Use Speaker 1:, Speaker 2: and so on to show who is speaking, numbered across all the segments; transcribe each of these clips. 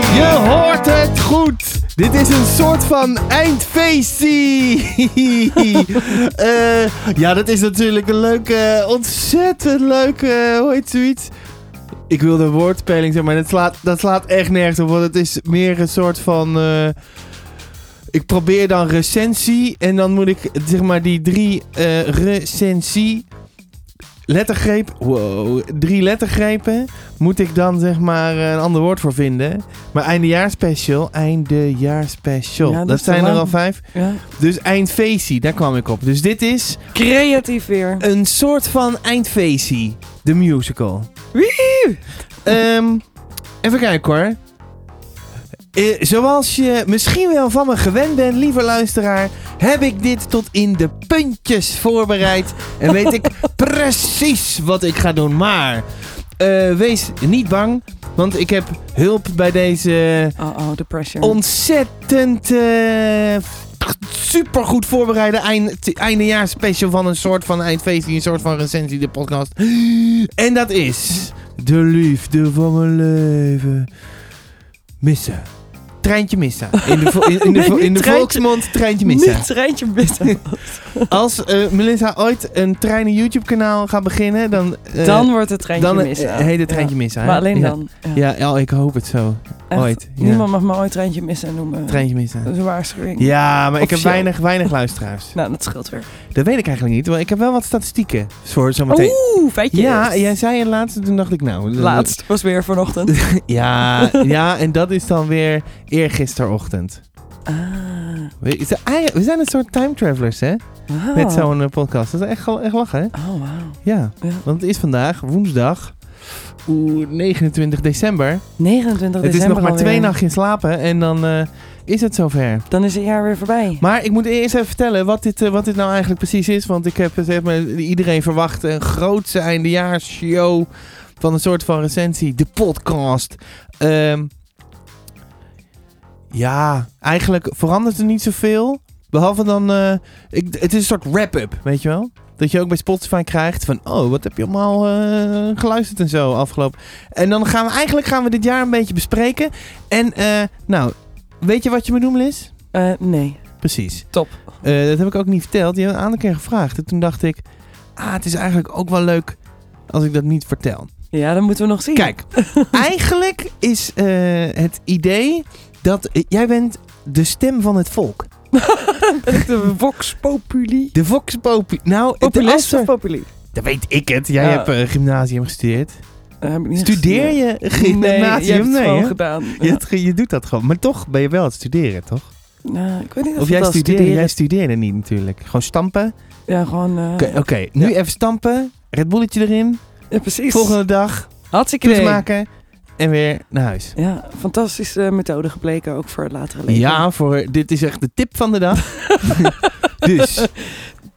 Speaker 1: Je hoort het goed. Dit is een soort van eindfeestie. Eh, ja, dat is natuurlijk een leuke, ontzettend leuke, hoe heet zoiets? Ik wil de woordspeling zeggen, maar dat slaat, dat slaat echt nergens op. Want het is meer een soort van... eh, ik probeer dan recensie en dan moet ik zeg maar die drie eh, recensie lettergreep, wow, drie lettergrepen moet ik dan zeg maar eh, een ander woord voor vinden. Maar eindejaarspecial, eindejaarspecial,
Speaker 2: Ja, dat
Speaker 1: dat,
Speaker 2: is te
Speaker 1: zijn er
Speaker 2: lang.
Speaker 1: al vijf.
Speaker 2: Ja.
Speaker 1: Dus eindfeestie, daar kwam ik op. Dus dit is
Speaker 2: Creatief weer.
Speaker 1: een soort van eindfeestie, de musical.
Speaker 2: Wiehoe!
Speaker 1: Ehm, even kijken hoor. Eh, zoals je misschien wel van me gewend bent, lieve luisteraar, heb ik dit tot in de puntjes voorbereid. En weet ik precies wat ik ga doen. Maar eh, wees niet bang, want ik heb hulp bij deze
Speaker 2: Oh, oh, de pressure.
Speaker 1: ontzettend eh, supergoed voorbereide eind, eindejaars special van een soort van eindfeestje, een soort van recensie, de podcast. En dat is de liefde van mijn leven. Missen. Treintje missen. In de, vo- in, in de, vo-
Speaker 2: Nee,
Speaker 1: in de
Speaker 2: treintje-
Speaker 1: volksmond treintje missen.
Speaker 2: Niet treintje missen.
Speaker 1: Als eh, Melissa ooit een treinen YouTube kanaal gaat beginnen, dan... eh,
Speaker 2: dan wordt het treintje
Speaker 1: dan eh,
Speaker 2: missen.
Speaker 1: heet het treintje missen.
Speaker 2: Ja.
Speaker 1: hè?
Speaker 2: Maar alleen
Speaker 1: Ja.
Speaker 2: dan.
Speaker 1: Ja,
Speaker 2: Ja.
Speaker 1: ja, ik hoop het zo.
Speaker 2: Echt,
Speaker 1: ooit, ja.
Speaker 2: Niemand mag me ooit treintje missen noemen.
Speaker 1: Treintje missen.
Speaker 2: Dat is een waarschuwing.
Speaker 1: Ja, maar ik heb
Speaker 2: Officieel.
Speaker 1: weinig, weinig luisteraars.
Speaker 2: Nou, dat scheelt weer.
Speaker 1: Dat weet ik eigenlijk niet, want ik heb wel wat statistieken Dus voor zometeen.
Speaker 2: Oeh, feitjes.
Speaker 1: Ja, jij zei het laatst en toen dacht ik nou... dan-
Speaker 2: Laatst was weer vanochtend.
Speaker 1: Ja, ja, en dat is dan weer eergisterochtend.
Speaker 2: ah.
Speaker 1: We, is er eigenlijk- we zijn een soort time travelers, hè?
Speaker 2: Wauw.
Speaker 1: Met zo'n eh, podcast. Dat is echt, wel- echt lachen, hè?
Speaker 2: Oh, wauw.
Speaker 1: Ja,
Speaker 2: Ja.
Speaker 1: want het is vandaag woensdag, oeh, 29 december.
Speaker 2: 29
Speaker 1: Het is
Speaker 2: Oh, december
Speaker 1: nog maar
Speaker 2: alweer.
Speaker 1: twee nachtjes slapen en dan eh, is het zover.
Speaker 2: Dan is het jaar weer voorbij.
Speaker 1: Maar ik moet eerst even vertellen wat dit, eh, wat dit nou eigenlijk precies is. Want ik heb het heeft me iedereen verwacht. Een grootse eindejaarsshow van een soort van recensie. De podcast. Ehm, ja, eigenlijk verandert er niet zoveel. Behalve dan... eh, ik, het is een soort wrap-up, weet je wel? Dat je ook bij Spotify krijgt van... Oh, wat heb je allemaal eh, geluisterd en zo afgelopen... En dan gaan we... Eigenlijk gaan we dit jaar een beetje bespreken. En eh, nou, weet je wat je moet doen, Liz?
Speaker 2: Eh, nee.
Speaker 1: Precies.
Speaker 2: Top.
Speaker 1: Eh, dat heb ik ook niet verteld. Die hebben een aantal keer gevraagd. En toen dacht ik, ah, het is eigenlijk ook wel leuk als ik dat niet vertel.
Speaker 2: Ja, dat moeten we nog zien.
Speaker 1: Kijk, eigenlijk is eh, het idee dat eh, jij bent de stem van het volk.
Speaker 2: de Vox Populi.
Speaker 1: De vox populi. Nou, het
Speaker 2: Populist of
Speaker 1: dat
Speaker 2: populi?
Speaker 1: weet ik het. Jij
Speaker 2: Ja.
Speaker 1: hebt eh, gymnasium gestudeerd.
Speaker 2: Eh, heb ik niet
Speaker 1: Studeer
Speaker 2: gezien.
Speaker 1: je
Speaker 2: Nee, je hebt
Speaker 1: gymnasium?
Speaker 2: het
Speaker 1: Nee,
Speaker 2: gewoon
Speaker 1: hè?
Speaker 2: gedaan.
Speaker 1: je,
Speaker 2: Ja.
Speaker 1: hebt ge- je doet dat gewoon. Maar toch ben je wel aan het studeren, toch?
Speaker 2: Nou, ik weet niet of,
Speaker 1: Of jij
Speaker 2: dat
Speaker 1: studeerde,
Speaker 2: studeren-
Speaker 1: jij studeerde niet natuurlijk. Gewoon stampen.
Speaker 2: Ja, gewoon... eh,
Speaker 1: Oké, oké, nu
Speaker 2: Ja.
Speaker 1: even stampen. Red Bulletje erin.
Speaker 2: Ja, precies.
Speaker 1: Volgende dag,
Speaker 2: Hartstikke
Speaker 1: quiz
Speaker 2: idee.
Speaker 1: maken en weer naar huis.
Speaker 2: Ja, fantastische methode gebleken, ook voor het latere leven.
Speaker 1: Ja, voor, dit is echt de tip van de dag. dus,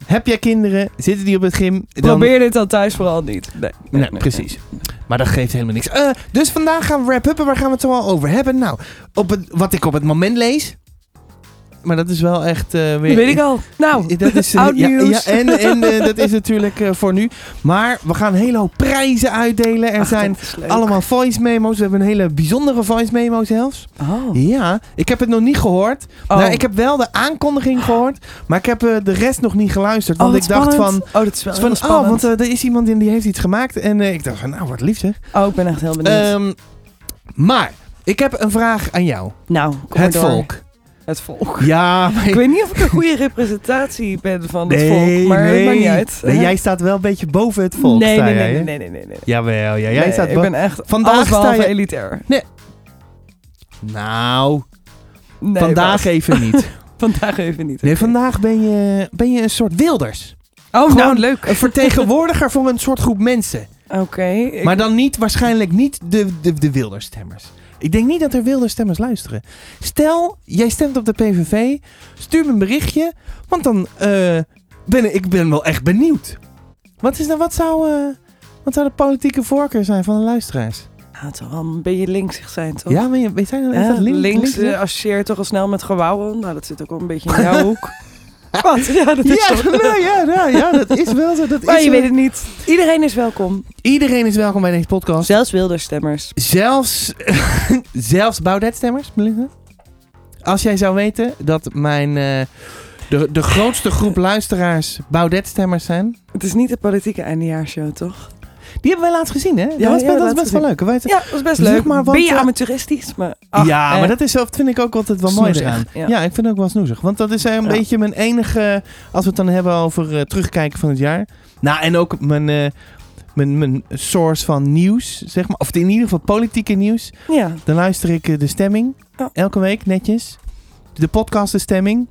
Speaker 1: heb jij kinderen, zitten die op het gym, dan...
Speaker 2: Probeer dit dan thuis vooral niet. Nee, nee,
Speaker 1: Nee,
Speaker 2: nee,
Speaker 1: precies. Maar dat geeft helemaal niks. Eh, dus vandaag gaan we wrap-up en waar gaan we het zoal over hebben? Nou, op het, wat ik op het moment lees... Maar dat is wel echt eh,
Speaker 2: nee.
Speaker 1: weer...
Speaker 2: Dat weet ik al. Nou,
Speaker 1: Dat is, eh,
Speaker 2: oud
Speaker 1: ja,
Speaker 2: nieuws.
Speaker 1: Ja, en en eh, dat is natuurlijk eh, voor nu. Maar we gaan een hele hoop prijzen uitdelen. Er
Speaker 2: ach,
Speaker 1: zijn
Speaker 2: dat is leuk.
Speaker 1: allemaal voice memo's. We hebben een hele bijzondere voice memo zelfs.
Speaker 2: Oh.
Speaker 1: Ja, ik heb het nog niet gehoord.
Speaker 2: Oh.
Speaker 1: Nou, ik heb wel de aankondiging gehoord, maar ik heb eh, de rest nog niet geluisterd.
Speaker 2: Oh,
Speaker 1: Want
Speaker 2: wat
Speaker 1: ik dacht
Speaker 2: spannend.
Speaker 1: van,
Speaker 2: Oh, dat is wel
Speaker 1: van
Speaker 2: heel
Speaker 1: oh,
Speaker 2: spannend.
Speaker 1: want eh, er is iemand in die heeft iets gemaakt. En eh, ik dacht van, nou, wat lief zeg.
Speaker 2: oh, ik ben echt heel benieuwd.
Speaker 1: Ehm, maar, ik heb een vraag aan jou.
Speaker 2: nou, kom maar
Speaker 1: het
Speaker 2: door.
Speaker 1: volk.
Speaker 2: Het volk.
Speaker 1: Ja, maar
Speaker 2: Ik weet niet of ik een goede representatie ben van het
Speaker 1: Nee,
Speaker 2: volk, maar
Speaker 1: nee.
Speaker 2: het maakt niet uit.
Speaker 1: Nee, jij staat wel een beetje boven het volk,
Speaker 2: nee,
Speaker 1: sta
Speaker 2: nee,
Speaker 1: jij,
Speaker 2: nee,
Speaker 1: hè?
Speaker 2: nee, nee, nee, nee.
Speaker 1: Jawel, ja, jij
Speaker 2: Nee,
Speaker 1: staat
Speaker 2: ik
Speaker 1: wel...
Speaker 2: ben echt
Speaker 1: Vandaag
Speaker 2: alles
Speaker 1: sta
Speaker 2: behalve
Speaker 1: je-
Speaker 2: elitair.
Speaker 1: Nou,
Speaker 2: Nee,
Speaker 1: vandaag even niet.
Speaker 2: maar- e- vandaag even niet.
Speaker 1: Nee,
Speaker 2: Oké.
Speaker 1: vandaag ben je, ben je een soort wilders.
Speaker 2: Oh,
Speaker 1: Gewoon
Speaker 2: nou, leuk.
Speaker 1: Een vertegenwoordiger voor een soort groep mensen.
Speaker 2: Oké. ik-
Speaker 1: Maar dan niet, waarschijnlijk niet de, de, de Wilderstemmers. Ik denk niet dat er Wilderstemmers luisteren. Stel, jij stemt op de PVV, stuur me een berichtje, want dan eh, ben ik ben wel echt benieuwd. Wat, is dan, wat, zou, eh, wat zou de politieke voorkeur zijn van de luisteraars?
Speaker 2: Nou, het zal wel een beetje linksig zijn, toch?
Speaker 1: Ja, maar je- nou we zijn dan
Speaker 2: Hè?
Speaker 1: echt
Speaker 2: links
Speaker 1: links.
Speaker 2: eh, associeert toch al snel met gewauwel. Nou, dat zit ook wel een beetje in jouw hoek. Wat? Ja, dat is
Speaker 1: Ja,
Speaker 2: zo.
Speaker 1: nou ja, ja, ja, dat is wel zo. Dat
Speaker 2: Maar
Speaker 1: is
Speaker 2: je
Speaker 1: zo.
Speaker 2: weet het niet. Iedereen is welkom.
Speaker 1: Iedereen is welkom bij deze podcast.
Speaker 2: Zelfs wilderstemmers.
Speaker 1: Zelfs, zelfs Baudet-stemmers, Melinda? Als jij zou weten dat mijn, eh, de, de grootste groep luisteraars Baudet-stemmers zijn.
Speaker 2: Het is niet de politieke eindejaarshow, toch?
Speaker 1: Die hebben wij laatst gezien, hè?
Speaker 2: die
Speaker 1: dat was,
Speaker 2: hebben we
Speaker 1: best- dat
Speaker 2: laatst
Speaker 1: is best wel leuk. Wij-
Speaker 2: Ja, dat is best
Speaker 1: Zeg
Speaker 2: leuk.
Speaker 1: maar, want,
Speaker 2: ben je
Speaker 1: eh,
Speaker 2: amateuristisch? Maar,
Speaker 1: ja, maar dat is, zelf- vind ik ook altijd wel mooi
Speaker 2: Snoezig,
Speaker 1: eraan. Ja.
Speaker 2: ja.
Speaker 1: ik vind het ook wel snoezig. Want dat is eh, een
Speaker 2: Ja.
Speaker 1: beetje mijn enige... Als we het dan hebben over eh, terugkijken van het jaar. Nou, en ook mijn, eh, mijn, mijn source van nieuws, zeg maar. Of in ieder geval politieke nieuws.
Speaker 2: Ja,
Speaker 1: Dan luister ik eh, de stemming.
Speaker 2: Ja.
Speaker 1: Elke week netjes. De podcast de stemming.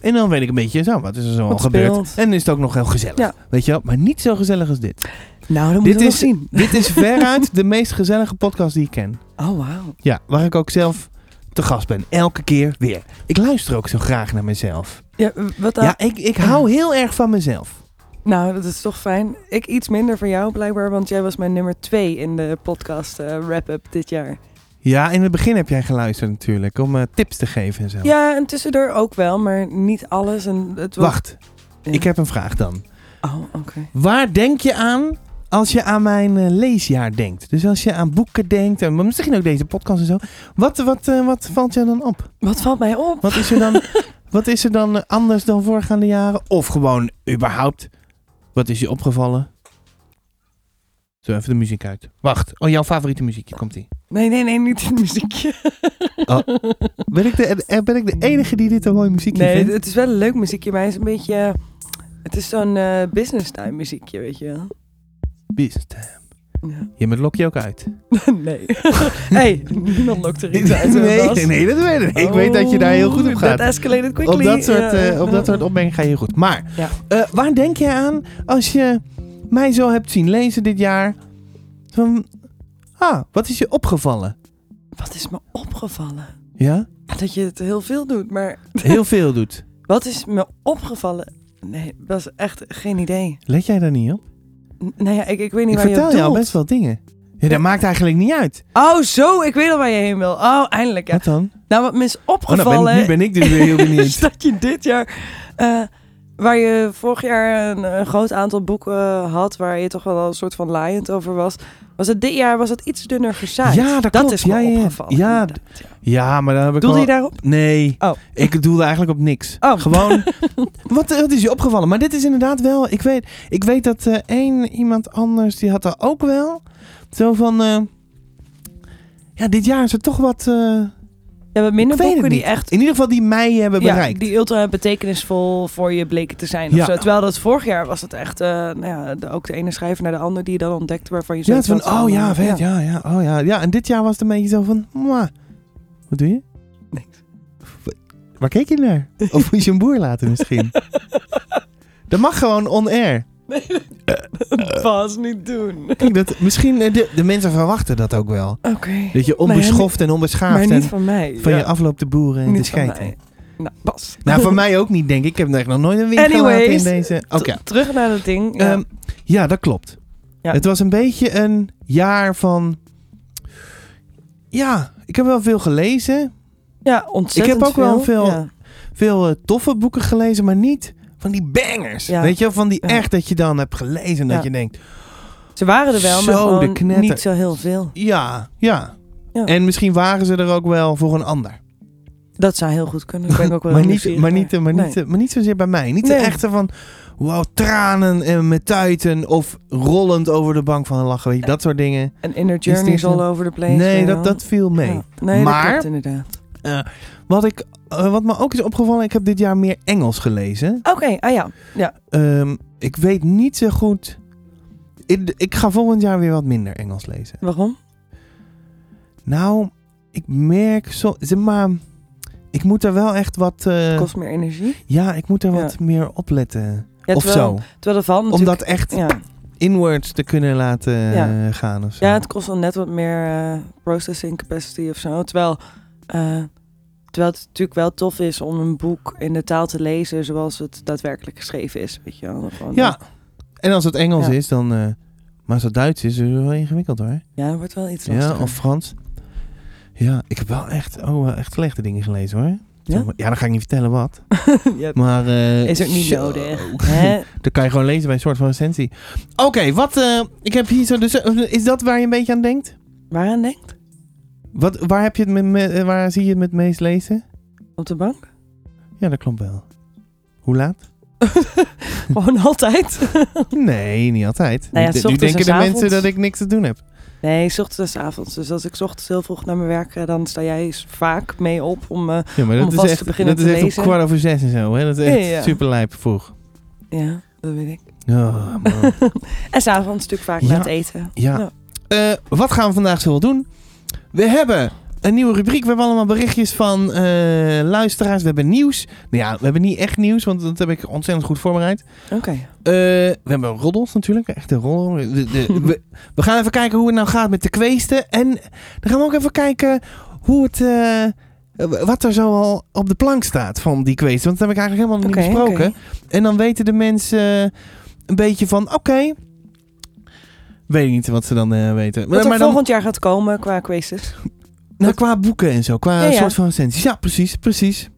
Speaker 1: En dan weet ik een beetje zo, wat is er zo al
Speaker 2: Wat
Speaker 1: gebeurd.
Speaker 2: speelt.
Speaker 1: En is het ook nog heel gezellig.
Speaker 2: Ja.
Speaker 1: Weet je wel? Maar niet zo gezellig als dit.
Speaker 2: nou, dat
Speaker 1: Dit
Speaker 2: moeten we nog
Speaker 1: is-
Speaker 2: zien.
Speaker 1: dit is veruit de meest gezellige podcast die ik ken.
Speaker 2: Oh, wauw.
Speaker 1: Ja, waar ik ook zelf te gast ben. Elke keer weer. Ik luister ook zo graag naar mezelf.
Speaker 2: Ja, wat dan?
Speaker 1: ja, ik, ik hou heel erg van mezelf.
Speaker 2: Nou, dat is toch fijn. Ik iets minder voor jou blijkbaar, want jij was mijn nummer twee in de podcast eh, wrap-up dit jaar.
Speaker 1: Ja, in het begin heb jij geluisterd natuurlijk. Om eh, tips te geven en zo.
Speaker 2: Ja, en tussendoor ook wel, maar niet alles. En het was...
Speaker 1: Wacht,
Speaker 2: Ja.
Speaker 1: ik heb een vraag dan.
Speaker 2: Oh, oké.
Speaker 1: Waar denk je aan als je aan mijn eh, leesjaar denkt? Dus als je aan boeken denkt, en misschien ook deze podcast en zo. Wat, wat, eh, wat valt jou dan op?
Speaker 2: Wat valt mij op?
Speaker 1: Wat is er dan, wat is er dan eh, anders dan voorgaande jaren? Of gewoon überhaupt, wat is je opgevallen? Zo, even de muziek uit. Wacht, oh, jouw favoriete muziekje, komt ie.
Speaker 2: Nee, nee, nee, niet het muziekje.
Speaker 1: Oh, Ben ik de, eh, ben ik de enige die dit een mooi muziekje
Speaker 2: Nee,
Speaker 1: vindt?
Speaker 2: het is wel een leuk muziekje, maar het is een beetje... eh, Het is zo'n eh, business time muziekje, weet je wel.
Speaker 1: Business time.
Speaker 2: Ja.
Speaker 1: Je met lokje ook uit.
Speaker 2: nee. hey, niemand lokt er iets uit.
Speaker 1: nee,
Speaker 2: Bas.
Speaker 1: nee, nee, dat weet ik. Ik weet dat je daar heel goed op gaat.
Speaker 2: Oh, Dat escalated quickly.
Speaker 1: Op dat soort,
Speaker 2: Ja.
Speaker 1: eh, op dat soort opmerkingen ga je goed. Maar
Speaker 2: Ja.
Speaker 1: eh, waar denk je aan als je mij zo hebt zien lezen dit jaar? Van, ah, wat is je opgevallen?
Speaker 2: Wat is me opgevallen?
Speaker 1: Ja?
Speaker 2: Dat je het heel veel doet, maar
Speaker 1: Heel veel doet.
Speaker 2: wat is me opgevallen? Nee, dat is echt geen idee.
Speaker 1: Let jij daar niet op?
Speaker 2: N- nou ja, ik, ik weet niet
Speaker 1: Ik
Speaker 2: waar
Speaker 1: vertel
Speaker 2: je op
Speaker 1: jou
Speaker 2: doelt.
Speaker 1: best wel dingen. Ja, dat maakt eigenlijk niet uit.
Speaker 2: Oh, zo, ik weet al waar je heen wil. Oh, eindelijk. Ja.
Speaker 1: Wat dan?
Speaker 2: Nou, wat me is
Speaker 1: Oh, nou ben-
Speaker 2: opgevallen...
Speaker 1: nu ben ik dus weer heel
Speaker 2: is
Speaker 1: benieuwd.
Speaker 2: dat je dit jaar... eh, waar je vorig jaar een, een groot aantal boeken eh, had... waar je toch wel een soort van laaiend over was... was het dit jaar was het iets dunner gezaaid.
Speaker 1: Ja, dat klopt.
Speaker 2: is me
Speaker 1: Ja, ja, ja.
Speaker 2: opgevallen.
Speaker 1: Ja,
Speaker 2: inderdaad, ja.
Speaker 1: Ja, maar dan heb ik
Speaker 2: Doelde
Speaker 1: wel-
Speaker 2: je daarop?
Speaker 1: Nee,
Speaker 2: Oh.
Speaker 1: ik doelde eigenlijk op niks.
Speaker 2: Oh.
Speaker 1: Gewoon, wat, wat is je opgevallen? Maar dit is inderdaad wel, ik weet, ik weet dat eh, één iemand anders, die had daar ook wel. Zo van, eh, ja, dit jaar is er toch wat, eh,
Speaker 2: Ja, wat minder
Speaker 1: Ik weet het
Speaker 2: boeken die
Speaker 1: niet.
Speaker 2: echt...
Speaker 1: in ieder geval die mij hebben bereikt.
Speaker 2: die ultra betekenisvol voor je bleken te zijn.
Speaker 1: Ja.
Speaker 2: Of zo. Terwijl dat vorig jaar was het echt, eh, nou ja, de, ook de ene schrijver naar de ander die je dan ontdekte waarvan je
Speaker 1: ja, het
Speaker 2: zoiets
Speaker 1: van,
Speaker 2: had
Speaker 1: oh ja, vet, ja, ja, oh ja. Ja, en dit jaar was het een beetje zo van, mwah. Wat doe je?
Speaker 2: Niks.
Speaker 1: Wa- Waar keek je naar? Of moest je een boer laten misschien? dat mag gewoon Eh, on-air.
Speaker 2: Pas niet doen. Oké.
Speaker 1: Kijk, dat, misschien eh, de, de mensen verwachten dat ook wel. Dat je onbeschoft en
Speaker 2: Eh, Maar
Speaker 1: onbeschaafd
Speaker 2: niet
Speaker 1: en
Speaker 2: van mij.
Speaker 1: van je
Speaker 2: ja.
Speaker 1: afloop de boeren en de
Speaker 2: Niet van
Speaker 1: scheiden.
Speaker 2: mij. Nou, pas.
Speaker 1: Nou, voor mij ook niet, denk ik. Ik heb echt nog nooit een winkel gehad in
Speaker 2: Anyways,
Speaker 1: deze... Oké.
Speaker 2: Terug naar dat ding. Ja.
Speaker 1: Ehm, ja, dat klopt.
Speaker 2: Ja.
Speaker 1: Het was een beetje een jaar van... Ja, ik heb wel veel gelezen.
Speaker 2: ja, ontzettend
Speaker 1: ik heb ook wel veel-
Speaker 2: Ja.
Speaker 1: Veel eh, toffe boeken gelezen, maar niet van die bangers.
Speaker 2: Ja.
Speaker 1: Weet je wel, van die
Speaker 2: Ja.
Speaker 1: echt dat je dan hebt gelezen en dat
Speaker 2: Ja.
Speaker 1: je denkt...
Speaker 2: Ze waren er wel, maar
Speaker 1: Zo, de
Speaker 2: gewoon
Speaker 1: knetter.
Speaker 2: niet zo heel veel.
Speaker 1: Ja, ja,
Speaker 2: Ja.
Speaker 1: En misschien waren ze er ook wel voor een ander.
Speaker 2: Dat zou heel goed kunnen. Daar ben ik ook wel
Speaker 1: maar,
Speaker 2: heel
Speaker 1: niet,
Speaker 2: nieuwsgierig
Speaker 1: maar, niet, maar,
Speaker 2: naar.
Speaker 1: niet, eh, maar niet zozeer bij mij. Niet
Speaker 2: Nee.
Speaker 1: de echte van, wauw, tranen en met tuiten of rollend over de bank van een lachen. Weet je, dat soort dingen.
Speaker 2: Nee. En inner
Speaker 1: dit
Speaker 2: journeys
Speaker 1: een-
Speaker 2: all over the place.
Speaker 1: Nee,
Speaker 2: weet je
Speaker 1: dat,
Speaker 2: wel.
Speaker 1: dat viel mee.
Speaker 2: Ja. Nee,
Speaker 1: Maar-
Speaker 2: dat klopt inderdaad.
Speaker 1: Wat, ik, eh, wat me ook is opgevallen, ik heb dit jaar meer Engels gelezen.
Speaker 2: Oké, ah ja. Ja,
Speaker 1: Ehm, ik weet niet zo goed... Ik, ik ga volgend jaar weer wat minder Engels lezen.
Speaker 2: waarom?
Speaker 1: Nou, ik merk zo... Zeg maar, ik moet daar wel echt wat... eh,
Speaker 2: kost meer energie.
Speaker 1: ja, ik moet daar
Speaker 2: Ja.
Speaker 1: wat meer op letten.
Speaker 2: Ja,
Speaker 1: of
Speaker 2: terwijl,
Speaker 1: zo.
Speaker 2: Terwijl de
Speaker 1: Om
Speaker 2: van natuurlijk...
Speaker 1: dat echt
Speaker 2: Ja.
Speaker 1: inwards te kunnen laten
Speaker 2: Ja.
Speaker 1: eh, gaan of zo.
Speaker 2: ja, het kost wel net wat meer eh, processing capacity of zo. Terwijl, eh, terwijl het natuurlijk wel tof is om een boek in de taal te lezen zoals het daadwerkelijk geschreven is. Weet je wel. Gewoon,
Speaker 1: Ja. En als het Engels
Speaker 2: Ja.
Speaker 1: is, dan... eh, maar als het Duits is, is het wel ingewikkeld hoor.
Speaker 2: Ja, dat wordt wel iets
Speaker 1: Ja,
Speaker 2: lastiger.
Speaker 1: of Frans. Ja, ik heb wel echt, oh, wel echt slechte dingen gelezen hoor.
Speaker 2: Ja?
Speaker 1: Zo, ja, dan ga ik niet vertellen wat.
Speaker 2: Yep.
Speaker 1: Maar, eh,
Speaker 2: Is ook niet
Speaker 1: zo. oh,
Speaker 2: nodig. Hè?
Speaker 1: Dan kan je gewoon lezen bij een soort van recensie. Oké, wat... eh, ik heb hier zo... Dus, eh, is dat waar je een beetje aan denkt?
Speaker 2: Waaraan denk
Speaker 1: Wat, waar, heb je het met, met- eh, waar zie je het met meest lezen?
Speaker 2: Op de bank?
Speaker 1: Ja, dat klopt wel. Hoe laat?
Speaker 2: Gewoon altijd.
Speaker 1: Nee, niet altijd.
Speaker 2: Nou ja,
Speaker 1: Nu-
Speaker 2: s
Speaker 1: nu
Speaker 2: ochtends
Speaker 1: denken
Speaker 2: en
Speaker 1: de
Speaker 2: s
Speaker 1: mensen
Speaker 2: avonds.
Speaker 1: dat ik niks te doen heb.
Speaker 2: Nee, s ochtends en s avonds. Dus als ik 's ochtends heel vroeg naar mijn werk ga, dan sta jij s- vaak mee op om... eh,
Speaker 1: Ja, maar
Speaker 2: Om
Speaker 1: dat is
Speaker 2: vast te
Speaker 1: echt,
Speaker 2: beginnen
Speaker 1: dat
Speaker 2: te
Speaker 1: is echt
Speaker 2: lezen.
Speaker 1: om kwart over zes en zo. Hè? Dat is echt
Speaker 2: Ja, ja.
Speaker 1: super lijp vroeg.
Speaker 2: ja, dat weet ik.
Speaker 1: Oh, man.
Speaker 2: En s'avonds natuurlijk vaak
Speaker 1: Ja.
Speaker 2: na het eten.
Speaker 1: ja.
Speaker 2: Ja.
Speaker 1: Eh, wat gaan we vandaag zo wel doen? We hebben een nieuwe rubriek. We hebben allemaal berichtjes van eh, luisteraars. We hebben nieuws. Nou ja, we hebben niet echt nieuws, want dat heb ik ontzettend goed voorbereid.
Speaker 2: Oké.
Speaker 1: Eh, we hebben roddels natuurlijk, echte roddels. De- de- we, we gaan even kijken hoe het nou gaat met de kweesten. En dan gaan we ook even kijken hoe het, eh, wat er zo al op de plank staat van die kweesten. Want dat heb ik eigenlijk helemaal
Speaker 2: Oké,
Speaker 1: niet besproken.
Speaker 2: oké.
Speaker 1: En dan weten de mensen eh, een beetje van, oké. Weet ik niet wat ze dan eh, weten.
Speaker 2: Wat er
Speaker 1: dan,
Speaker 2: volgend jaar gaat komen qua quizzes.
Speaker 1: nou, qua boeken en zo, qua
Speaker 2: Ja, ja.
Speaker 1: soort van recensies. Ja, precies, precies.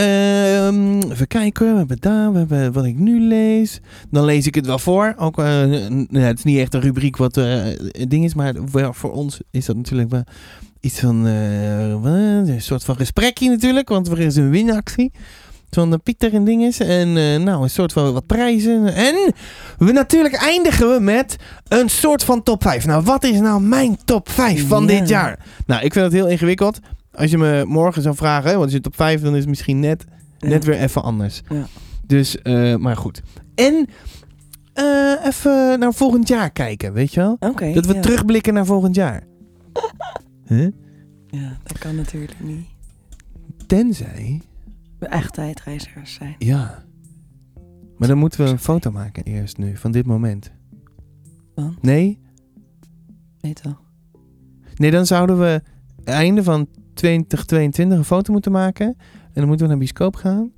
Speaker 1: Ehm, even kijken, we hebben daar, we hebben wat ik nu lees. Dan lees ik het wel voor. Ook, eh, n- nou, het is niet echt een rubriek wat eh, het ding is, maar wel voor ons is dat natuurlijk wel iets van eh, wat, een soort van gesprekje natuurlijk, want er is een winactie. Van de eh, Pieter en dinges. En eh, nou, een soort van wat prijzen. En we natuurlijk eindigen we met een soort van top 5. Nou, wat is nou mijn top 5 van
Speaker 2: Ja.
Speaker 1: dit jaar? Nou, ik vind dat heel ingewikkeld. Als je me morgen zou vragen, hè, wat is je top 5, dan is het misschien net, net weer even anders.
Speaker 2: Ja.
Speaker 1: Dus, eh, maar goed. En eh, even naar volgend jaar kijken, weet je wel?
Speaker 2: Oké.
Speaker 1: Dat we
Speaker 2: ja.
Speaker 1: terugblikken naar volgend jaar. Huh?
Speaker 2: Ja, dat kan natuurlijk niet.
Speaker 1: Tenzij,
Speaker 2: We echt tijdreizigers zijn.
Speaker 1: ja. Maar dan moeten we een foto maken eerst nu, van dit moment.
Speaker 2: Van?
Speaker 1: Nee?
Speaker 2: Weet wel.
Speaker 1: Nee, dan zouden we einde van 2022 een foto moeten maken. En dan moeten we naar bioscoop gaan.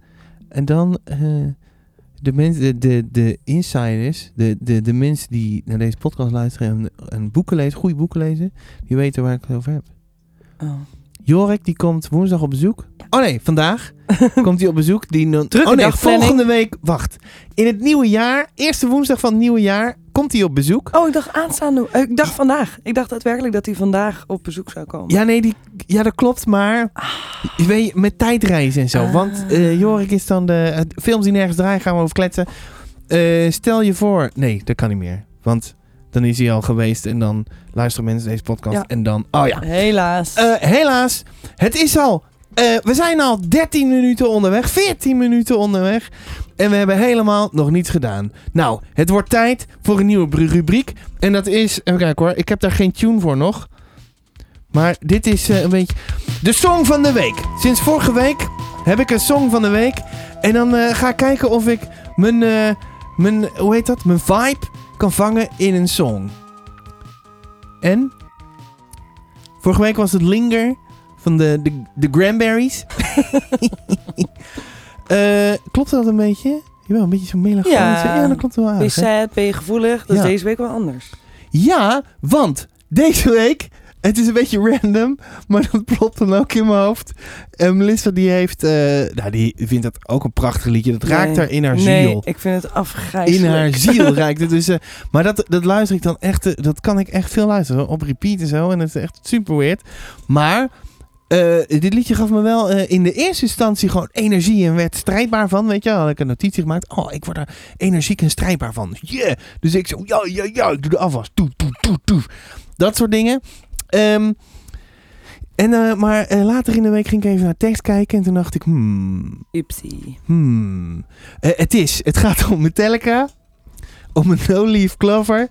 Speaker 1: En dan eh, de, mensen, de, de, de insiders, de, de, de mensen die naar deze podcast luisteren en, en boeken lezen, goede boeken lezen, die weten waar ik het over heb.
Speaker 2: Oh.
Speaker 1: Jorik die komt woensdag op bezoek. Oh nee, vandaag komt hij op bezoek. Die no-
Speaker 2: Drukke
Speaker 1: oh nee,
Speaker 2: dagplanning.
Speaker 1: volgende week. Wacht. In het nieuwe jaar, eerste woensdag van het nieuwe jaar, komt hij op bezoek.
Speaker 2: oh, ik dacht aanstaande. eh, Ik dacht vandaag. Ik dacht daadwerkelijk dat hij vandaag op bezoek zou komen.
Speaker 1: Ja, nee, die, ja, dat klopt, maar weet je, met tijdreizen en zo.
Speaker 2: Ah.
Speaker 1: Want eh, Jorik is dan de eh, films die nergens draaien, gaan we over kletsen. Eh, stel je voor, nee, dat kan niet meer, want dan is hij al geweest en dan luisteren mensen deze podcast
Speaker 2: Ja.
Speaker 1: en dan, oh ja.
Speaker 2: Helaas.
Speaker 1: Eh, helaas, het is al. eh, we zijn al 13 minuten onderweg, 14 minuten onderweg. En we hebben helemaal nog niets gedaan. Nou, het wordt tijd voor een nieuwe bru- rubriek. En dat is. Even kijken hoor, ik heb daar geen tune voor nog. Maar dit is eh, een beetje. De Song van de Week. Sinds vorige week heb ik een Song van de Week. En dan eh, ga ik kijken of ik mijn. eh, mijn hoe heet dat? Mijn vibe kan vangen in een song. En? Vorige week was het Linger van de, de, de Cranberries. Eh, klopt dat een beetje? Jawel, een beetje zo'n melancholisch.
Speaker 2: Ja.
Speaker 1: Ja, dat klopt wel
Speaker 2: ben je
Speaker 1: aardig. hè?
Speaker 2: sad? Ben je gevoelig? Dat
Speaker 1: Ja.
Speaker 2: is deze week wel anders.
Speaker 1: Ja, want deze week, het is een beetje random, maar dat plopt dan ook in mijn hoofd. En Melissa die heeft, eh, nou die vindt dat ook een prachtig liedje. Dat raakt
Speaker 2: Nee.
Speaker 1: haar in haar
Speaker 2: Nee,
Speaker 1: ziel.
Speaker 2: ik vind het afgrijzelijk.
Speaker 1: In haar ziel raakt het. Dus, eh, maar dat, dat luister ik dan echt, eh, dat kan ik echt veel luisteren. hoor. Op repeat en zo. En dat is echt super weird. Maar eh, dit liedje gaf me wel eh, in de eerste instantie gewoon energie en werd strijdbaar van. Weet je, wel. had ik een notitie gemaakt. Oh, ik word er energiek en strijdbaar van. Yeah. Dus ik zo, ja, ja, ja, ik doe de afwas. Toe, toe, toe, toe. Dat soort dingen. Ehm, en, eh, maar eh, later in de week ging ik even naar tekst kijken. En toen dacht ik, hmm,
Speaker 2: Ipsy.
Speaker 1: Hmm. Eh, het is. Het gaat om Metallica. Om een No Leaf Clover.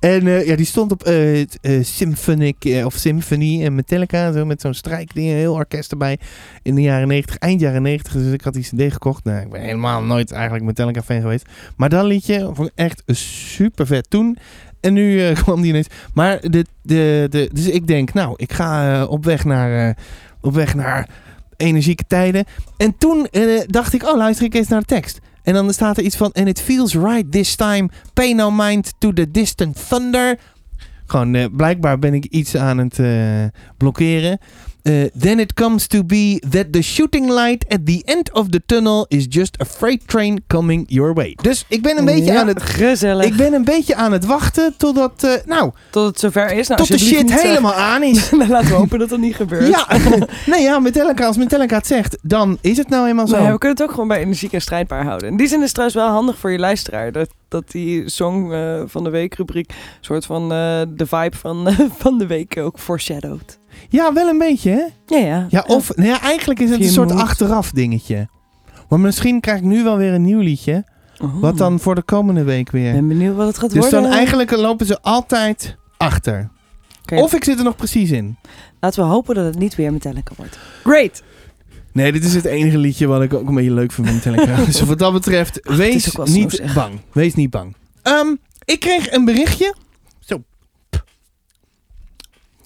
Speaker 1: En eh, ja, die stond op eh, het, eh, Symphonic eh, of Symphony en Metallica. Zo, met zo'n strijkding, een heel orkest erbij. In de jaren 90, eind jaren 90. Dus ik had die CD gekocht. Nou, ik ben helemaal nooit eigenlijk Metallica fan geweest. Maar dat liedje vond ik echt super vet toen. En nu eh, kwam die ineens. Maar de, de, de, dus ik denk, nou, ik ga eh, op, weg naar, eh, op weg naar energieke tijden. En toen eh, dacht ik, oh, luister ik eens naar de tekst. En dan staat er iets van, and it feels right this time, pay no mind to the distant thunder. Gewoon, eh, blijkbaar ben ik iets aan het eh, blokkeren. eh, then it comes to be that the shooting light at the end of the tunnel is just a freight train coming your way. Dus ik ben een beetje
Speaker 2: Ja,
Speaker 1: aan het...
Speaker 2: Gezellig.
Speaker 1: Ik ben een beetje aan het wachten totdat, eh, nou,
Speaker 2: Tot het zover is. Nou,
Speaker 1: tot de
Speaker 2: alsjeblieft
Speaker 1: shit
Speaker 2: niet, eh,
Speaker 1: helemaal aan is.
Speaker 2: nou, laten we hopen dat dat niet gebeurt.
Speaker 1: Ja, nee, ja, Metallica, als Metallica het zegt, dan is het nou helemaal zo.
Speaker 2: Maar ja, we kunnen het ook gewoon bij energiek en strijdbaar houden. In die zin is het trouwens wel handig voor je luisteraar. Dat, dat die Song eh, van de Week rubriek een soort van eh, de vibe van, van de week ook foreshadowt.
Speaker 1: Ja, wel een beetje, hè?
Speaker 2: Ja, ja.
Speaker 1: Ja, of nou ja, eigenlijk is het een
Speaker 2: Je
Speaker 1: soort
Speaker 2: moet-
Speaker 1: achteraf dingetje. Maar misschien krijg ik nu wel weer een nieuw liedje.
Speaker 2: Oh.
Speaker 1: Wat dan voor de komende week
Speaker 2: Ik
Speaker 1: weer.
Speaker 2: ben benieuwd wat het gaat
Speaker 1: Dus
Speaker 2: worden.
Speaker 1: dan eigenlijk lopen ze altijd achter.
Speaker 2: Oké,
Speaker 1: Of ik zit er nog precies in.
Speaker 2: Laten we hopen dat het niet weer Metallica wordt. Great!
Speaker 1: Nee, dit is het enige liedje wat ik ook een beetje leuk vind van Metallica. dus wat dat betreft,
Speaker 2: is
Speaker 1: wees
Speaker 2: ook wel zo,
Speaker 1: niet
Speaker 2: zeg.
Speaker 1: bang. Wees niet bang. Ehm, ik kreeg een berichtje. Zo.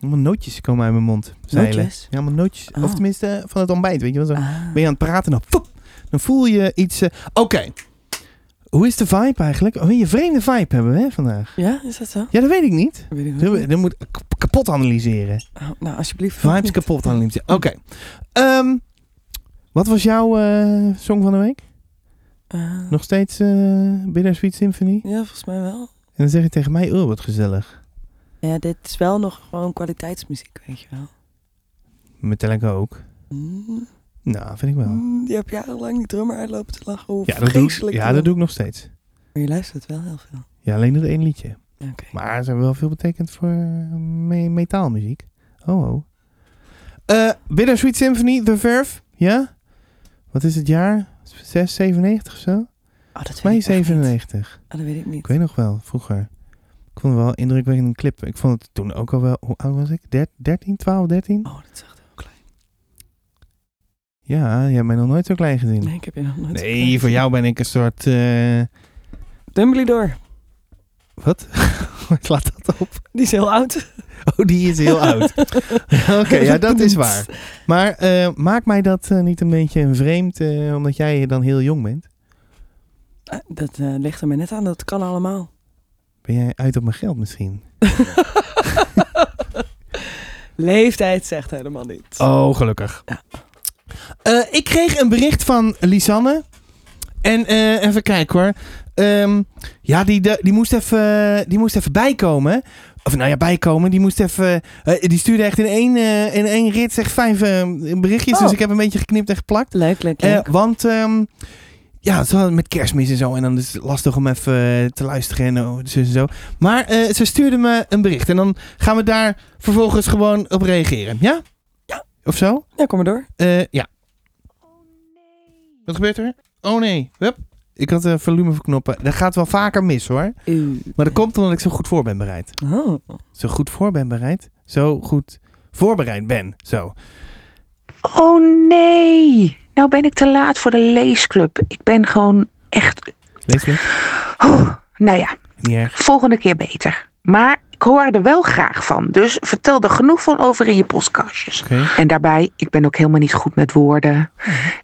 Speaker 1: Allemaal nootjes komen uit mijn mond. zeilen.
Speaker 2: Nootjes?
Speaker 1: Ja, allemaal nootjes.
Speaker 2: Oh.
Speaker 1: Of tenminste van het ontbijt, weet je wel. Zo.
Speaker 2: Ah.
Speaker 1: Ben je aan het praten, dan, poep, dan voel je iets... eh, Oké. Hoe is de vibe eigenlijk? Oh, een vreemde vibe hebben we hè, vandaag.
Speaker 2: Ja, is dat zo?
Speaker 1: Ja, dat weet ik niet.
Speaker 2: Weet ik
Speaker 1: Dat
Speaker 2: ook
Speaker 1: we-
Speaker 2: niet.
Speaker 1: dat moet ik k- kapot analyseren.
Speaker 2: Oh, nou, alsjeblieft.
Speaker 1: Vibes kapot analyseren. Oké. Ehm, wat was jouw eh, song van de week?
Speaker 2: Eh,
Speaker 1: Nog steeds eh Bittersweet Symphony?
Speaker 2: Ja, volgens mij wel.
Speaker 1: En dan zeg je tegen mij, oh, wat gezellig.
Speaker 2: Ja, dit is wel nog gewoon kwaliteitsmuziek, weet je wel.
Speaker 1: Metallica ook.
Speaker 2: Mm.
Speaker 1: Nou, vind ik wel.
Speaker 2: Mm, Die heb jarenlang die drummer uitlopen te lachen. Hoe
Speaker 1: Ja, dat doe ik,
Speaker 2: vreselijk.
Speaker 1: ja, dat doe ik nog steeds.
Speaker 2: Maar je luistert wel heel veel.
Speaker 1: Ja, alleen dat één liedje.
Speaker 2: Oké.
Speaker 1: Maar ze hebben wel veel betekend voor eh, me- metaalmuziek. Oh, oh. Eh, Bittersweet Symphony, The Verve. Ja? Wat is het jaar? 6, 97 of zo?
Speaker 2: Oh, dat weet
Speaker 1: Mei
Speaker 2: ik echt niet.
Speaker 1: 97.
Speaker 2: Oh, dat weet ik niet.
Speaker 1: Ik weet nog wel, vroeger. Ik vond het wel een indrukwekkende clip. Ik vond het toen ook al wel... Hoe oud was ik? Der- 13, 12, 13?
Speaker 2: Oh, dat is echt heel klein.
Speaker 1: Ja, jij hebt mij nog nooit zo klein gezien.
Speaker 2: Nee, ik heb je nog nooit zo
Speaker 1: Nee,
Speaker 2: klein
Speaker 1: voor jou ben ik een soort... eh,
Speaker 2: gezien. Dumbledore.
Speaker 1: Wat? Laat dat op.
Speaker 2: Die is heel oud.
Speaker 1: Oh, die is heel oud. Oké, ja, dat is waar. Maar eh, maakt mij dat eh, niet een beetje een vreemd, eh, omdat jij dan heel jong bent?
Speaker 2: Eh, Dat eh, ligt er maar net aan. Dat kan allemaal.
Speaker 1: Ben jij uit op mijn geld misschien?
Speaker 2: Leeftijd zegt helemaal niet.
Speaker 1: Oh, gelukkig.
Speaker 2: Ja.
Speaker 1: Eh, ik kreeg een bericht van Lisanne. En eh, even kijken hoor. Ehm, ja, die, de- die, moest even, die moest even bijkomen. Of nou ja, bijkomen. Die moest even. eh, die stuurde echt in één, eh, in één rit zeg vijf eh, berichtjes.
Speaker 2: Oh.
Speaker 1: Dus ik heb een beetje geknipt en geplakt.
Speaker 2: Leuk, leuk,
Speaker 1: Eh,
Speaker 2: leuk.
Speaker 1: want ehm, ja, ze hadden met kerstmis en zo. En dan is het lastig om even eh, te luisteren en oh, dus en zo. Maar eh, ze stuurde me een bericht. En dan gaan we daar vervolgens gewoon op reageren. Ja?
Speaker 2: Ja.
Speaker 1: Of zo?
Speaker 2: ja, kom maar door.
Speaker 1: Eh, ja. Wat gebeurt er? Oh nee. Hup. Ik had de volume verknoppen. Dat gaat wel vaker mis hoor.
Speaker 2: Eeuw.
Speaker 1: Maar dat komt omdat ik zo goed voor ben bereid.
Speaker 2: Oh.
Speaker 1: Zo goed voor ben bereid. Zo goed voorbereid ben. Zo.
Speaker 3: Oh nee, nou ben ik te laat voor de leesclub. Ik ben gewoon echt.
Speaker 1: Lees me.
Speaker 3: Oh, nou ja,
Speaker 1: Niet erg.
Speaker 3: volgende keer beter. Maar ik hoor er wel graag van, dus vertel er genoeg van over in je postkastjes.
Speaker 1: Oké.
Speaker 3: En daarbij, ik ben ook helemaal niet goed met woorden.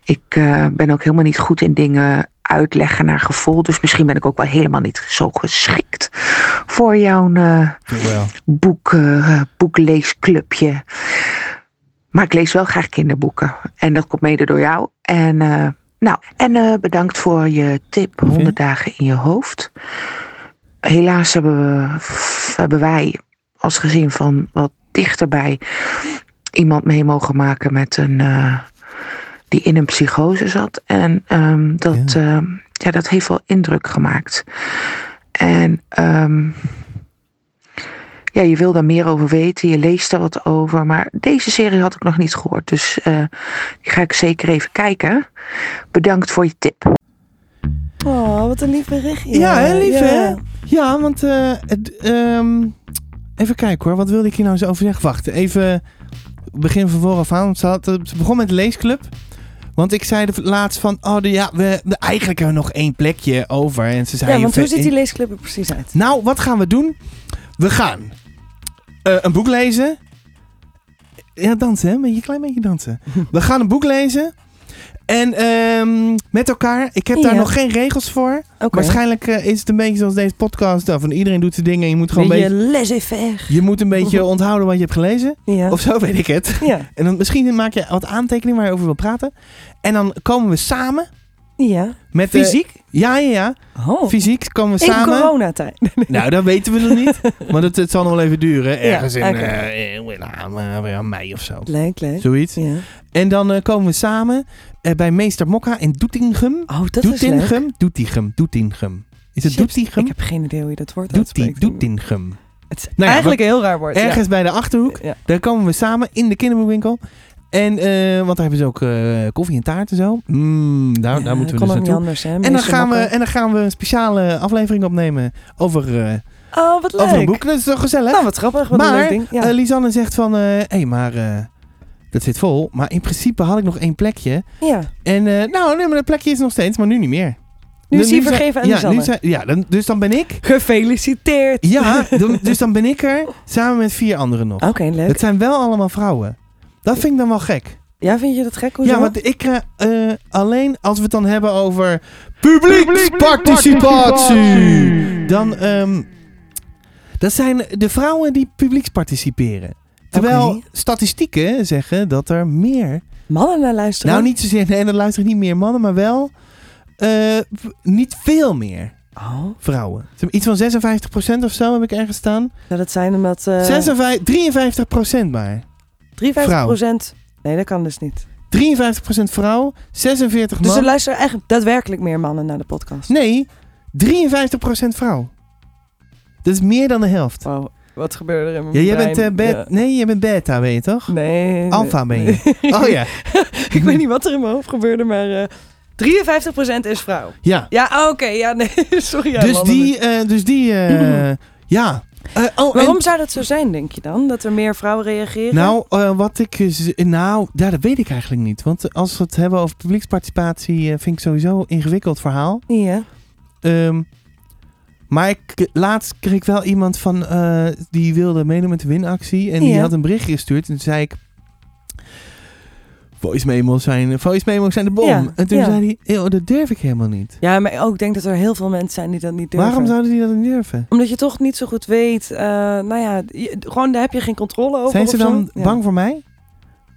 Speaker 3: Ik eh, ben ook helemaal niet goed in dingen uitleggen naar gevoel. Dus misschien ben ik ook wel helemaal niet zo geschikt voor jouw eh,
Speaker 1: Doe wel.
Speaker 3: boek, eh, boekleesclubje. Maar ik lees wel graag kinderboeken. En dat komt mede door jou. En, eh, nou, en eh, bedankt voor je tip. 100 dagen in je hoofd. Helaas hebben, we, f- hebben wij als gezin van wat dichterbij iemand mee mogen maken met een. eh, die in een psychose zat. En ehm, dat, ehm, ja, dat heeft wel indruk gemaakt. En ehm, ja, je wil daar meer over weten, je leest er wat over. Maar deze serie had ik nog niet gehoord, dus eh, die ga ik zeker even kijken. Bedankt voor je tip.
Speaker 2: oh, wat een lief berichtje.
Speaker 1: Ja, hè, lief,
Speaker 2: Ja.
Speaker 1: hè? Ja, want eh, het, ehm, even kijken hoor. Wat wilde ik hier nou zo over zeggen? Wacht, even begin van vooraf aan. want Ze, had, eh, ze begon met de leesclub. Want ik zei de laatst van, oh de- ja, we, we- eigenlijk hebben we nog één plekje over. En ze zei,
Speaker 2: Ja, want
Speaker 1: je-
Speaker 2: hoe ziet die leesclub er precies uit?
Speaker 1: Nou, wat gaan we doen? We gaan eh, een boek lezen. Ja, dansen, hè? Een beetje- klein beetje dansen. we gaan een boek lezen. En ehm, met elkaar. Ik heb daar
Speaker 2: Ja.
Speaker 1: nog geen regels voor.
Speaker 2: Oké.
Speaker 1: Waarschijnlijk eh, is het een beetje zoals deze podcast. eh, Van iedereen doet zijn dingen. Je moet gewoon
Speaker 2: Beetje
Speaker 1: een beetje,
Speaker 2: laissez-faire.
Speaker 1: je moet een beetje onthouden wat je hebt gelezen.
Speaker 2: Ja.
Speaker 1: Of zo weet ik het.
Speaker 2: ja.
Speaker 1: En dan misschien maak je wat aantekeningen waar je over wil praten. En dan komen we samen
Speaker 2: Ja.
Speaker 1: met... eh,
Speaker 2: Fysiek?
Speaker 1: ja, ja, ja.
Speaker 2: Oh.
Speaker 1: Fysiek komen we
Speaker 2: In
Speaker 1: samen.
Speaker 2: coronatijd.
Speaker 1: Nou, dat weten we nog niet. Want het, het zal nog wel even duren. Ergens in,
Speaker 2: oké.
Speaker 1: eh, eh, weet ik, eh, eh, mei of zo.
Speaker 2: Leuk, leuk.
Speaker 1: Zoiets.
Speaker 2: Ja.
Speaker 1: En dan eh, komen we samen eh, bij meester Mokka in Doetinchem.
Speaker 2: Oh, dat is leuk.
Speaker 1: Doetinchem? Doetinchem. Doetinchem. Is het
Speaker 2: Chips. Ik
Speaker 1: Doetinchem?
Speaker 2: heb geen idee hoe je dat woord
Speaker 1: Doeti-
Speaker 2: uitspreekt.
Speaker 1: Doetinchem.
Speaker 2: Het is
Speaker 1: Nou ja,
Speaker 2: eigenlijk een heel raar woord. ja.
Speaker 1: Ergens bij de Achterhoek.
Speaker 2: Ja.
Speaker 1: Daar komen we samen in de kinderboekwinkel. En, eh, want daar hebben ze ook eh, koffie en taart en zo. Mm, daar,
Speaker 2: Ja,
Speaker 1: daar moeten we
Speaker 2: kon
Speaker 1: dus
Speaker 2: ook niet
Speaker 1: naartoe.
Speaker 2: anders, hè?
Speaker 1: En dan,
Speaker 2: Meester
Speaker 1: gaan we,
Speaker 2: Makker.
Speaker 1: en dan gaan we een speciale aflevering opnemen over, eh,
Speaker 2: Oh, wat leuk.
Speaker 1: over een boek. Dat is toch gezellig?
Speaker 2: Nou, wat grappig. Wat een
Speaker 1: Maar,
Speaker 2: leuk ding. Ja.
Speaker 1: Eh, Lisanne zegt van, hé, hey, maar eh, dat zit vol. Maar in principe had ik nog één plekje.
Speaker 2: ja.
Speaker 1: En eh, nou, nee, maar dat plekje is nog steeds, maar nu niet meer.
Speaker 2: Nu is hij
Speaker 1: zijn-
Speaker 2: vergeven
Speaker 1: eh,
Speaker 2: aan
Speaker 1: ja,
Speaker 2: Lisanne.
Speaker 1: nu zijn- ja, dan, dus dan ben ik.
Speaker 2: Gefeliciteerd.
Speaker 1: Ja, dan- dus dan ben ik er samen met vier anderen nog.
Speaker 2: Oké, leuk.
Speaker 1: Het zijn wel allemaal vrouwen. Dat vind ik dan wel gek.
Speaker 2: Ja, vind je dat gek? Hoezo?
Speaker 1: Ja, want ik krijg eh, alleen als we het dan hebben over publieksparticipatie. Dan, ehm, dat zijn de vrouwen die publieks participeren. Terwijl
Speaker 2: Oké.
Speaker 1: statistieken zeggen dat er meer.
Speaker 2: Mannen naar luisteren.
Speaker 1: Nou, niet zozeer. Nee, er luisteren niet meer mannen, maar wel. eh, v- niet veel meer
Speaker 2: Oh.
Speaker 1: vrouwen. Iets van 56% of zo heb ik ergens staan.
Speaker 2: Zou dat zijn omdat... eh
Speaker 1: 56, 53% maar.
Speaker 2: 53
Speaker 1: vrouw.
Speaker 2: procent... Nee, dat kan dus niet.
Speaker 1: 53% vrouw, 46
Speaker 2: Dus
Speaker 1: man.
Speaker 2: er luisteren eigenlijk daadwerkelijk meer mannen naar de podcast.
Speaker 1: Nee, 53% vrouw. Dat is meer dan de helft.
Speaker 2: Wow, wat gebeurde er in mijn
Speaker 1: Ja, jij
Speaker 2: brein?
Speaker 1: bent, eh, be-
Speaker 2: Ja.
Speaker 1: nee, jij bent beta, ben je toch?
Speaker 2: Nee. nee.
Speaker 1: Alpha ben je.
Speaker 2: Nee.
Speaker 1: Oh ja.
Speaker 2: ik weet niet wat er in mijn hoofd gebeurde, maar eh 53% is vrouw.
Speaker 1: Ja,
Speaker 2: Ja, oh, oké. ja, nee. Sorry. ja,
Speaker 1: dus
Speaker 2: mannen.
Speaker 1: die... eh, dus die eh, ja. Eh, oh, en-
Speaker 2: Waarom zou dat zo zijn, denk je dan? Dat er meer vrouwen reageren?
Speaker 1: nou, eh, wat ik... eh, z- nou, ja, dat weet ik eigenlijk niet. Want als we het hebben over publieksparticipatie... eh, vind ik sowieso een ingewikkeld verhaal.
Speaker 2: Ja.
Speaker 1: Ehm, maar ik, laatst kreeg ik wel iemand van eh, die wilde meedoen met de winactie. En die
Speaker 2: Ja.
Speaker 1: had een berichtje gestuurd. En toen zei ik. Voice memos zijn, voice memos zijn de bom.
Speaker 2: Ja,
Speaker 1: en toen
Speaker 2: ja.
Speaker 1: zei hij, "Eeuw, dat durf ik helemaal niet.
Speaker 2: ja, maar ook ik denk dat er heel veel mensen zijn die dat niet durven.
Speaker 1: Waarom zouden die dat niet durven?
Speaker 2: Omdat je toch niet zo goed weet. eh, nou ja, je- gewoon daar heb je geen controle over.
Speaker 1: zijn ze
Speaker 2: of zo.
Speaker 1: dan
Speaker 2: Ja.
Speaker 1: bang voor mij?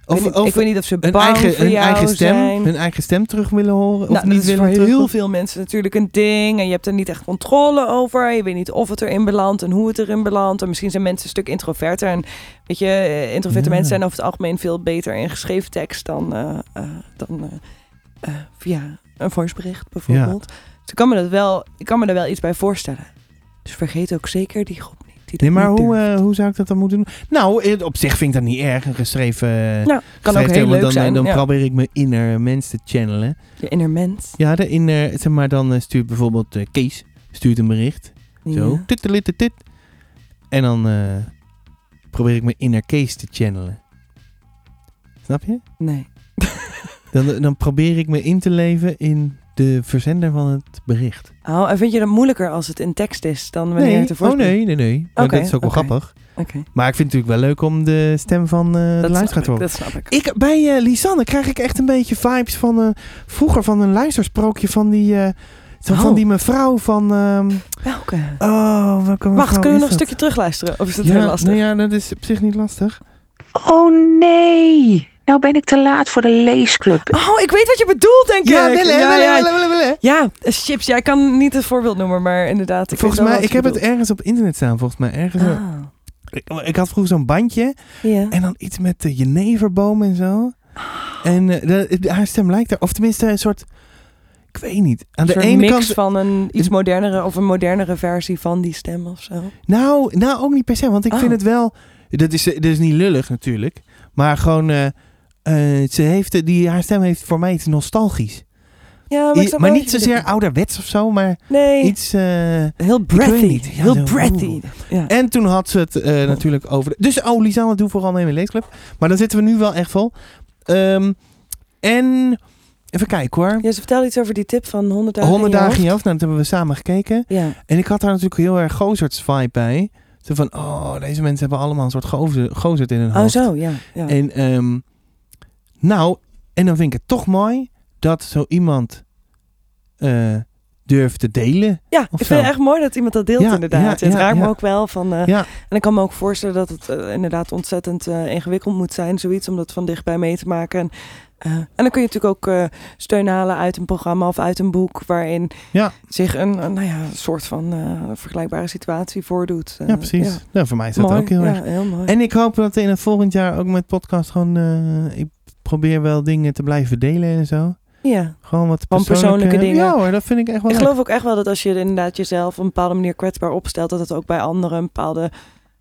Speaker 2: Ik
Speaker 1: Of,
Speaker 2: weet, niet,
Speaker 1: of
Speaker 2: ik weet niet of ze
Speaker 1: hun
Speaker 2: bang
Speaker 1: eigen,
Speaker 2: voor
Speaker 1: hun
Speaker 2: jou
Speaker 1: eigen stem,
Speaker 2: zijn.
Speaker 1: hun eigen stem terug willen horen? of
Speaker 2: nou,
Speaker 1: niet
Speaker 2: dat is voor
Speaker 1: willen
Speaker 2: heel
Speaker 1: terug?
Speaker 2: veel mensen natuurlijk een ding. En je hebt er niet echt controle over. Je weet niet of het erin belandt en hoe het erin belandt. En misschien zijn mensen een stuk introverter. En weet je, eh, introverte
Speaker 1: Ja.
Speaker 2: mensen zijn over het algemeen veel beter in geschreven tekst dan, eh, eh, dan eh, eh, via een voicebericht bijvoorbeeld. Dus ik kan, me dat wel, ik kan me daar wel iets bij voorstellen. Dus vergeet ook zeker die groep niet. Die dat
Speaker 1: Nee, maar
Speaker 2: niet
Speaker 1: hoe,
Speaker 2: durft.
Speaker 1: eh, hoe zou ik dat dan moeten doen? Nou, eh, op zich vind ik dat niet erg. Een geschreven...
Speaker 2: nou, kan ook
Speaker 1: Schrijft
Speaker 2: heel
Speaker 1: helemaal,
Speaker 2: leuk
Speaker 1: dan,
Speaker 2: zijn.
Speaker 1: Dan
Speaker 2: ja.
Speaker 1: probeer ik mijn inner mens te channelen.
Speaker 2: Je inner mens.
Speaker 1: Ja, de inner, zeg maar, dan eh, stuurt bijvoorbeeld eh, Kees stuurt een bericht. Zo.
Speaker 2: Ja.
Speaker 1: Tittelittetit. En dan eh, probeer ik mijn inner Kees te channelen. Snap je?
Speaker 2: Nee.
Speaker 1: Dan, dan probeer ik me in te leven in de verzender van het bericht.
Speaker 2: Oh, en vind je dat moeilijker als het in tekst is dan wanneer het
Speaker 1: nee,
Speaker 2: een
Speaker 1: oh
Speaker 2: voicebericht
Speaker 1: nee, nee, nee. Maar
Speaker 2: Oké,
Speaker 1: dat is ook wel
Speaker 2: oké.
Speaker 1: grappig.
Speaker 2: Oké.
Speaker 1: Maar ik vind het natuurlijk wel leuk om de stem van eh, de
Speaker 2: Dat
Speaker 1: luisteraar
Speaker 2: snap,
Speaker 1: te
Speaker 2: ik,
Speaker 1: horen.
Speaker 2: dat snap ik.
Speaker 1: Ik, bij eh, Lisanne krijg ik echt een beetje vibes van eh, vroeger van een luistersprookje van die, eh, zo- van
Speaker 2: Oh.
Speaker 1: die mevrouw van... ehm,
Speaker 2: Welke?
Speaker 1: oh, welke
Speaker 2: Wacht,
Speaker 1: mevrouw
Speaker 2: kunnen we nog
Speaker 1: is
Speaker 2: een
Speaker 1: dat?
Speaker 2: stukje terugluisteren? Of is dat
Speaker 1: ja,
Speaker 2: heel lastig?
Speaker 1: nou ja, dat is op zich niet lastig.
Speaker 3: Oh nee, nou ben ik te laat voor de leesclub.
Speaker 2: Oh, ik weet wat je bedoelt, denk ik. ja, ja.
Speaker 1: willen, willen.
Speaker 2: Ja, eh, chips. Ja, ik kan niet het voorbeeld noemen, maar inderdaad. Ik
Speaker 1: Volgens
Speaker 2: weet wel
Speaker 1: mij,
Speaker 2: wat
Speaker 1: ik
Speaker 2: je
Speaker 1: heb het
Speaker 2: bedoelt.
Speaker 1: ergens op internet staan, volgens mij. Ergens een-
Speaker 2: Ah,
Speaker 1: ik, ik had vroeger zo'n bandje
Speaker 2: ja.
Speaker 1: en dan iets met de jeneverboom en zo. En eh, de- het- haar stem lijkt er, of tenminste een soort, ik weet niet. Aan
Speaker 2: Een
Speaker 1: de
Speaker 2: soort
Speaker 1: ene
Speaker 2: mix
Speaker 1: kant
Speaker 2: van een iets modernere of een modernere versie van die stem of zo.
Speaker 1: Nou, nou ook niet per se, want ik
Speaker 2: Oh.
Speaker 1: vind het wel. Dat is, eh, dat is niet lullig natuurlijk. Maar gewoon. eh, eh, ze heeft, die, haar stem heeft voor mij iets nostalgisch.
Speaker 2: Ja, Oh, maar, ik
Speaker 1: I-
Speaker 2: snap
Speaker 1: maar
Speaker 2: wel
Speaker 1: niet
Speaker 2: wat je
Speaker 1: zozeer
Speaker 2: bedoelt.
Speaker 1: ouderwets of zo, maar
Speaker 2: Nee,
Speaker 1: iets. eh,
Speaker 2: heel breathy.
Speaker 1: niet. Ja,
Speaker 2: heel
Speaker 1: zo-
Speaker 2: breathy. Ja.
Speaker 1: en toen had ze het
Speaker 2: Oh.
Speaker 1: eh, natuurlijk over. de- dus, oh, Lisanne, doe vooral mee met Leesclub. Maar dan zitten we nu wel echt vol. Ehm, en. Even kijken hoor.
Speaker 2: Ja, ze vertelde iets over die tip van 100 dagen.
Speaker 1: 100
Speaker 2: in je
Speaker 1: dagen in
Speaker 2: hoofd.
Speaker 1: je hoofd. Nou, dat hebben we samen gekeken.
Speaker 2: Ja.
Speaker 1: En ik had daar natuurlijk heel erg Gozerts vibe bij. Zo van, oh, deze mensen hebben allemaal een soort gozer- Gozert in hun
Speaker 2: Oh,
Speaker 1: hoofd.
Speaker 2: zo, ja. ja.
Speaker 1: En ehm, nou, en dan vind ik het toch mooi dat zo iemand eh, durft te delen.
Speaker 2: Ja,
Speaker 1: Of zo.
Speaker 2: ik vind het echt mooi dat iemand dat deelt
Speaker 1: Ja,
Speaker 2: inderdaad.
Speaker 1: ja,
Speaker 2: het
Speaker 1: ja,
Speaker 2: raakt
Speaker 1: ja.
Speaker 2: me ook wel van... eh,
Speaker 1: Ja.
Speaker 2: En ik kan me ook voorstellen dat het eh, inderdaad ontzettend eh, ingewikkeld moet zijn, zoiets, om dat van dichtbij mee te maken. En, eh, en dan kun je natuurlijk ook eh, steun halen uit een programma of uit een boek waarin
Speaker 1: Ja.
Speaker 2: zich een, een, nou ja, soort van eh, vergelijkbare situatie voordoet. Eh,
Speaker 1: Ja, precies.
Speaker 2: ja.
Speaker 1: Nou, voor mij is dat
Speaker 2: mooi.
Speaker 1: ook heel
Speaker 2: ja,
Speaker 1: erg.
Speaker 2: heel mooi.
Speaker 1: En ik hoop dat in het volgend jaar ook met podcast gewoon... eh, ik probeer wel dingen te blijven delen en zo.
Speaker 2: ja.
Speaker 1: Gewoon wat
Speaker 2: Gewoon
Speaker 1: persoonlijke,
Speaker 2: persoonlijke dingen.
Speaker 1: Ja hoor, dat vind ik echt wel
Speaker 2: Ik
Speaker 1: leuk.
Speaker 2: geloof ook echt wel dat als je inderdaad jezelf op een bepaalde manier kwetsbaar opstelt, dat het ook bij anderen een bepaalde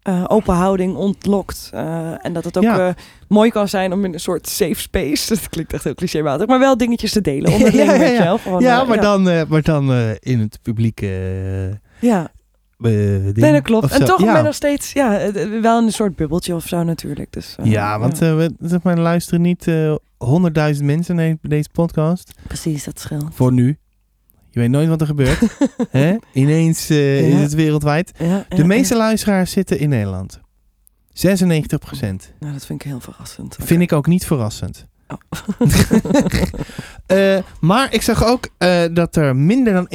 Speaker 2: eh, open houding ontlokt. Eh, en dat het ook
Speaker 1: Ja.
Speaker 2: eh, mooi kan zijn om in een soort safe space, dat klinkt echt heel clichématig, maar wel dingetjes te delen onderling
Speaker 1: Ja, ja,
Speaker 2: met
Speaker 1: ja.
Speaker 2: jezelf. Gewoon,
Speaker 1: ja,
Speaker 2: eh,
Speaker 1: maar dan, eh, maar dan eh, in het publieke... eh,
Speaker 2: Ja,
Speaker 1: eh, ding
Speaker 2: nee, dat klopt.
Speaker 1: of
Speaker 2: En
Speaker 1: zo.
Speaker 2: toch
Speaker 1: ja.
Speaker 2: ben ik nog steeds ja, eh, eh, wel in een soort bubbeltje of zo natuurlijk. Dus, eh,
Speaker 1: Ja, want eh, we, zeg maar, luisteren niet eh, honderdduizend mensen naar deze podcast.
Speaker 2: precies, dat scheelt.
Speaker 1: Voor nu. Je weet nooit wat er gebeurt. hè? Ineens eh,
Speaker 2: Ja.
Speaker 1: is het wereldwijd.
Speaker 2: Ja,
Speaker 1: De
Speaker 2: ja,
Speaker 1: meeste
Speaker 2: ja.
Speaker 1: luisteraars zitten in Nederland. 96 procent.
Speaker 2: Nou, dat vind ik heel verrassend.
Speaker 1: Vind ik ook niet verrassend.
Speaker 2: Oh.
Speaker 1: Eh, maar ik zag ook eh, dat er minder dan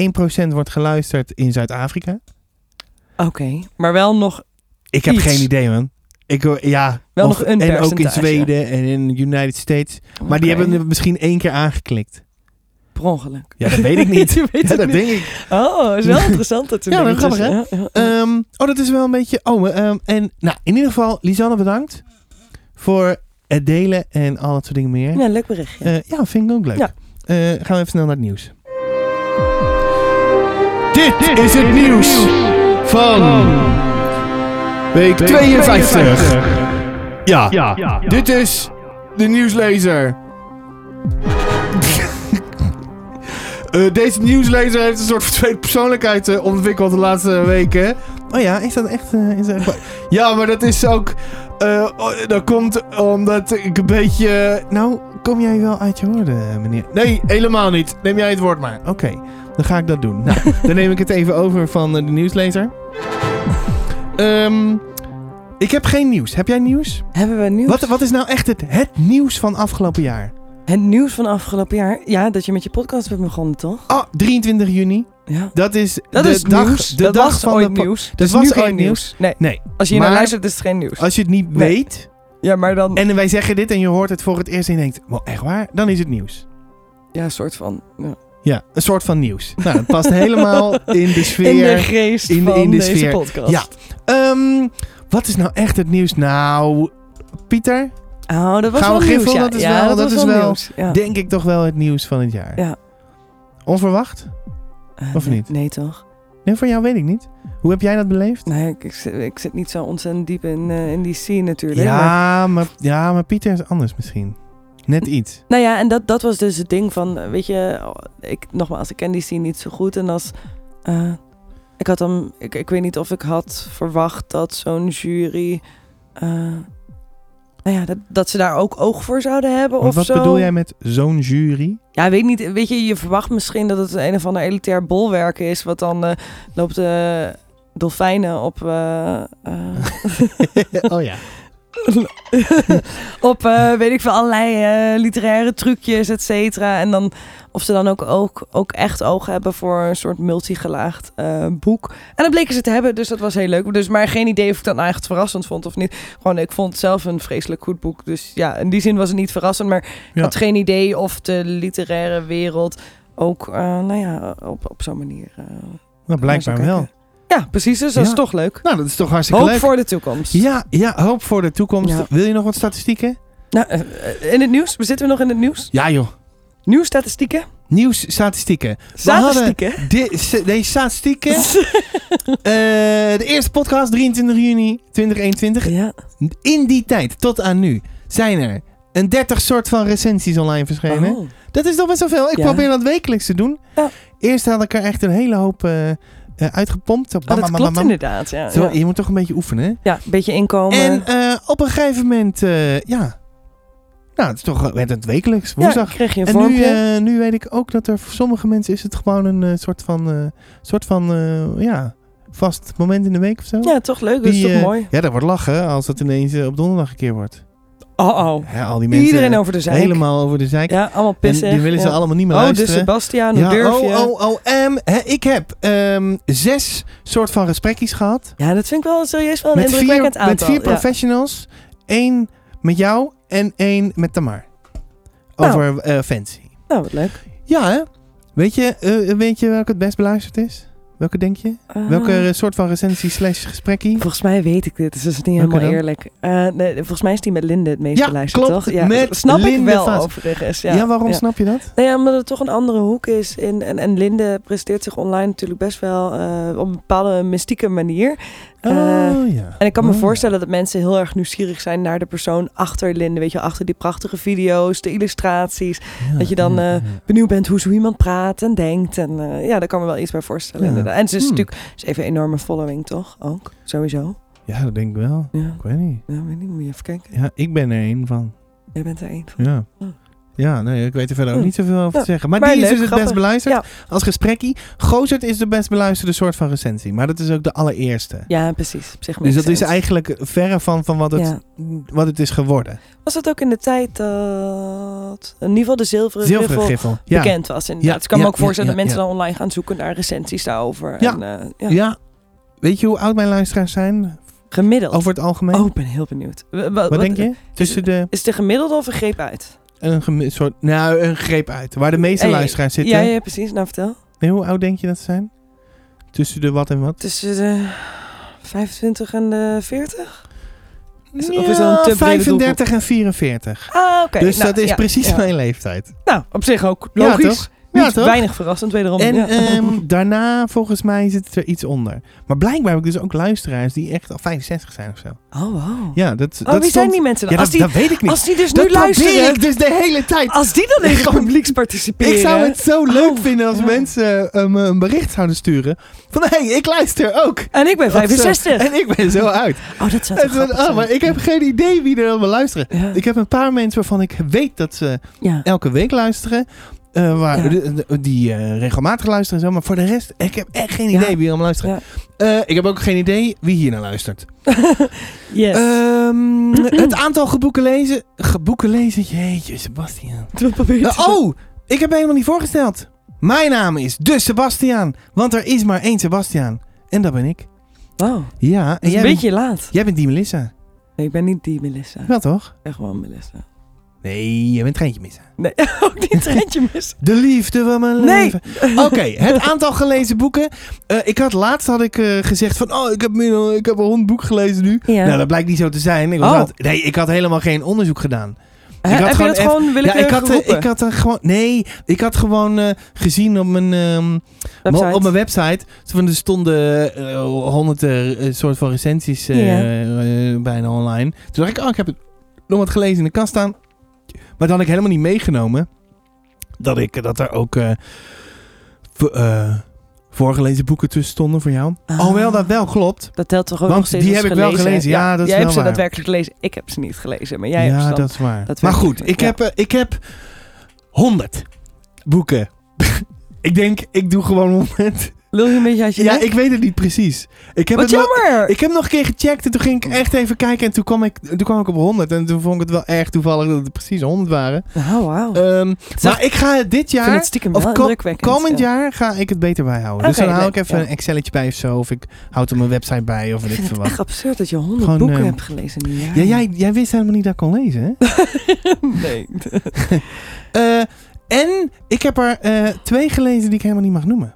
Speaker 1: 1% wordt geluisterd in Zuid-Afrika.
Speaker 2: Oké, maar wel nog
Speaker 1: Ik heb
Speaker 2: Iets.
Speaker 1: geen idee, man. Ik, hoor- ja,
Speaker 2: Wel
Speaker 1: of-
Speaker 2: nog een
Speaker 1: en ook in
Speaker 2: percentage.
Speaker 1: Zweden en in de United States. Maar
Speaker 2: Oké.
Speaker 1: die hebben het misschien één keer aangeklikt.
Speaker 2: per ongeluk.
Speaker 1: Ja, dat weet ik niet.
Speaker 2: Je weet
Speaker 1: Ja,
Speaker 2: het
Speaker 1: dat
Speaker 2: niet.
Speaker 1: denk ik.
Speaker 2: Oh, is wel interessant dat ze
Speaker 1: Ja,
Speaker 2: dingen
Speaker 1: dat is grappig,
Speaker 2: tussen- ja, ja, ja.
Speaker 1: Ehm, oh, dat is wel een beetje... Oh, ehm, en nou, in ieder geval, Lisanne bedankt voor het delen en al dat soort dingen meer.
Speaker 2: ja, leuk berichtje.
Speaker 1: Eh, ja, vind ik ook leuk.
Speaker 2: Ja.
Speaker 1: Eh, gaan we even snel naar het nieuws. Dit is het nieuws van week 52. Ja, dit is de nieuwslezer. Eh, deze nieuwslezer heeft een soort tweede persoonlijkheid eh, ontwikkeld de laatste weken. Oh ja, is dat echt... eh, is dat echt waar? ja, maar dat is ook... eh, oh, dat komt omdat ik een beetje... eh, nou, kom jij wel uit je woorden, eh, meneer? Nee, helemaal niet. Neem jij het woord maar. Oké, dan ga ik dat doen. Nou, dan neem ik het even over van eh, de nieuwslezer. Ehm, ik heb geen nieuws. Heb jij nieuws?
Speaker 2: Hebben we nieuws?
Speaker 1: Wat, wat is nou echt het, het nieuws van afgelopen jaar?
Speaker 2: Het nieuws van afgelopen jaar. Ja, dat je met je podcast bent begonnen, toch?
Speaker 1: Ah, 23 juni.
Speaker 2: Ja.
Speaker 1: Dat is
Speaker 2: Dat
Speaker 1: de
Speaker 2: is
Speaker 1: dag,
Speaker 2: nieuws.
Speaker 1: De
Speaker 2: dat
Speaker 1: dag
Speaker 2: was
Speaker 1: van
Speaker 2: ooit
Speaker 1: de po-
Speaker 2: nieuws. Dat
Speaker 1: Dus
Speaker 2: is
Speaker 1: was
Speaker 2: nu
Speaker 1: ooit
Speaker 2: geen nieuws. Nee.
Speaker 1: Nee.
Speaker 2: Als je hier naar
Speaker 1: Maar-
Speaker 2: luistert, is het geen nieuws.
Speaker 1: Als je het niet
Speaker 2: Nee.
Speaker 1: weet
Speaker 2: Ja, maar dan...
Speaker 1: en wij zeggen dit en je hoort het voor het eerst en je denkt, wow, echt waar? Dan is het nieuws.
Speaker 2: Ja, een soort van... ja.
Speaker 1: Ja, een soort van nieuws. Nou, het past helemaal in de sfeer.
Speaker 2: In de geest
Speaker 1: in de-
Speaker 2: van
Speaker 1: in de
Speaker 2: deze
Speaker 1: sfeer.
Speaker 2: podcast.
Speaker 1: Ja. Ehm, wat is nou echt het nieuws? Nou, Pieter,
Speaker 2: Oh, dat was
Speaker 1: Gouden
Speaker 2: wel
Speaker 1: Griffel,
Speaker 2: nieuws. ja.
Speaker 1: dat is
Speaker 2: ja,
Speaker 1: wel-
Speaker 2: dat,
Speaker 1: dat
Speaker 2: was
Speaker 1: is
Speaker 2: wel
Speaker 1: wel-
Speaker 2: nieuws. Ja.
Speaker 1: denk ik toch wel het nieuws van het jaar.
Speaker 2: Ja.
Speaker 1: Onverwacht?
Speaker 2: Eh,
Speaker 1: of
Speaker 2: nee,
Speaker 1: niet?
Speaker 2: Nee, toch?
Speaker 1: Nee, voor jou weet ik niet. Hoe heb jij dat beleefd?
Speaker 2: Nee, ik, ik, zit, ik zit niet zo ontzettend diep in, eh, in die scene natuurlijk. maar-
Speaker 1: Ja maar, ja, maar Pieter is anders misschien. Net iets.
Speaker 2: Nou ja, en dat, dat was dus het ding van, eh, weet je, oh, ik, nogmaals, ik ken die scene niet zo goed. En als, eh, ik had hem, ik, ik weet niet of ik had verwacht dat zo'n jury, eh, nou ja, dat, dat ze daar ook oog voor zouden hebben
Speaker 1: Maar
Speaker 2: of
Speaker 1: wat
Speaker 2: zo.
Speaker 1: bedoel jij met zo'n jury?
Speaker 2: Ja, weet niet, weet je, je verwacht misschien dat het een of ander elitair bolwerk is, wat dan eh, loopt de dolfijnen op... eh, eh,
Speaker 1: oh ja.
Speaker 2: op, eh, weet ik veel, allerlei eh, literaire trucjes, et cetera. En dan of ze dan ook, ook, ook echt oog hebben voor een soort multigelaagd eh, boek. En dat bleken ze te hebben, dus dat was heel leuk. Dus, maar geen idee of ik dat nou echt verrassend vond of niet. Gewoon, ik vond het zelf een vreselijk goed boek. Dus ja, in die zin was het niet verrassend. Maar
Speaker 1: Ja.
Speaker 2: ik had geen idee of de literaire wereld ook, eh, nou ja, op, op zo'n manier... eh,
Speaker 1: Nou, blijkbaar
Speaker 2: naar zou
Speaker 1: wel.
Speaker 2: kijken. Ja, precies. Dus dat
Speaker 1: Ja.
Speaker 2: is toch leuk.
Speaker 1: Nou, dat is toch hartstikke
Speaker 2: Hoop
Speaker 1: leuk.
Speaker 2: voor de toekomst.
Speaker 1: Ja, ja, hoop voor de toekomst.
Speaker 2: Ja.
Speaker 1: Wil je nog wat statistieken?
Speaker 2: Nou, eh, eh, in het nieuws? Zitten we nog in het nieuws?
Speaker 1: Ja joh.
Speaker 2: Nieuwsstatistieken?
Speaker 1: Nieuws, statistieken.
Speaker 2: Statistieken?
Speaker 1: Di- s- deze statistieken. eh, de eerste podcast, 23 juni 2021.
Speaker 2: Ja.
Speaker 1: In die tijd, tot aan nu, zijn er een 30 soort van recensies online verschenen.
Speaker 2: Oh.
Speaker 1: Dat is toch best wel veel. Ik
Speaker 2: Ja.
Speaker 1: probeer dat wekelijks te doen.
Speaker 2: Ja.
Speaker 1: Eerst had ik er echt een hele hoop eh, eh, uitgepompt. Zo, bam,
Speaker 2: Oh, dat
Speaker 1: bam, bam,
Speaker 2: klopt
Speaker 1: bam.
Speaker 2: inderdaad. Ja,
Speaker 1: Zo,
Speaker 2: ja.
Speaker 1: Je moet toch een beetje oefenen. hè?
Speaker 2: ja, een beetje inkomen.
Speaker 1: En eh, op een gegeven moment, eh, ja. Nou, het is toch werd het wekelijks,
Speaker 2: ja,
Speaker 1: woensdag.
Speaker 2: kreeg je een
Speaker 1: en nu,
Speaker 2: vormpje.
Speaker 1: eh, nu weet ik ook dat er voor sommige mensen is het gewoon een eh, soort van, eh, soort van eh, ja, vast moment in de week of zo.
Speaker 2: ja, toch leuk. Dat is
Speaker 1: die,
Speaker 2: toch
Speaker 1: eh,
Speaker 2: mooi.
Speaker 1: Ja, dat wordt lachen als dat ineens eh, op donderdag een keer wordt.
Speaker 2: Oh oh.
Speaker 1: Ja, al die mensen
Speaker 2: Iedereen over de zeik.
Speaker 1: helemaal over de zeik.
Speaker 2: Ja, allemaal
Speaker 1: en
Speaker 2: pissen.
Speaker 1: die willen ze
Speaker 2: Ja.
Speaker 1: allemaal niet meer
Speaker 2: Oh, dus
Speaker 1: luisteren.
Speaker 2: Sebastian, hoe durf je?
Speaker 1: oh, oh, oh. ehm, hè, ik heb ehm, zes soort van gesprekjes gehad.
Speaker 2: Ja, dat vind ik wel serieus wel een
Speaker 1: met, vier,
Speaker 2: indrukwekkend aantal.
Speaker 1: met vier
Speaker 2: ja.
Speaker 1: professionals. Eén met jou en één met Tamar.
Speaker 2: Nou.
Speaker 1: Over eh, fancy.
Speaker 2: Nou, wat leuk.
Speaker 1: Ja, hè? Weet je, eh, weet je welke het best beluisterd is? Welke denk je?
Speaker 2: Eh,
Speaker 1: Welke eh, soort van recensie slash gesprekkie?
Speaker 2: Volgens mij weet ik dit, dus dat is niet
Speaker 1: Welke
Speaker 2: helemaal
Speaker 1: dan?
Speaker 2: eerlijk. Eh, nee, volgens mij is die met Linde het meest
Speaker 1: Ja,
Speaker 2: beluisterd,
Speaker 1: klopt,
Speaker 2: toch? Ja,
Speaker 1: met
Speaker 2: dat snap ik
Speaker 1: Linde
Speaker 2: wel
Speaker 1: Vaas.
Speaker 2: overigens. Ja,
Speaker 1: Ja, waarom
Speaker 2: ja.
Speaker 1: snap je dat?
Speaker 2: Nou ja, omdat het toch een andere hoek is. En, en, en Linde presteert zich online natuurlijk best wel eh, op een bepaalde mystieke manier. Eh,
Speaker 1: ja.
Speaker 2: En ik kan me
Speaker 1: Oh, ja.
Speaker 2: voorstellen dat mensen heel erg nieuwsgierig zijn naar de persoon achter Linde. Weet je, wel, achter die prachtige video's, de illustraties.
Speaker 1: Ja,
Speaker 2: dat je dan,
Speaker 1: ja,
Speaker 2: eh,
Speaker 1: ja.
Speaker 2: Benieuwd bent hoe zo iemand praat en denkt. En eh, ja, daar kan me wel iets bij voorstellen.
Speaker 1: Ja.
Speaker 2: inderdaad. En ze is
Speaker 1: Hmm.
Speaker 2: natuurlijk ze heeft een enorme following, toch? Ook, sowieso.
Speaker 1: ja, dat denk ik wel.
Speaker 2: Ja,
Speaker 1: Ik weet niet.
Speaker 2: ja weet niet, moet je even kijken.
Speaker 1: Ja, ik ben er één van.
Speaker 2: Jij bent er één van.
Speaker 1: Ja.
Speaker 2: Oh.
Speaker 1: Ja, nee, ik weet er verder ook
Speaker 2: Oh.
Speaker 1: niet zoveel over te
Speaker 2: Ja.
Speaker 1: zeggen. Maar,
Speaker 2: Maar
Speaker 1: die
Speaker 2: leuk,
Speaker 1: is dus het
Speaker 2: grappig.
Speaker 1: best beluisterd als gesprekkie. Gozert is de best beluisterde soort van recensie. Maar dat is ook de allereerste.
Speaker 2: Ja, precies. Op zich
Speaker 1: dus
Speaker 2: makes
Speaker 1: dat is
Speaker 2: sense.
Speaker 1: eigenlijk verre van, van wat, het,
Speaker 2: Ja.
Speaker 1: wat het is geworden.
Speaker 2: Was dat ook in de tijd dat in ieder geval de zilveren,
Speaker 1: Zilveren
Speaker 2: griffel
Speaker 1: griffel. Ja.
Speaker 2: bekend was? Inderdaad.
Speaker 1: Ja,
Speaker 2: Dus ik kan
Speaker 1: ja,
Speaker 2: me ook voorstellen
Speaker 1: ja,
Speaker 2: dat mensen
Speaker 1: ja.
Speaker 2: dan online gaan zoeken naar recensies daarover.
Speaker 1: Ja.
Speaker 2: En,
Speaker 1: Ja.
Speaker 2: eh, ja.
Speaker 1: Weet je hoe oud mijn luisteraars zijn?
Speaker 2: Gemiddeld.
Speaker 1: Over het algemeen?
Speaker 2: Oh, ik ben heel benieuwd. Wa- wa-
Speaker 1: wat, denk je? Tussen de...
Speaker 2: Is het een gemiddelde of een greep uit?
Speaker 1: Een gemi- soort, nou, een greep uit. Waar de meeste
Speaker 2: Hey,
Speaker 1: luisteraars zitten.
Speaker 2: Ja, ja, precies. Nou, vertel.
Speaker 1: Nee, hoe oud denk je dat ze zijn? Tussen de wat en wat?
Speaker 2: Tussen de 25 en de 40? Is- of
Speaker 1: Ja,
Speaker 2: is dat een te brede
Speaker 1: 35 en 44.
Speaker 2: Ah, oké.
Speaker 1: dus
Speaker 2: Nou,
Speaker 1: dat is
Speaker 2: ja,
Speaker 1: precies
Speaker 2: ja.
Speaker 1: mijn leeftijd.
Speaker 2: Nou, op zich ook
Speaker 1: Ja,
Speaker 2: logisch.
Speaker 1: toch? Ja,
Speaker 2: Niet
Speaker 1: toch?
Speaker 2: weinig verrassend, wederom.
Speaker 1: En
Speaker 2: ja. Oh,
Speaker 1: ehm, daarna, volgens mij, zit het er iets onder. Maar blijkbaar heb ik dus ook luisteraars die echt al 65 zijn of zo.
Speaker 2: oh, wow.
Speaker 1: Ja, dat, dat
Speaker 2: oh, wie zijn
Speaker 1: stond-
Speaker 2: die mensen dan?
Speaker 1: Ja, dat,
Speaker 2: als, die,
Speaker 1: dat weet ik niet.
Speaker 2: als die dus
Speaker 1: dat
Speaker 2: nu
Speaker 1: probeer
Speaker 2: luisteren...
Speaker 1: ik dus de hele tijd.
Speaker 2: Als die dan in het publieks participeren...
Speaker 1: ik zou het zo leuk vinden als
Speaker 2: Oh. ja.
Speaker 1: mensen eh, me een bericht zouden sturen. Van, hé, hey, ik luister ook.
Speaker 2: En ik ben
Speaker 1: Of zo.
Speaker 2: 65.
Speaker 1: En ik ben zo uit.
Speaker 2: Oh, dat zou toch
Speaker 1: En dan,
Speaker 2: grappig
Speaker 1: oh, maar
Speaker 2: zijn.
Speaker 1: ik heb geen idee wie er allemaal luisteren.
Speaker 2: Ja.
Speaker 1: Ik heb een paar mensen waarvan ik weet dat ze
Speaker 2: ja.
Speaker 1: elke week luisteren. eh, waar,
Speaker 2: Ja.
Speaker 1: de- de- die eh, regelmatig luisteren en zo. Maar voor de rest, ik heb echt geen idee
Speaker 2: Ja.
Speaker 1: wie allemaal luisteren.
Speaker 2: Ja.
Speaker 1: Eh, ik heb ook geen idee wie hier naar luistert.
Speaker 2: Yes.
Speaker 1: Ehm, het aantal geboeken lezen. Geboeken lezen? Jeetje, Sebastian.
Speaker 2: We proberen
Speaker 1: Eh,
Speaker 2: het.
Speaker 1: oh, ik heb me helemaal niet voorgesteld. Mijn naam is de Sebastian. Want er is maar één Sebastian. En dat ben ik.
Speaker 2: Wauw,
Speaker 1: Ja, en
Speaker 2: dat is
Speaker 1: jij,
Speaker 2: een
Speaker 1: bent,
Speaker 2: beetje laat.
Speaker 1: jij bent die Melissa.
Speaker 2: Nee, ik ben niet die Melissa.
Speaker 1: Wel toch?
Speaker 2: Ik ben gewoon Melissa.
Speaker 1: Nee, jij bent Treintje Melissa.
Speaker 2: Nee, ook die treintje missen.
Speaker 1: De liefde van mijn
Speaker 2: Nee.
Speaker 1: leven. Oké, het aantal gelezen boeken. Eh, ik had laatst had ik eh, gezegd van, oh, ik heb, meer dan- ik heb een honderd boek gelezen nu.
Speaker 2: Ja.
Speaker 1: Nou, dat blijkt niet zo te zijn. Ik was
Speaker 2: Oh.
Speaker 1: laat- nee, ik had helemaal geen onderzoek gedaan.
Speaker 2: Hè,
Speaker 1: ik had
Speaker 2: heb je
Speaker 1: gewoon
Speaker 2: dat
Speaker 1: even-
Speaker 2: gewoon
Speaker 1: Ja, ik
Speaker 2: willekeurig
Speaker 1: had, eh,
Speaker 2: geroepen?
Speaker 1: ik had er gewoon, nee, ik had gewoon eh, gezien op mijn, ehm,
Speaker 2: Website.
Speaker 1: op mijn website. Van, er stonden eh, honderd eh, soort van recensies eh,
Speaker 2: Ja.
Speaker 1: eh, bijna online. Toen dacht ik, oh, ik heb het nog wat gelezen in de kast staan. Maar dan had ik helemaal niet meegenomen dat, ik, dat er ook eh, v- eh, voorgelezen boeken tussen stonden voor jou.
Speaker 2: Ah.
Speaker 1: Alhoewel dat wel klopt.
Speaker 2: Dat telt toch ook
Speaker 1: Want
Speaker 2: nog steeds
Speaker 1: die
Speaker 2: als
Speaker 1: heb ik wel gelezen. Ja, dat is
Speaker 2: jij
Speaker 1: wel
Speaker 2: hebt ze
Speaker 1: waar.
Speaker 2: daadwerkelijk gelezen. Ik heb ze niet gelezen, maar jij hebt ze
Speaker 1: ja,
Speaker 2: dan.
Speaker 1: dat is waar.
Speaker 2: dat
Speaker 1: maar
Speaker 2: werkt
Speaker 1: goed,
Speaker 2: natuurlijk,
Speaker 1: ik,
Speaker 2: ja.
Speaker 1: heb, eh, ik heb 100 boeken. ik denk, ik doe gewoon 100.
Speaker 2: Lul je een beetje uit je
Speaker 1: Ja,
Speaker 2: nek?
Speaker 1: ik weet het niet precies. Ik heb
Speaker 2: Wat
Speaker 1: het wel-
Speaker 2: jammer!
Speaker 1: Ik heb nog een keer gecheckt en toen ging ik
Speaker 2: Oh.
Speaker 1: echt even kijken en toen kwam ik, toen kwam ik op 100. En toen vond ik het wel erg toevallig dat het precies 100 waren.
Speaker 2: Nou, wauw.
Speaker 1: Ehm,
Speaker 2: Zeg,
Speaker 1: maar ik ga het dit
Speaker 2: ik vind het
Speaker 1: jaar,
Speaker 2: stiekem
Speaker 1: of
Speaker 2: wel
Speaker 1: ko-
Speaker 2: indrukwekkend.
Speaker 1: komend
Speaker 2: ja.
Speaker 1: jaar, ga ik het beter bijhouden. dus
Speaker 2: Oké,
Speaker 1: dan hou ik
Speaker 2: leuk,
Speaker 1: even
Speaker 2: ja.
Speaker 1: een Excelletje bij of zo. Of ik houd op mijn website bij of
Speaker 2: Ik
Speaker 1: weet ik
Speaker 2: vind
Speaker 1: veel
Speaker 2: het
Speaker 1: wat.
Speaker 2: echt absurd dat je honderd
Speaker 1: Gewoon,
Speaker 2: boeken
Speaker 1: ehm,
Speaker 2: hebt gelezen in een jaar.
Speaker 1: Ja, jij, jij wist helemaal niet dat ik kon lezen, hè?
Speaker 2: nee.
Speaker 1: Eh, en ik heb er eh, twee gelezen die ik helemaal niet mag noemen.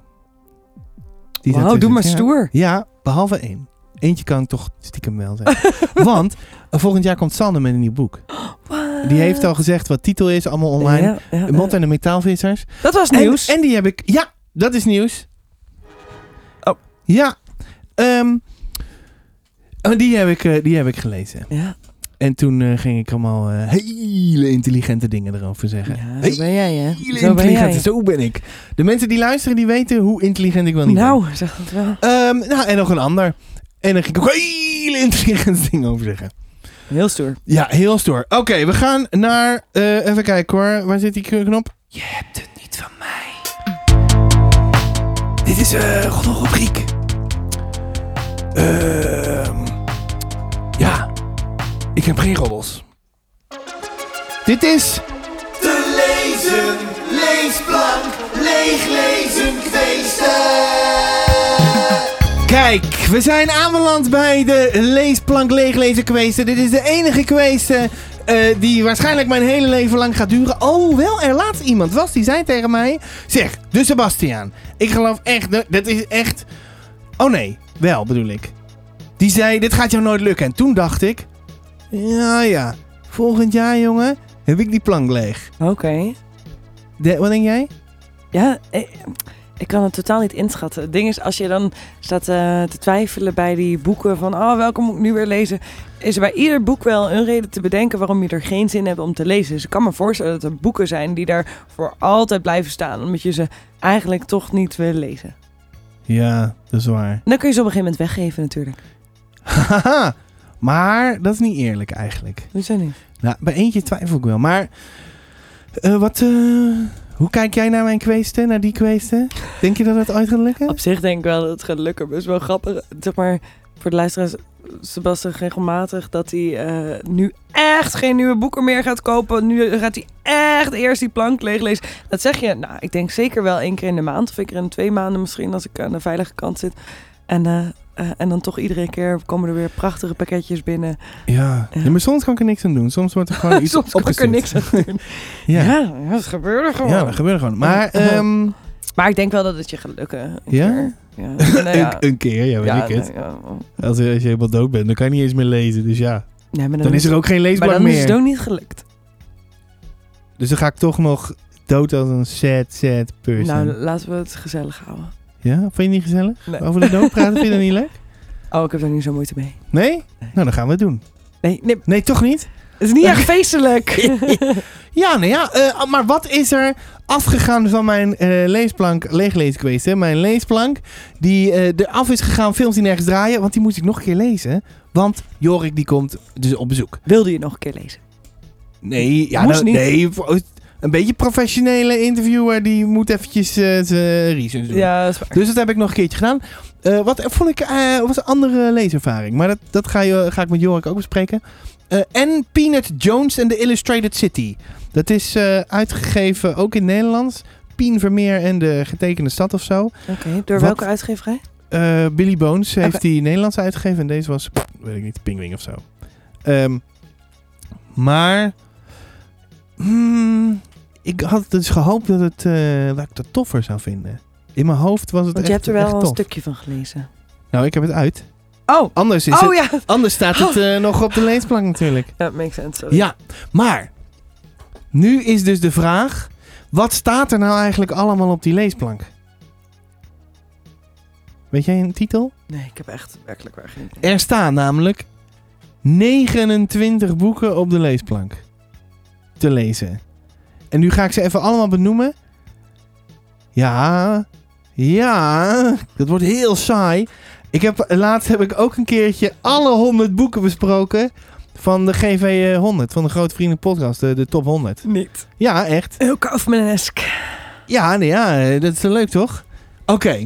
Speaker 1: Die
Speaker 2: Wauw,
Speaker 1: daartussen
Speaker 2: doe maar
Speaker 1: zitten.
Speaker 2: stoer.
Speaker 1: Ja, Ja, behalve één. Eentje kan ik toch stiekem wel zeggen. Want eh, volgend jaar komt Sander met een nieuw boek. Die heeft al gezegd wat titel is, allemaal online.
Speaker 2: Ja, ja, ja.
Speaker 1: Mot en de Metaalvissers.
Speaker 2: Dat was
Speaker 1: En-
Speaker 2: nieuws.
Speaker 1: En, die heb ik... Ja, dat is nieuws.
Speaker 2: Oh.
Speaker 1: Ja. ehm, eh, die, heb ik, eh, die heb ik gelezen.
Speaker 2: ja,
Speaker 1: En toen eh, ging ik allemaal eh, hele intelligente dingen erover zeggen.
Speaker 2: ja,
Speaker 1: Hele
Speaker 2: zo ben jij, hè?
Speaker 1: Hele
Speaker 2: Zo ben
Speaker 1: intelligente.
Speaker 2: jij.
Speaker 1: Zo ben ik. De mensen die luisteren, die weten hoe intelligent ik wel niet ben.
Speaker 2: Nou, zeg dat wel.
Speaker 1: Ehm, nou, en nog een ander. En dan ging ik ook hele intelligente dingen over zeggen.
Speaker 2: Heel stoer.
Speaker 1: Ja, heel stoer. Oké, we gaan naar... eh, even kijken hoor. Waar zit die knop? Je hebt het niet van mij. Dit is eh gewoon een rubriek. Ehm, ja. Ik heb geen roddels. Dit is
Speaker 4: Te lezen, leesplank, leeglezen, kweesten.
Speaker 1: Kijk, we zijn aanbeland bij de leesplank leeglezen kweesten. Dit is de enige kweesten die waarschijnlijk mijn hele leven lang gaat duren. Oh, wel, er laatst iemand was die zei tegen mij... Zeg, de Sebastiaan. Ik geloof echt, dat- dat is echt... Oh nee, wel bedoel ik. Die zei, dit gaat jou nooit lukken. En toen dacht ik... Ja, ja, volgend jaar jongen heb ik die plank leeg.
Speaker 2: Oké.
Speaker 1: De- wat denk jij?
Speaker 2: Ja, ik, ik kan het totaal niet inschatten. Het ding is, als je dan staat eh, te twijfelen bij die boeken van... oh, welke moet ik nu weer lezen? Is er bij ieder boek wel een reden te bedenken waarom je er geen zin hebt om te lezen. Dus ik kan me voorstellen dat er boeken zijn die daar voor altijd blijven staan. Omdat je ze eigenlijk toch niet wil lezen.
Speaker 1: Ja, dat is waar.
Speaker 2: En dan kun je ze op een gegeven moment weggeven natuurlijk.
Speaker 1: Haha, maar dat is niet eerlijk eigenlijk.
Speaker 2: Dat zijn niet.
Speaker 1: Nou, bij eentje twijfel ik wel. Maar eh, wat, eh, hoe kijk jij naar mijn kweesten, naar die kweesten? Denk je dat het ooit gaat lukken?
Speaker 2: Op zich denk ik wel dat het gaat lukken. Maar het is wel grappig. Zeg maar, voor de luisteraars... Sebastian regelmatig dat hij eh, nu echt geen nieuwe boeken meer gaat kopen. Nu gaat hij echt eerst die plank leeglezen. Dat zeg je, nou, ik denk zeker wel één keer in de maand. Of één keer in de twee maanden misschien, als ik aan de veilige kant zit. En, eh, eh, en dan toch iedere keer komen er weer prachtige pakketjes binnen.
Speaker 1: Ja. ja, maar soms kan ik er niks aan doen. Soms wordt er gewoon iets
Speaker 2: Soms kan ik er
Speaker 1: opgestuurd.
Speaker 2: niks aan doen.
Speaker 1: Ja, ja.
Speaker 2: Ja, ja, dat gebeurde gewoon.
Speaker 1: dat gebeurt gewoon. Maar,
Speaker 2: Oh. Ja.
Speaker 1: ehm,
Speaker 2: Maar ik denk wel dat het je gaat lukken. Een
Speaker 1: Ja?
Speaker 2: keer. Ja, en, eh, ja.
Speaker 1: een, een keer, ja, weet
Speaker 2: Ja,
Speaker 1: ik het.
Speaker 2: nee, ja.
Speaker 1: Als, je- als je helemaal dood bent, dan kan je niet eens meer lezen. Dus ja,
Speaker 2: Nee, maar
Speaker 1: dan is er ook geen
Speaker 2: Maar
Speaker 1: leesblad
Speaker 2: dan is
Speaker 1: meer.
Speaker 2: het ook niet gelukt.
Speaker 1: Dus dan ga ik toch nog dood als een sad, sad person.
Speaker 2: Nou, laten we het gezellig houden.
Speaker 1: ja, vind je het niet gezellig?
Speaker 2: Nee.
Speaker 1: Over de dood praten vind je dat niet leuk?
Speaker 2: Oh, ik heb daar niet zo moeite mee.
Speaker 1: Nee? Nou, dan gaan we het doen.
Speaker 2: Nee, nee
Speaker 1: Nee, toch niet?
Speaker 2: het is niet echt feestelijk.
Speaker 1: Ja, nou ja, eh, maar wat is er afgegaan van mijn eh, leesplank, leegleeskweesten? Mijn leesplank, die eh eraf is gegaan, films die nergens draaien, want die moest ik nog een keer lezen. Want Jorik die komt dus op bezoek.
Speaker 2: Wilde je nog een keer lezen?
Speaker 1: Nee, ja,
Speaker 2: Moest
Speaker 1: nou,
Speaker 2: niet.
Speaker 1: nee, voor- een beetje professionele interviewer, die moet eventjes eh, zijn research doen.
Speaker 2: Ja, dat is waar.
Speaker 1: Dus dat heb ik nog een keertje gedaan. Eh, wat vond ik, eh, was een andere leeservaring. Maar dat, dat ga, je, ga ik met Jorik ook bespreken. Eh, en Peanut Jones and the Illustrated City. Dat is eh, uitgegeven ook in het Nederlands. Pien Vermeer en de getekende stad of zo.
Speaker 2: Oké, door
Speaker 1: Wat?
Speaker 2: welke uitgeverij?
Speaker 1: Eh, Billy Bones
Speaker 2: Oké.
Speaker 1: heeft die Nederlands uitgegeven. En deze was, pff, weet ik niet, Pingwing of zo. Ehm, maar... hmm, ik had dus gehoopt dat, het, eh, dat ik dat toffer zou vinden. In mijn hoofd was het echt
Speaker 2: Want je hebt er wel
Speaker 1: echt
Speaker 2: al een
Speaker 1: tof.
Speaker 2: stukje van gelezen.
Speaker 1: Nou, ik heb het uit.
Speaker 2: Oh,
Speaker 1: Anders, is
Speaker 2: oh
Speaker 1: het,
Speaker 2: ja. Oh.
Speaker 1: anders staat het eh, nog op de leesplank natuurlijk.
Speaker 2: Dat makes sense. sorry.
Speaker 1: Ja, maar nu is dus de vraag: wat staat er nou eigenlijk allemaal op die leesplank? Weet jij een titel?
Speaker 2: Nee, ik heb echt werkelijk waar geen idee.
Speaker 1: Er staan namelijk 29 boeken op de leesplank te lezen. En nu ga ik ze even allemaal benoemen. Ja, ja, dat wordt heel saai. Ik heb, laatst heb ik ook een keertje alle 100 boeken besproken van de GV 100, van de Grote Vrienden Podcast, de, de top 100.
Speaker 2: Niet.
Speaker 1: Ja, echt.
Speaker 2: Heel Kaufman-esk.
Speaker 1: Ja, nee, ja, eh, dat is wel leuk toch? Oké.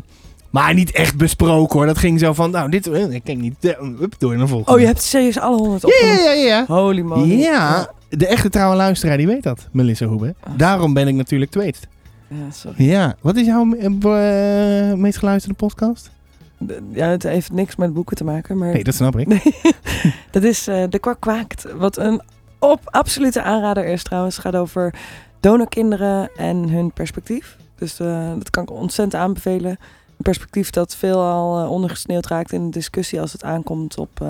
Speaker 1: Maar niet echt besproken hoor. Dat ging zo van, nou, dit, eh, ik denk niet, eh, hup, door naar de volgende.
Speaker 2: Oh, je hebt serieus alle honderd
Speaker 1: Ja,
Speaker 2: opgenomen.
Speaker 1: ja, ja, ja.
Speaker 2: Holy moly.
Speaker 1: Ja, de echte trouwe luisteraar die weet dat, Melissa Hoebe.
Speaker 2: Ah.
Speaker 1: Daarom ben ik natuurlijk tweet.
Speaker 2: Ja, sorry.
Speaker 1: Ja, wat is jouw eh, eh, meest geluisterde podcast?
Speaker 2: D- Ja, het heeft niks met boeken te maken, maar...
Speaker 1: Nee, dat snap ik.
Speaker 2: Nee. dat is eh, De Kwak Kwaakt. Wat een op, absolute aanrader is trouwens. Het gaat over donorkinderen en hun perspectief. Dus eh, dat kan ik ontzettend aanbevelen. Een perspectief dat veelal eh, ondergesneeuwd raakt in de discussie als het aankomt op, eh,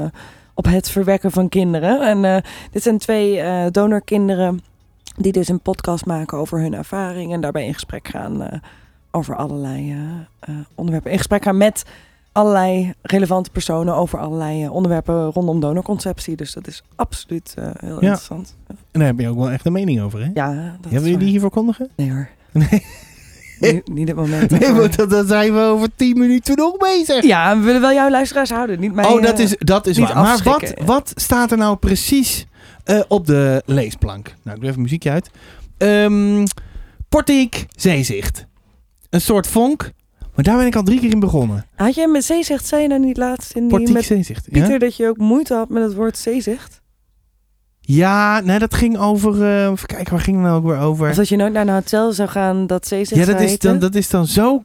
Speaker 2: op het verwekken van kinderen. En eh, dit zijn twee eh, donorkinderen die dus een podcast maken over hun ervaring. En daarbij in gesprek gaan eh, over allerlei eh, eh, onderwerpen. In gesprek gaan met allerlei relevante personen over allerlei eh, onderwerpen rondom donorconceptie. Dus dat is absoluut eh, heel interessant.
Speaker 1: En daar heb je ook wel echt een mening over, hè?
Speaker 2: Ja, dat
Speaker 1: Ja,
Speaker 2: is
Speaker 1: wil je die
Speaker 2: waar.
Speaker 1: hier verkondigen?
Speaker 2: Nee hoor.
Speaker 1: Nee.
Speaker 2: Nu- niet het moment.
Speaker 1: Nee,
Speaker 2: Maar-
Speaker 1: want dan- dan zijn we over 10 minuten nog bezig.
Speaker 2: Ja, we willen wel jouw luisteraars houden. Niet mij,
Speaker 1: oh, dat
Speaker 2: eh,
Speaker 1: is, dat is
Speaker 2: niet
Speaker 1: waar. Maar wat,
Speaker 2: afschrikken, ja.
Speaker 1: wat staat er nou precies eh, op de leesplank? Nou, ik doe even muziekje uit. Ehm portiek, zeezicht. Een soort vonk. Maar daar ben ik al drie keer in begonnen.
Speaker 2: Had jij met zeezicht, zei je nou niet laatst in die
Speaker 1: Portiek,
Speaker 2: met
Speaker 1: zeezicht. ja?
Speaker 2: Pieter dat je ook moeite had met het woord zeezicht?
Speaker 1: Ja, nee, dat ging over... eh, even kijken, waar ging het nou ook weer over?
Speaker 2: Of dat je nooit naar een hotel zou gaan dat Zee
Speaker 1: Ja, dat
Speaker 2: zou
Speaker 1: is,
Speaker 2: heten.
Speaker 1: dan, dat is dan zo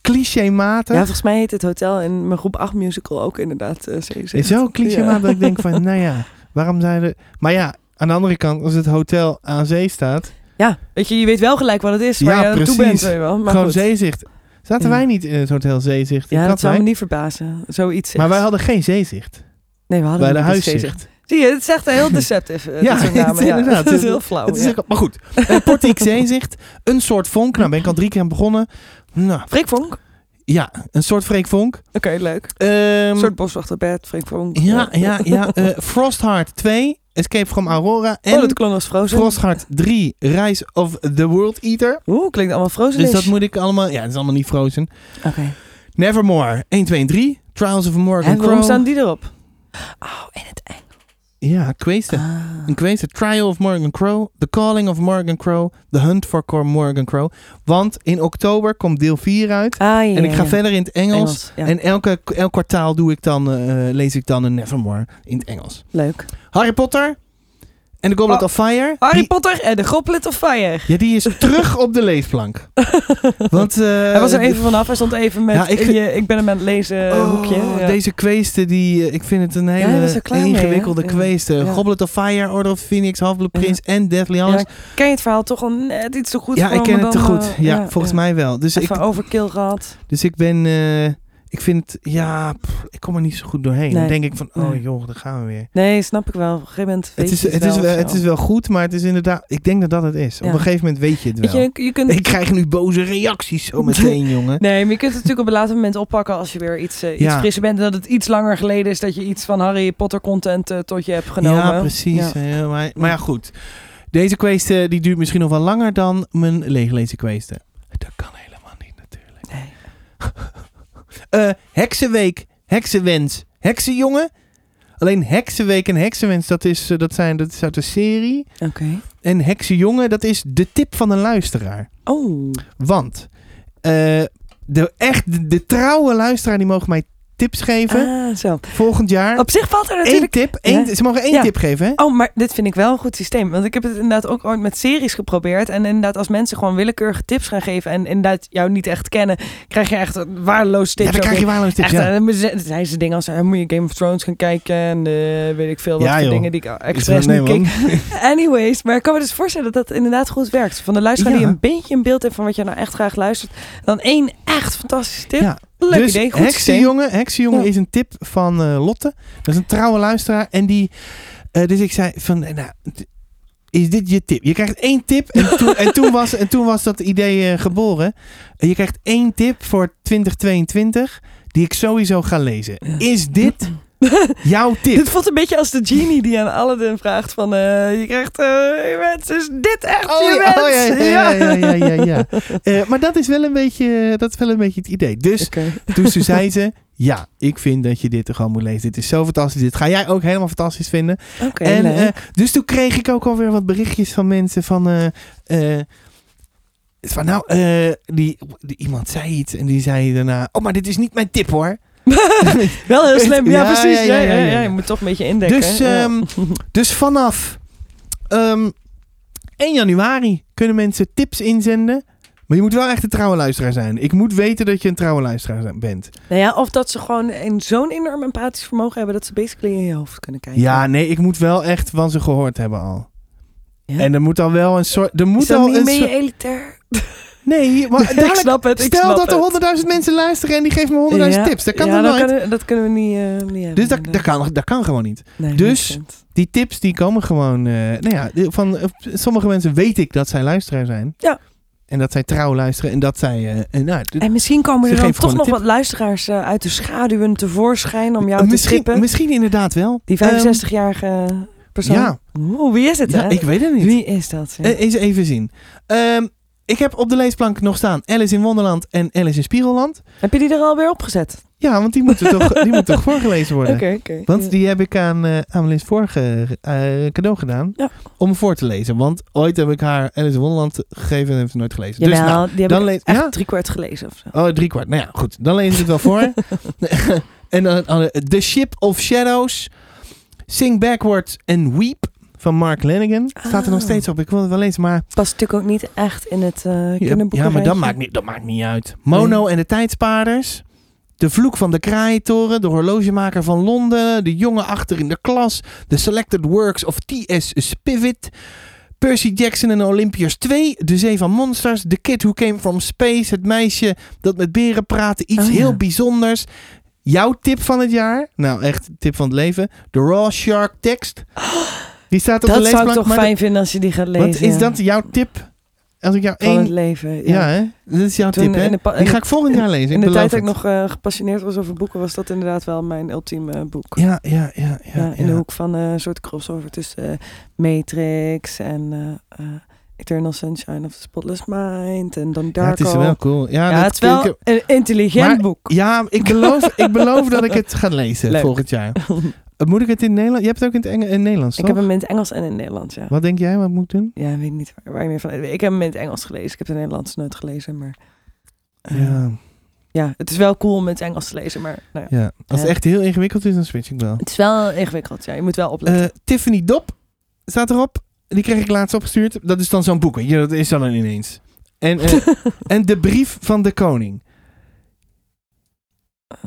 Speaker 1: clichématig.
Speaker 2: Ja, volgens mij heet het hotel in mijn groep 8 musical ook inderdaad eh CZ.
Speaker 1: is zo clichématig
Speaker 2: Ja.
Speaker 1: dat ik denk van, nou ja, waarom zijn er... Maar ja, aan de andere kant, als het hotel aan zee staat,
Speaker 2: Ja, weet je, je weet wel gelijk wat het is waar
Speaker 1: Ja,
Speaker 2: je aan toe
Speaker 1: precies.
Speaker 2: bent. Weet je wel. Maar
Speaker 1: gewoon
Speaker 2: goed.
Speaker 1: zeezicht. Zaten
Speaker 2: Ja.
Speaker 1: wij niet in het hotel zeezicht? in
Speaker 2: Ja, dat zou me
Speaker 1: Katwijk?
Speaker 2: niet verbazen. Zoiets. zegt.
Speaker 1: maar wij hadden geen zeezicht.
Speaker 2: nee, we hadden
Speaker 1: Wij hadden
Speaker 2: niet eens
Speaker 1: huiszicht.
Speaker 2: CZ. Zie je, het is echt heel deceptive. eh,
Speaker 1: Ja,
Speaker 2: dit soort namen,
Speaker 1: het is inderdaad.
Speaker 2: Dat is heel flauw.
Speaker 1: Het is
Speaker 2: Oh, ja.
Speaker 1: ook- maar goed, Eh, Portiek Zeezicht, een soort vonk. Nou, ben ik al drie keer aan begonnen. Nou,
Speaker 2: Freek Vonk. Oké,
Speaker 1: ja, een soort Freek Vonk.
Speaker 2: leuk.
Speaker 1: Ehm,
Speaker 2: Een soort boswachterbed, Freek Vonk.
Speaker 1: Ja, ja, ja. eh, Frostheart 2, Escape from Aurora.
Speaker 2: Oh,
Speaker 1: En
Speaker 2: dat klonk als Frozen.
Speaker 1: Frostheart 3, Rise of the World Eater.
Speaker 2: Oeh, klinkt allemaal Frozen.
Speaker 1: Dus dat moet ik allemaal... Ja, het is allemaal niet Frozen.
Speaker 2: Oké.
Speaker 1: Nevermore, 1, 2 en 3. Trials of Morgan
Speaker 2: En waarom
Speaker 1: Crow.
Speaker 2: staan die erop? Oh, in het Engels.
Speaker 1: Ja, Quaested.
Speaker 2: Ah.
Speaker 1: Een Quaested. Trial of Morgan Crow. The Calling of Morgan Crow. The Hunt for Cor- Morgan Crow. Want in oktober komt deel 4 uit.
Speaker 2: Ah, ja,
Speaker 1: En ik
Speaker 2: ja,
Speaker 1: ga
Speaker 2: ja.
Speaker 1: verder in het Engels.
Speaker 2: Engels, ja.
Speaker 1: En elke, elk kwartaal doe ik dan, eh, eh, lees ik dan een Nevermore in het Engels.
Speaker 2: Leuk.
Speaker 1: Harry Potter en The Goblet
Speaker 2: Oh,
Speaker 1: of Fire.
Speaker 2: Harry
Speaker 1: Die-
Speaker 2: Potter en de Goblet of Fire.
Speaker 1: Ja, die is terug op de leesplank. Want, eh,
Speaker 2: Hij was er
Speaker 1: de-
Speaker 2: even vanaf. Hij stond even met...
Speaker 1: Ja, ik-
Speaker 2: ik, je, ik ben hem aan het lezen
Speaker 1: Oh,
Speaker 2: eh, hoekje. Ja.
Speaker 1: Deze kweesten, die, eh, ik vind het een
Speaker 2: hij
Speaker 1: hele
Speaker 2: was er klaar mee, hè?
Speaker 1: ingewikkelde
Speaker 2: Ja.
Speaker 1: kweesten.
Speaker 2: Ja.
Speaker 1: Goblet of Fire, Order of Phoenix, Half-Blood Prince en Deathly
Speaker 2: Ja,
Speaker 1: Hallows.
Speaker 2: ik ken je het verhaal toch al net iets te goed
Speaker 1: Ja,
Speaker 2: voor
Speaker 1: ik
Speaker 2: me
Speaker 1: ken het te
Speaker 2: dan,
Speaker 1: goed.
Speaker 2: eh,
Speaker 1: Ja, volgens mij wel. Dus ik,
Speaker 2: Even overkill gehad.
Speaker 1: dus ik ben... eh, ik vind het... Ja, pff, ik kom er niet zo goed doorheen. Dan
Speaker 2: Nee.
Speaker 1: denk ik van, oh
Speaker 2: Nee.
Speaker 1: joh, daar gaan we weer.
Speaker 2: Nee, snap ik wel. Op een gegeven moment weet
Speaker 1: Het is,
Speaker 2: je het,
Speaker 1: het, is
Speaker 2: wel
Speaker 1: wel,
Speaker 2: of
Speaker 1: het
Speaker 2: zo.
Speaker 1: is wel goed, maar het is inderdaad... Ik denk dat dat het is. Op
Speaker 2: Ja.
Speaker 1: een gegeven moment weet je het
Speaker 2: Weet
Speaker 1: wel.
Speaker 2: je, je kunt...
Speaker 1: Ik krijg nu boze reacties zo meteen, jongen.
Speaker 2: Nee, maar je kunt het natuurlijk op een later moment oppakken als je weer iets, eh, iets
Speaker 1: Ja.
Speaker 2: frisser bent. En dat het iets langer geleden is dat je iets van Harry Potter content eh, tot je hebt genomen.
Speaker 1: Ja, precies.
Speaker 2: Ja.
Speaker 1: Eh, maar, maar ja, goed. Deze kwestie die duurt misschien nog wel langer dan mijn leeglezen kwestie. Dat kan helemaal niet natuurlijk.
Speaker 2: Nee.
Speaker 1: Eh, heksenweek, heksenwens, heksenjongen. Alleen heksenweek en heksenwens, dat is, eh, dat, zijn, dat is uit de serie.
Speaker 2: Oké.
Speaker 1: En heksenjongen, dat is de tip van een luisteraar.
Speaker 2: Oh.
Speaker 1: Want eh, de, echt, de, de trouwe luisteraar die mogen mij tips geven.
Speaker 2: Ah, zo.
Speaker 1: Volgend jaar.
Speaker 2: Op zich valt er
Speaker 1: Eén
Speaker 2: natuurlijk...
Speaker 1: tip. één-
Speaker 2: Ja.
Speaker 1: Ze mogen één
Speaker 2: Ja.
Speaker 1: tip geven, hè?
Speaker 2: Oh, maar dit vind ik wel een goed systeem. Want ik heb het inderdaad ook ooit met series geprobeerd. En inderdaad, als mensen gewoon willekeurige tips gaan geven... en inderdaad jou niet echt kennen... krijg je echt waardeloze tips.
Speaker 1: ja, dan
Speaker 2: ook
Speaker 1: krijg je
Speaker 2: in.
Speaker 1: waardeloos tips.
Speaker 2: Echt,
Speaker 1: ja.
Speaker 2: eh, dan ze- zijn ze dingen als... eh, moet je Game of Thrones gaan kijken... en eh, weet ik veel wat
Speaker 1: Ja,
Speaker 2: voor
Speaker 1: joh.
Speaker 2: dingen die ik
Speaker 1: Ik zeg,
Speaker 2: expres
Speaker 1: nee,
Speaker 2: niet
Speaker 1: man.
Speaker 2: keek. Anyways, maar ik kan me dus voorstellen dat dat inderdaad goed werkt. Van de luisteraar
Speaker 1: Ja.
Speaker 2: die een beetje een beeld heeft... van wat je nou echt graag luistert. Dan één echt fantastische tip.
Speaker 1: Ja.
Speaker 2: Leuk
Speaker 1: dus
Speaker 2: idee, goed systeem.
Speaker 1: Heksenjongen, Heksenjongen
Speaker 2: Ja.
Speaker 1: is een tip van eh, Lotte. Dat is een trouwe luisteraar. En die, eh, dus ik zei van, eh, nou, d- is dit je tip? Je krijgt één tip. En, toen- en, toen, was, en toen was dat idee eh, geboren. En je krijgt één tip voor 2022 die ik sowieso ga lezen. Is dit jouw tip?
Speaker 2: Dit voelt een beetje als de genie die aan Aladdin vraagt van... eh, je krijgt eh je wens, is dit echt je
Speaker 1: Oh, ja,
Speaker 2: wens?
Speaker 1: ja, ja, ja, ja, ja, ja. Eh, maar dat is, wel een beetje, dat is wel een beetje het idee. Dus
Speaker 2: Oké.
Speaker 1: Toen ze zei ze, ja, ik vind dat je dit er gewoon moet lezen. Dit is zo fantastisch. Dit ga jij ook helemaal fantastisch vinden.
Speaker 2: Oké,
Speaker 1: en,
Speaker 2: leuk.
Speaker 1: eh, dus toen kreeg ik ook alweer wat berichtjes van mensen van... eh, eh, van nou, eh, die, die, iemand zei iets en die zei daarna... Oh, maar dit is niet mijn tip hoor.
Speaker 2: Wel heel slim, ja,
Speaker 1: ja,
Speaker 2: precies.
Speaker 1: ja, ja,
Speaker 2: Ja, ja,
Speaker 1: ja, ja.
Speaker 2: ja, Je moet toch een beetje indekken.
Speaker 1: Dus,
Speaker 2: ja.
Speaker 1: ehm, dus vanaf ehm, 1 januari kunnen mensen tips inzenden. Maar je moet wel echt een trouwe luisteraar zijn. Ik moet weten dat je een trouwe luisteraar bent.
Speaker 2: Nou ja, of dat ze gewoon een- zo'n enorm empathisch vermogen hebben... dat ze basically in je hoofd kunnen kijken.
Speaker 1: Ja, nee, ik moet wel echt van ze gehoord hebben al.
Speaker 2: Ja?
Speaker 1: En er moet dan wel een soort. Er moet
Speaker 2: Is dat
Speaker 1: al
Speaker 2: niet
Speaker 1: een
Speaker 2: een beetje
Speaker 1: soort.
Speaker 2: elitair?
Speaker 1: Nee, maar
Speaker 2: ik
Speaker 1: dadelijk-
Speaker 2: snap het, ik
Speaker 1: stel
Speaker 2: snap
Speaker 1: dat er
Speaker 2: het.
Speaker 1: honderdduizend mensen luisteren en die geven me honderdduizend
Speaker 2: Ja,
Speaker 1: tips. Dat kan
Speaker 2: ja,
Speaker 1: dan
Speaker 2: dat
Speaker 1: nooit.
Speaker 2: kunnen- dat kunnen we niet, eh, niet hebben,
Speaker 1: dus dat, dat,
Speaker 2: inderdaad.
Speaker 1: kan, dat kan gewoon niet.
Speaker 2: Nee,
Speaker 1: dus-
Speaker 2: makes sense.
Speaker 1: Die tips die komen gewoon. eh, nou ja, de- van eh, sommige mensen weet ik dat zij luisteraar zijn.
Speaker 2: Ja.
Speaker 1: En dat zij trouw luisteren en dat zij. eh, en nou, d-
Speaker 2: En misschien komen
Speaker 1: Ze
Speaker 2: er dan
Speaker 1: geven gewoon
Speaker 2: toch nog
Speaker 1: een
Speaker 2: wat luisteraars eh, uit de schaduwen tevoorschijn... om jou te
Speaker 1: misschien,
Speaker 2: tippen.
Speaker 1: misschien inderdaad wel.
Speaker 2: Die
Speaker 1: Ehm,
Speaker 2: 65-jarige persoon.
Speaker 1: ja.
Speaker 2: Oeh, wie is het,
Speaker 1: ja,
Speaker 2: hè?
Speaker 1: ik weet het niet.
Speaker 2: Wie is dat? Ja.
Speaker 1: Eh, Eens even zien. Ehm, ik heb op de leesplank nog staan Alice in Wonderland en Alice in Spiegelland.
Speaker 2: Heb je die er alweer opgezet?
Speaker 1: Ja, want die moeten toch, die moeten toch voorgelezen worden.
Speaker 2: oké.
Speaker 1: Want die heb ik aan eh Amelie's vorige eh, cadeau gedaan.
Speaker 2: Ja.
Speaker 1: Om voor te lezen. Want ooit heb ik haar Alice in Wonderland gegeven en heeft ze nooit gelezen.
Speaker 2: Jawel,
Speaker 1: Dus nou,
Speaker 2: die heb
Speaker 1: dan
Speaker 2: ik
Speaker 1: lees-
Speaker 2: echt
Speaker 1: ja?
Speaker 2: driekwart gelezen of zo.
Speaker 1: oh, drie kwart. Nou ja, goed. Dan lees ik het wel voor. en dan eh, The Ship of Shadows. Sing Backwards and Weep van Mark Lennigan. Staat er nog
Speaker 2: Ah.
Speaker 1: steeds op. Ik wil het wel eens, maar...
Speaker 2: Past natuurlijk ook niet echt in het eh
Speaker 1: Ja,
Speaker 2: kinderboek.
Speaker 1: ja, maar dat maakt, niet, dat maakt niet uit. Mono en de tijdspaders. De vloek van de kraaientoren. De horlogemaker van Londen. De jongen achter in de klas. The Selected Works of T.S. Spivet. Percy Jackson en de Olympiërs 2. De Zee van Monsters. The Kid Who Came From Space. Het meisje dat met beren praatte. Iets
Speaker 2: Oh, ja.
Speaker 1: heel bijzonders. Jouw tip van het jaar. Nou, echt tip van het leven. De Raw Shark tekst. Die staat op de
Speaker 2: Dat zou ik
Speaker 1: leesplank.
Speaker 2: toch
Speaker 1: maar dat-
Speaker 2: fijn vinden als je die gaat lezen.
Speaker 1: Want is
Speaker 2: ja.
Speaker 1: dat jouw tip? Als ik jou
Speaker 2: van
Speaker 1: één
Speaker 2: het leven?
Speaker 1: ja, hè? Dat is jouw
Speaker 2: Toen
Speaker 1: tip, hè?
Speaker 2: in de pa-
Speaker 1: Die ga ik volgend jaar lezen.
Speaker 2: In
Speaker 1: ik
Speaker 2: de tijd
Speaker 1: beloof
Speaker 2: dat ik
Speaker 1: het.
Speaker 2: nog eh, gepassioneerd was over boeken, was dat inderdaad wel mijn ultieme boek.
Speaker 1: Ja, ja, ja. ja,
Speaker 2: Ja, in
Speaker 1: ja.
Speaker 2: de hoek van eh, een soort crossover tussen eh, Matrix en eh, eh, Eternal Sunshine of the Spotless Mind en dan
Speaker 1: Ja, het
Speaker 2: Darko.
Speaker 1: is wel cool. Ja,
Speaker 2: Ja,
Speaker 1: dat
Speaker 2: het is wel
Speaker 1: ik-
Speaker 2: een intelligent
Speaker 1: Maar-
Speaker 2: boek.
Speaker 1: ja ik, beloof, ik beloof dat ik het ga lezen
Speaker 2: Leuk.
Speaker 1: volgend jaar. Eh, Moet ik het in Nederland? Je hebt het ook in het Eng- in Nederlands,
Speaker 2: Ik
Speaker 1: toch?
Speaker 2: heb hem in het Engels en in het Nederlands, ja.
Speaker 1: Wat denk jij wat ik moet doen?
Speaker 2: Ja, ik weet niet waar, waar je meer van... Ik heb hem in het Engels gelezen. Ik heb de Nederlandse nooit gelezen, maar... eh,
Speaker 1: Ja,
Speaker 2: ja, het is wel cool om in het Engels te lezen, maar... Nou ja.
Speaker 1: ja. Als het
Speaker 2: Ja.
Speaker 1: echt heel ingewikkeld is, dan switch ik wel.
Speaker 2: Het is wel ingewikkeld, ja. Je moet wel opletten.
Speaker 1: Eh, Tiffany Dop staat erop. Die kreeg ik laatst opgestuurd. Dat is dan zo'n boek. weet je, Dat is dan ineens. En, eh, en de brief van de koning.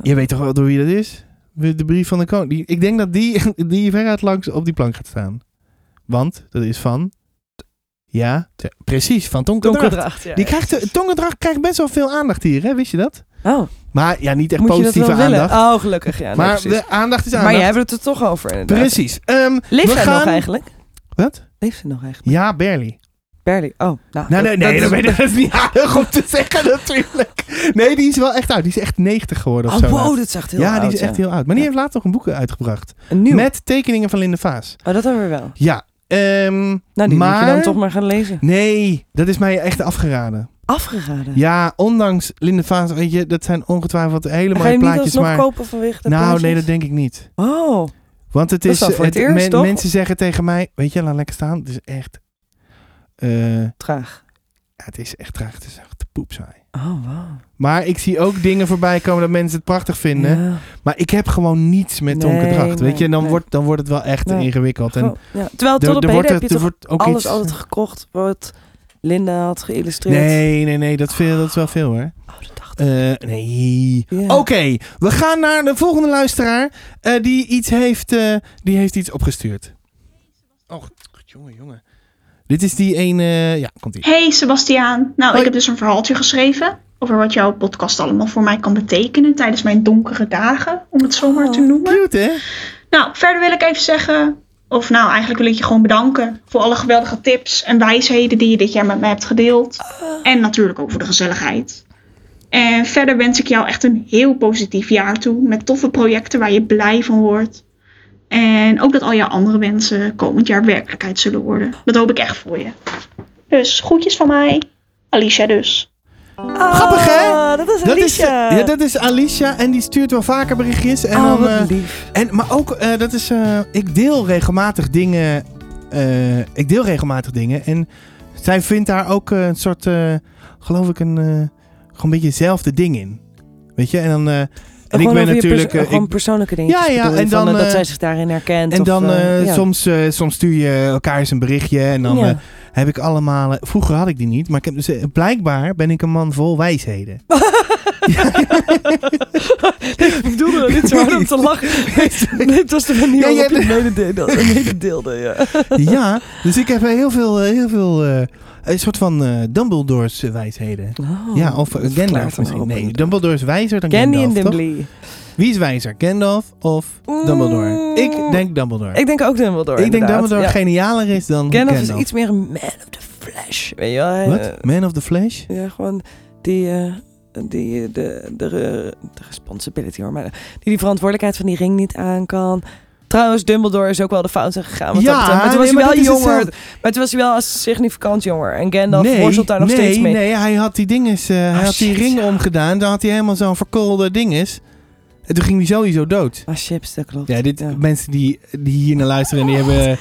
Speaker 1: Je weet toch wel door wie dat is? De brief van de koning. Die- Ik denk dat die, die veruit langs op die plank gaat staan. Want dat is van... Ja, te- precies. Van Tonkendracht.
Speaker 2: Donkerdracht, ja.
Speaker 1: Die krijgt, Tonkendracht krijgt best wel veel aandacht hier, hè? wist je dat?
Speaker 2: Oh,
Speaker 1: Maar ja, niet echt
Speaker 2: moet je dat
Speaker 1: positieve
Speaker 2: wel willen?
Speaker 1: aandacht.
Speaker 2: Oh, gelukkig, ja. nee,
Speaker 1: maar
Speaker 2: precies.
Speaker 1: de aandacht is aandacht.
Speaker 2: maar jij hebt het er toch over, inderdaad.
Speaker 1: Precies. Ehm,
Speaker 2: Leeft
Speaker 1: we
Speaker 2: hij
Speaker 1: gaan...
Speaker 2: nog eigenlijk?
Speaker 1: Wat?
Speaker 2: Leeft hij nog eigenlijk?
Speaker 1: Ja, barely.
Speaker 2: Barely. Oh, nou.
Speaker 1: Nou, nee, nee, dat,
Speaker 2: is-
Speaker 1: ben dat is niet aardig om te zeggen natuurlijk. Nee, die is wel echt oud. Die is echt 90 geworden of
Speaker 2: Oh,
Speaker 1: zo.
Speaker 2: wow,
Speaker 1: laatst.
Speaker 2: dat zag heel
Speaker 1: ja, die
Speaker 2: oud,
Speaker 1: is echt heel oud. Maar die heeft laatst nog een boek uitgebracht.
Speaker 2: Een nieuw.
Speaker 1: Met tekeningen van Linde Vaas.
Speaker 2: Oh, dat hebben we wel.
Speaker 1: Ja. ehm,
Speaker 2: Nou, die moet je dan
Speaker 1: Maar-
Speaker 2: toch maar gaan lezen.
Speaker 1: nee, dat is mij echt afgeraden.
Speaker 2: Afgeraden.
Speaker 1: Ja, ondanks Linde Vaas, weet je, dat zijn ongetwijfeld hele
Speaker 2: Ga je
Speaker 1: mooie
Speaker 2: hem niet
Speaker 1: plaatjes.
Speaker 2: alsnog
Speaker 1: maar
Speaker 2: kopen vanwege de
Speaker 1: nou,
Speaker 2: plaatjes?
Speaker 1: nee, dat denk ik niet.
Speaker 2: Oh,
Speaker 1: Want het
Speaker 2: Dat
Speaker 1: is,
Speaker 2: is wel voor het eerst, toch?
Speaker 1: mensen zeggen tegen mij, weet je, laat lekker staan. Het is echt, eh,
Speaker 2: traag.
Speaker 1: ja, het is echt traag. Het is echt poepzaai.
Speaker 2: Oh, wow.
Speaker 1: Maar ik zie ook dingen voorbij komen dat mensen het prachtig vinden.
Speaker 2: Ja.
Speaker 1: Maar ik heb gewoon niets met
Speaker 2: Nee,
Speaker 1: donkerdracht. Weet
Speaker 2: nee,
Speaker 1: je, en dan,
Speaker 2: nee.
Speaker 1: wordt, dan wordt het wel echt
Speaker 2: Nee.
Speaker 1: ingewikkeld. En
Speaker 2: Goh, ja. Terwijl tot
Speaker 1: er-
Speaker 2: op
Speaker 1: er
Speaker 2: heden
Speaker 1: wordt
Speaker 2: heb je
Speaker 1: er
Speaker 2: toch
Speaker 1: wordt ook
Speaker 2: alles
Speaker 1: iets.
Speaker 2: altijd gekocht wat Linda had geïllustreerd.
Speaker 1: Nee, nee, nee, dat is, veel, dat is wel veel hoor.
Speaker 2: Oh, dat dacht ik.
Speaker 1: Eh, nee.
Speaker 2: Ja.
Speaker 1: Oké, we gaan naar de volgende luisteraar. eh, die, iets heeft, eh, die heeft iets opgestuurd. Oh, jongen, jongen. Dit is die ene. ja, komt ie.
Speaker 5: Hey Sebastiaan. Nou,
Speaker 1: Hoi.
Speaker 5: ik heb dus een verhaaltje geschreven over wat jouw podcast allemaal voor mij kan betekenen tijdens mijn donkere dagen, om het zo maar te
Speaker 2: Oh.
Speaker 5: noemen.
Speaker 1: Cute, hè?
Speaker 5: Nou, verder wil ik even zeggen, of nou, eigenlijk wil ik je gewoon bedanken voor alle geweldige tips en wijsheden die je dit jaar met mij hebt gedeeld. En natuurlijk ook voor de gezelligheid. En verder wens ik jou echt een heel positief jaar toe, met toffe projecten waar je blij van wordt. En ook dat al jouw andere wensen komend jaar werkelijkheid zullen worden. Dat hoop ik echt voor je. Dus groetjes van mij, Alicia dus.
Speaker 1: Oh, Grappig, hè?
Speaker 2: Oh, Dat is
Speaker 1: Dat is, eh,
Speaker 2: Alicia.
Speaker 1: ja, dat is Alicia en die stuurt wel vaker berichtjes. En
Speaker 2: oh,
Speaker 1: dan,
Speaker 2: wat
Speaker 1: eh,
Speaker 2: lief.
Speaker 1: En, maar ook, eh, dat is, eh, ik deel regelmatig dingen. eh, ik deel regelmatig dingen. En zij vindt daar ook eh, een soort, eh, geloof ik, een, eh, gewoon een beetje hetzelfde ding in. Weet je, en dan. eh, en ik
Speaker 2: Gewoon
Speaker 1: ben
Speaker 2: over je perso-
Speaker 1: natuurlijk. eh, ik-
Speaker 2: gewoon persoonlijke dingen.
Speaker 1: Ja, ja, en
Speaker 2: en dan...
Speaker 1: dan,
Speaker 2: dat
Speaker 1: eh,
Speaker 2: zij zich daarin herkent.
Speaker 1: en
Speaker 2: of,
Speaker 1: dan
Speaker 2: eh,
Speaker 1: eh,
Speaker 2: ja.
Speaker 1: soms, eh, soms stuur je elkaar eens een berichtje. En dan
Speaker 2: Ja.
Speaker 1: eh, heb ik allemaal. eh, vroeger had ik die niet, maar ik heb dus, eh, blijkbaar ben ik een man vol wijsheden.
Speaker 2: ik bedoelde dat niet zo hard om te lachen. Nee, het was de manier
Speaker 1: Ja, jij
Speaker 2: waarop je
Speaker 1: hebt-
Speaker 2: het mededeelde. mededeelde ja.
Speaker 1: ja, dus ik heb eh, heel veel. eh, heel veel eh, een soort van eh, Dumbledore's eh, wijsheden.
Speaker 2: Oh,
Speaker 1: Ja, of eh, Gandalf misschien. Nee, Dumbledore is wijzer dan
Speaker 2: Candy en
Speaker 1: Gandalf, toch?
Speaker 2: Dimbly.
Speaker 1: Wie is wijzer, Gandalf of
Speaker 2: Oeh.
Speaker 1: Dumbledore? Ik denk Dumbledore.
Speaker 2: Mm. Ik denk ook Dumbledore.
Speaker 1: Ik denk
Speaker 2: inderdaad,
Speaker 1: Dumbledore
Speaker 2: ja.
Speaker 1: genialer is dan
Speaker 2: Gandalf
Speaker 1: Gandalf.
Speaker 2: is iets meer een man of the flesh. Weet je wel? Hij, eh,
Speaker 1: Wat? Man of the Flash?
Speaker 2: Ja, gewoon die, eh, die eh, de, de, de, responsibility hoor. Maar eh, die die verantwoordelijkheid van die ring niet aan kan. Trouwens, Dumbledore is ook wel de fouten gegaan. wat dat
Speaker 1: Ja,
Speaker 2: betreft. maar toen was
Speaker 1: nee, maar
Speaker 2: hij wel
Speaker 1: dat is
Speaker 2: jonger.
Speaker 1: hetzelfde.
Speaker 2: Maar toen was hij wel als significant jonger. En Gandalf worstelt daar nog
Speaker 1: nee,
Speaker 2: steeds mee.
Speaker 1: Nee, hij had die dinges, eh,
Speaker 2: Ah,
Speaker 1: hij had die
Speaker 2: shit,
Speaker 1: ring
Speaker 2: ja.
Speaker 1: omgedaan. Dan had hij helemaal zo'n verkoolde dinges. En toen ging hij sowieso dood.
Speaker 2: Ah, chips, dat klopt.
Speaker 1: Ja, dit,
Speaker 2: Ja.
Speaker 1: mensen die, die hier naar luisteren, die hebben... eh,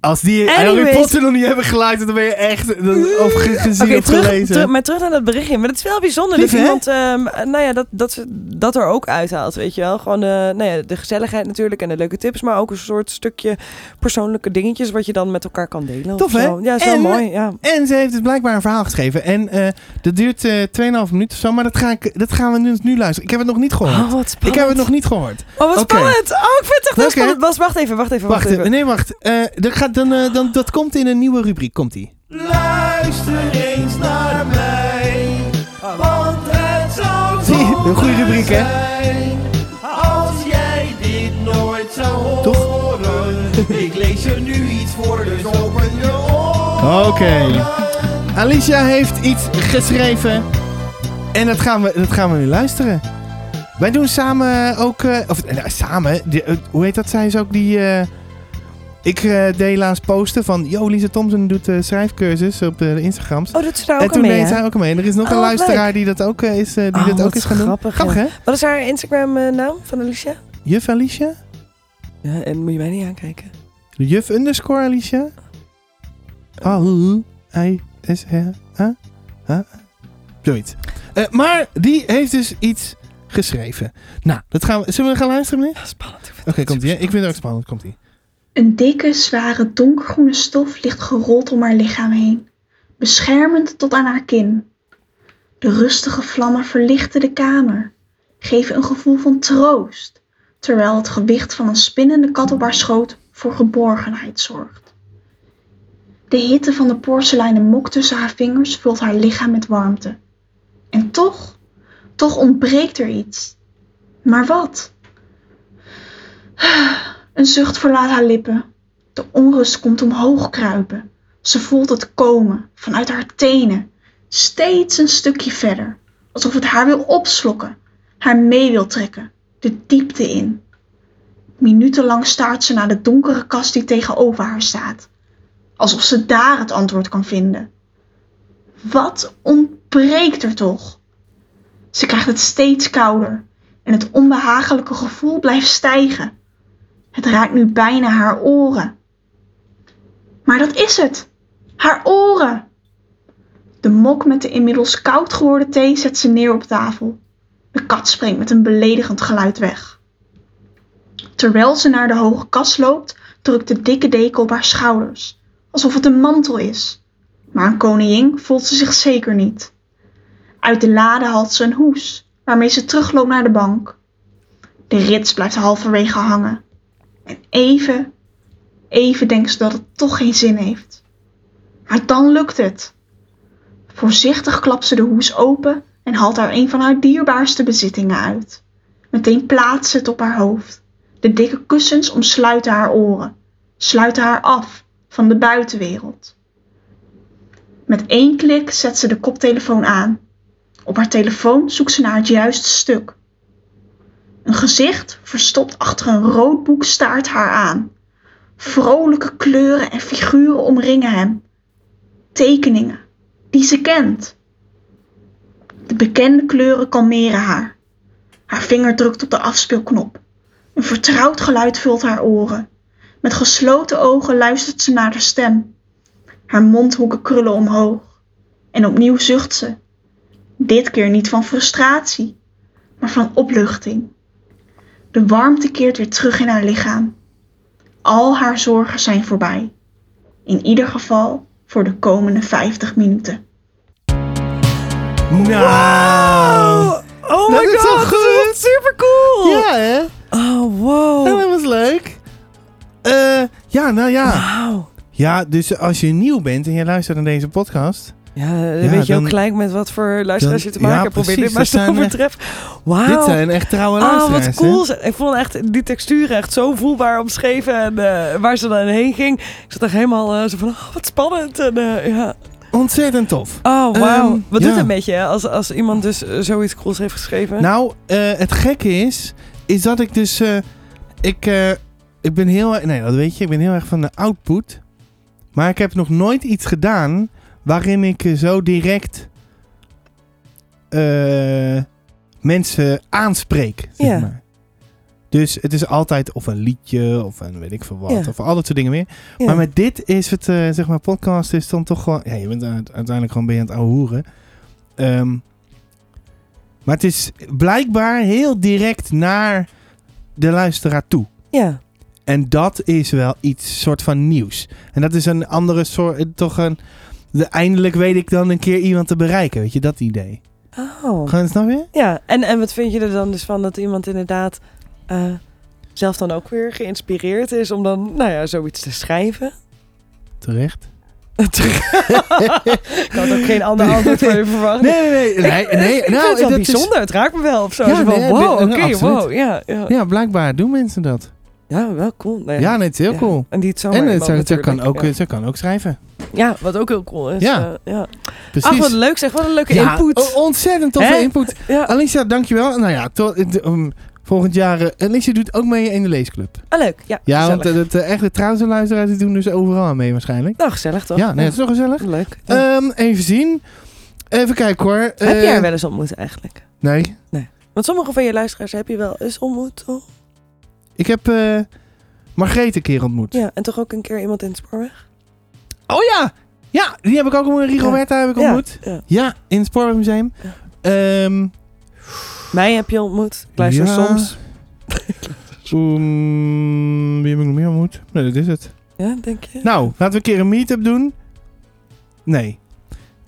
Speaker 1: Als die Harry
Speaker 2: Anyways.
Speaker 1: Potter nog niet hebben geliked, dan ben je echt dan, of ge- gezien
Speaker 2: Oké,
Speaker 1: of
Speaker 2: terug,
Speaker 1: gelezen.
Speaker 2: terug, maar terug naar dat berichtje. Maar het is wel bijzonder
Speaker 1: Lief,
Speaker 2: dat
Speaker 1: hè?
Speaker 2: iemand ehm, nou ja, dat, dat, ze dat er ook uithaalt, weet je wel. Gewoon de, nou ja, de gezelligheid natuurlijk en de leuke tips, maar ook een soort stukje persoonlijke dingetjes wat je dan met elkaar kan delen. of
Speaker 1: Tof, hè?
Speaker 2: zo. Ja, is wel
Speaker 1: En-
Speaker 2: mooi. Ja.
Speaker 1: En ze heeft dus blijkbaar een verhaal geschreven. En eh, dat duurt eh 2,5 minuten of zo. Maar dat, ga ik, dat gaan we dus nu, nu luisteren. Ik heb het nog niet gehoord.
Speaker 2: Oh, wat spannend.
Speaker 1: ik heb het nog niet gehoord.
Speaker 2: Oh, wat
Speaker 1: Oké.
Speaker 2: spannend. Oh, ik vind het echt heel
Speaker 1: Oké.
Speaker 2: spannend. Bas, wacht even, wacht even, wacht,
Speaker 1: Wacht,
Speaker 2: even.
Speaker 1: eh, nee, wacht. Eh, dat, gaat, dan, eh, dan, dat komt in een nieuwe rubriek. Komt ie.
Speaker 4: Luister eens naar mij, want het zou
Speaker 1: Zie je? Een goede rubriek, hè?
Speaker 4: zijn Als jij dit nooit zou horen.
Speaker 1: Toch?
Speaker 4: Ik lees er nu iets voor, dus open je oren.
Speaker 1: Oké. Alicia heeft iets geschreven. En dat gaan we, dat gaan we nu luisteren. Wij doen samen ook... eh, of, eh, nou, samen? die- eh, hoe heet dat? Zij is ook die... eh, ik eh, deed laatst posten van... Yo, Lisa Thompson doet eh, schrijfcursus op eh, de Instagrams.
Speaker 2: Oh, dat ze daar
Speaker 1: en
Speaker 2: ook aan
Speaker 1: toen
Speaker 2: mee,
Speaker 1: deed
Speaker 2: hè?
Speaker 1: zij ook mee. En er is nog
Speaker 2: Oh,
Speaker 1: een
Speaker 2: wat
Speaker 1: luisteraar die dat ook eh, is, eh, die
Speaker 2: Oh,
Speaker 1: dat ook
Speaker 2: wat
Speaker 1: is gaan doen.
Speaker 2: grappig,
Speaker 1: Grappig, hè?
Speaker 2: Wat is haar Instagram-naam van Alicia?
Speaker 1: Juf Alicia?
Speaker 2: Ja, en moet je mij niet aankijken.
Speaker 1: Juf underscore Alicia?
Speaker 2: Eh.
Speaker 1: Ah, Al, I, S, H, A, A, Zoiets. Eh, maar die heeft dus iets geschreven. Nou, dat gaan we, zullen we gaan luisteren, meneer?
Speaker 2: Ja, spannend. Ik vind
Speaker 1: Oké,
Speaker 2: het
Speaker 1: komt ie. hè?
Speaker 2: super
Speaker 1: Ik vind het ook spannend. Komt ie.
Speaker 5: Een dikke, zware, donkergroene stof ligt gerold om haar lichaam heen, beschermend tot aan haar kin. De rustige vlammen verlichten de kamer, geven een gevoel van troost, terwijl het gewicht van een spinnende kat op haar schoot voor geborgenheid zorgt. De hitte van de porseleinen mok tussen haar vingers vult haar lichaam met warmte. En toch, toch ontbreekt er iets. Maar wat? Een zucht verlaat haar lippen. De onrust komt omhoog kruipen. Ze voelt het komen vanuit haar tenen, steeds een stukje verder, alsof het haar wil opslokken, haar mee wil trekken, de diepte in. Minutenlang staart ze naar de donkere kast die tegenover haar staat, alsof ze daar het antwoord kan vinden. Wat ontbreekt er toch? Ze krijgt het steeds kouder en het onbehagelijke gevoel blijft stijgen. Het raakt nu bijna haar oren. Maar dat is het. Haar oren. De mok met de inmiddels koud geworden thee zet ze neer op tafel. De kat springt met een beledigend geluid weg. Terwijl ze naar de hoge kast loopt, drukt de dikke deken op haar schouders, alsof het een mantel is. Maar een koningin voelt ze zich zeker niet. Uit de lade haalt ze een hoes, waarmee ze terugloopt naar de bank. De rits blijft halverwege hangen. En even, even denkt ze dat het toch geen zin heeft. Maar dan lukt het. Voorzichtig klapt ze de hoes open en haalt daar een van haar dierbaarste bezittingen uit. Meteen plaatst ze het op haar hoofd. De dikke kussens omsluiten haar oren, sluiten haar af van de buitenwereld. Met één klik zet ze de koptelefoon aan. Op haar telefoon zoekt ze naar het juiste stuk. Een gezicht verstopt achter een rood boek staart haar aan. Vrolijke kleuren en figuren omringen hem. Tekeningen die ze kent. De bekende kleuren kalmeren haar. Haar vinger drukt op de afspeelknop. Een vertrouwd geluid vult haar oren. Met gesloten ogen luistert ze naar de stem. Haar mondhoeken krullen omhoog. En opnieuw zucht ze. Dit keer niet van frustratie, maar van opluchting. De warmte keert weer terug in haar lichaam. Al haar zorgen zijn voorbij. In ieder geval voor de komende 50 minuten.
Speaker 1: Nou.
Speaker 2: Oh, oh
Speaker 1: Dat
Speaker 2: my
Speaker 1: is
Speaker 2: god,
Speaker 1: wel
Speaker 2: dat
Speaker 1: goed.
Speaker 2: is echt super cool.
Speaker 1: Ja, hè?
Speaker 2: Oh, wow.
Speaker 1: Nou, dat was leuk. Eh, ja, nou
Speaker 2: Ah.
Speaker 1: ja.
Speaker 2: Wauw.
Speaker 1: Ja, dus als je nieuw bent en je luistert naar deze podcast...
Speaker 2: Ja, dan
Speaker 1: Ja,
Speaker 2: weet je
Speaker 1: dan-
Speaker 2: ook gelijk met wat voor luisteraars
Speaker 1: dan-
Speaker 2: je te maken
Speaker 1: ja,
Speaker 2: hebt. Probeer
Speaker 1: precies,
Speaker 2: dit maar
Speaker 1: dat
Speaker 2: zo
Speaker 1: zijn echt-
Speaker 2: betreft. Wauw.
Speaker 1: Dit zijn echt trouwe
Speaker 2: Ah,
Speaker 1: luisteraars,
Speaker 2: wat
Speaker 1: hè?
Speaker 2: cool. Ik vond echt die textuur echt zo voelbaar omschreven. En eh, waar ze dan heen ging. Ik zat echt helemaal eh, zo van, oh, wat spannend. En, eh, ja.
Speaker 1: Ontzettend tof.
Speaker 2: Oh, wauw.
Speaker 1: Ehm,
Speaker 2: wat
Speaker 1: ja.
Speaker 2: doet het met je hè, als, als iemand dus eh, zoiets cools heeft geschreven?
Speaker 1: Nou, eh, het gekke is, is dat ik dus, eh, ik, eh, ik ben heel, erg- nee, dat weet je, ik ben heel erg van de output. Maar ik heb nog nooit iets gedaan waarin ik eh, zo direct eh, mensen aanspreek, zeg
Speaker 2: Ja.
Speaker 1: maar. Dus het is altijd of een liedje of een weet ik veel wat.
Speaker 2: Ja.
Speaker 1: Of al dat soort dingen meer.
Speaker 2: Ja.
Speaker 1: Maar met dit is het, eh, zeg maar, podcast is dan toch gewoon... Ja, je bent uite- uiteindelijk gewoon ben je aan het ouwehoeren. Ehm, maar het is blijkbaar heel direct naar de luisteraar toe.
Speaker 2: Ja,
Speaker 1: En dat is wel iets soort van nieuws. En dat is een andere soort, eh, toch een... de- eindelijk weet ik dan een keer iemand te bereiken, weet je, dat idee.
Speaker 2: oh.
Speaker 1: Gaan we het nou weer?
Speaker 2: Ja, en, en wat vind je er dan dus van dat iemand inderdaad eh, zelf dan ook weer geïnspireerd is om dan, nou ja, zoiets te schrijven?
Speaker 1: Terecht.
Speaker 2: ik had ook geen ander antwoord voor je verwacht.
Speaker 1: Nee, nee, nee. nee, nee,
Speaker 2: ik
Speaker 1: nou,
Speaker 2: vind het wel
Speaker 1: dat is-
Speaker 2: bijzonder, het raakt me wel of zo.
Speaker 1: Ja,
Speaker 2: Zo van,
Speaker 1: nee,
Speaker 2: wow,
Speaker 1: dit-
Speaker 2: oké,
Speaker 1: nou, absoluut.
Speaker 2: wow, ja, ja.
Speaker 1: Ja, blijkbaar doen mensen dat.
Speaker 2: Ja, wel cool. Nee,
Speaker 1: Ja, nee, het is heel
Speaker 2: ja. Oh,
Speaker 1: cool.
Speaker 2: En die het zomaar
Speaker 1: En het,
Speaker 2: iemand
Speaker 1: ze, ze kan
Speaker 2: natuurlijk,
Speaker 1: ook,
Speaker 2: ja.
Speaker 1: ze kan ook schrijven.
Speaker 2: Ja, wat ook heel cool is.
Speaker 1: Ja.
Speaker 2: eh, ja.
Speaker 1: Precies.
Speaker 2: Ach, wat leuk zeg, wat een leuke
Speaker 1: Ja, oh,
Speaker 2: input.
Speaker 1: o- ontzettend toffe
Speaker 2: Hè?
Speaker 1: input.
Speaker 2: Ja,
Speaker 1: Alicia, dankjewel. Nou ja, to- het, um, volgend jaar... eh, Alicia doet ook mee in de leesclub.
Speaker 2: ah, leuk. Ja,
Speaker 1: Ja,
Speaker 2: gezellig.
Speaker 1: want eh, dat, eh, echt de trouwens luisteraars die doen dus overal aan mee waarschijnlijk.
Speaker 2: nou, gezellig toch?
Speaker 1: Ja, nee, dat is toch gezellig.
Speaker 2: Leuk. Ja.
Speaker 1: Ehm, even zien. Even kijken hoor.
Speaker 2: Heb
Speaker 1: Eh,
Speaker 2: jij haar wel eens ontmoet eigenlijk?
Speaker 1: Nee.
Speaker 2: Want sommige van je luisteraars heb je wel eens ontmoet, toch?
Speaker 1: Ik heb eh Margreet een keer ontmoet.
Speaker 2: Ja, en toch ook een keer iemand in het spoorweg?
Speaker 1: Oh ja! Ja, die heb ik ook ontmoet. Rigoberta heb ik
Speaker 2: Ja,
Speaker 1: ontmoet.
Speaker 2: ja.
Speaker 1: Ja, in het Spoorwegmuseum.
Speaker 2: Ja.
Speaker 1: Ehm,
Speaker 2: Mij heb je ontmoet. Ik luister
Speaker 1: Ja.
Speaker 2: soms.
Speaker 1: Oem, wie heb ik nog meer ontmoet? Nee, dat is het.
Speaker 2: Ja, denk je?
Speaker 1: Nou, laten we een keer een meet-up doen. Nee.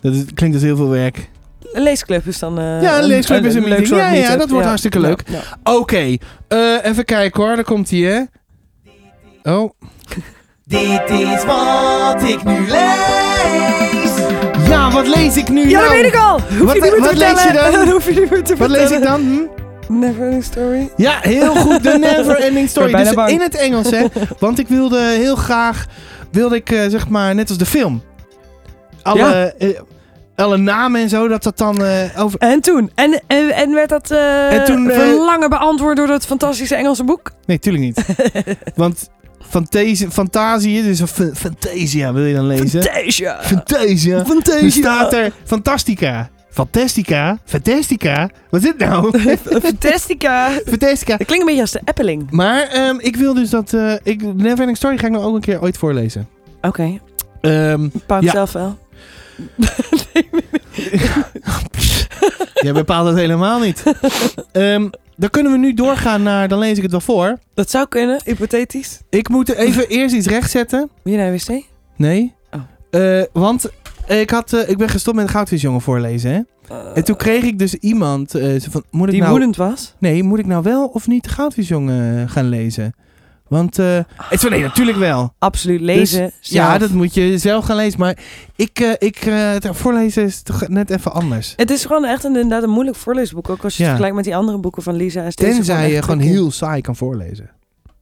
Speaker 1: Dat is- klinkt dus heel veel werk.
Speaker 2: Een leesclub is dan... eh,
Speaker 1: Ja, een leesclub is een
Speaker 2: leuk
Speaker 1: meeting.
Speaker 2: soort
Speaker 1: Ja, ja,
Speaker 2: meetup.
Speaker 1: dat wordt hartstikke leuk. Nou,
Speaker 2: Ja, ja.
Speaker 1: Oké, eh, even kijken hoor. Daar komt hij, hè? Oh.
Speaker 4: Dit is wat ik nu lees.
Speaker 1: Ja, wat lees ik nu?
Speaker 2: Ja, dat
Speaker 1: nou?
Speaker 2: weet ik al! Hoef
Speaker 1: Wat-
Speaker 2: je niet meer
Speaker 1: wat
Speaker 2: te
Speaker 1: lees je
Speaker 2: vertellen.
Speaker 1: dan?
Speaker 2: hoef je niet meer te
Speaker 1: Wat lees ik
Speaker 2: vertellen.
Speaker 1: dan? Hm?
Speaker 2: Neverending Story.
Speaker 1: Ja, heel goed. De Never Ending Story.
Speaker 2: Ik ben
Speaker 1: Dus
Speaker 2: bijna
Speaker 1: in
Speaker 2: bang.
Speaker 1: het Engels, hè. Want ik wilde heel graag... Wilde ik, eh, zeg maar, net als de film. Alle,
Speaker 2: Ja.
Speaker 1: eh, alle namen en zo, dat dat dan eh, over...
Speaker 2: En toen? En, en, en werd dat eh
Speaker 1: En toen, eh,
Speaker 2: verlangen beantwoord door dat fantastische Engelse boek?
Speaker 1: Nee, tuurlijk niet. Want fantasie, fantasie dus een fa- Fantasia wil je dan lezen.
Speaker 2: Fantasia!
Speaker 1: Fantasia. Dan
Speaker 2: Fantasia!
Speaker 1: staat er Fantastica. Fantastica. Fantastica. Wat is dit nou?
Speaker 2: Fantastica!
Speaker 1: Fantastica.
Speaker 2: Dat klinkt een beetje als de Eppeling.
Speaker 1: Maar ehm, ik wil dus dat... eh ik, Neverending Story ga ik nou ook een keer ooit voorlezen.
Speaker 2: Oké,
Speaker 1: Ehm
Speaker 2: paap
Speaker 1: Ja.
Speaker 2: zelf wel.
Speaker 1: Jij bepaalt het helemaal niet. Ehm, dan kunnen we nu doorgaan naar... Dan lees ik het wel voor.
Speaker 2: Dat zou kunnen, hypothetisch.
Speaker 1: Ik moet even eerst iets rechtzetten.
Speaker 2: Moet je naar de wc?
Speaker 1: Nee.
Speaker 2: Oh.
Speaker 1: Eh, want ik, had, eh, ik ben gestopt met Goudvisjongen voorlezen. Hè? En toen kreeg ik dus iemand... eh, zo van, moet ik
Speaker 2: Eh, die
Speaker 1: nou,
Speaker 2: woedend was.
Speaker 1: Nee, moet ik nou wel of niet Goudvisjongen gaan lezen? Want... eh het is van, nee, natuurlijk wel.
Speaker 2: Absoluut lezen.
Speaker 1: Dus, Ja,
Speaker 2: Ah. zelf.
Speaker 1: dat moet je zelf gaan lezen. Maar ik, eh, ik, eh, het voorlezen is toch net even anders.
Speaker 2: Het is gewoon echt een, inderdaad een moeilijk voorleesboek. Ook als je
Speaker 1: Ja.
Speaker 2: het vergelijkt met die andere boeken van Lisa. Is deze
Speaker 1: Tenzij je
Speaker 2: echt
Speaker 1: gewoon
Speaker 2: een-
Speaker 1: heel saai kan voorlezen.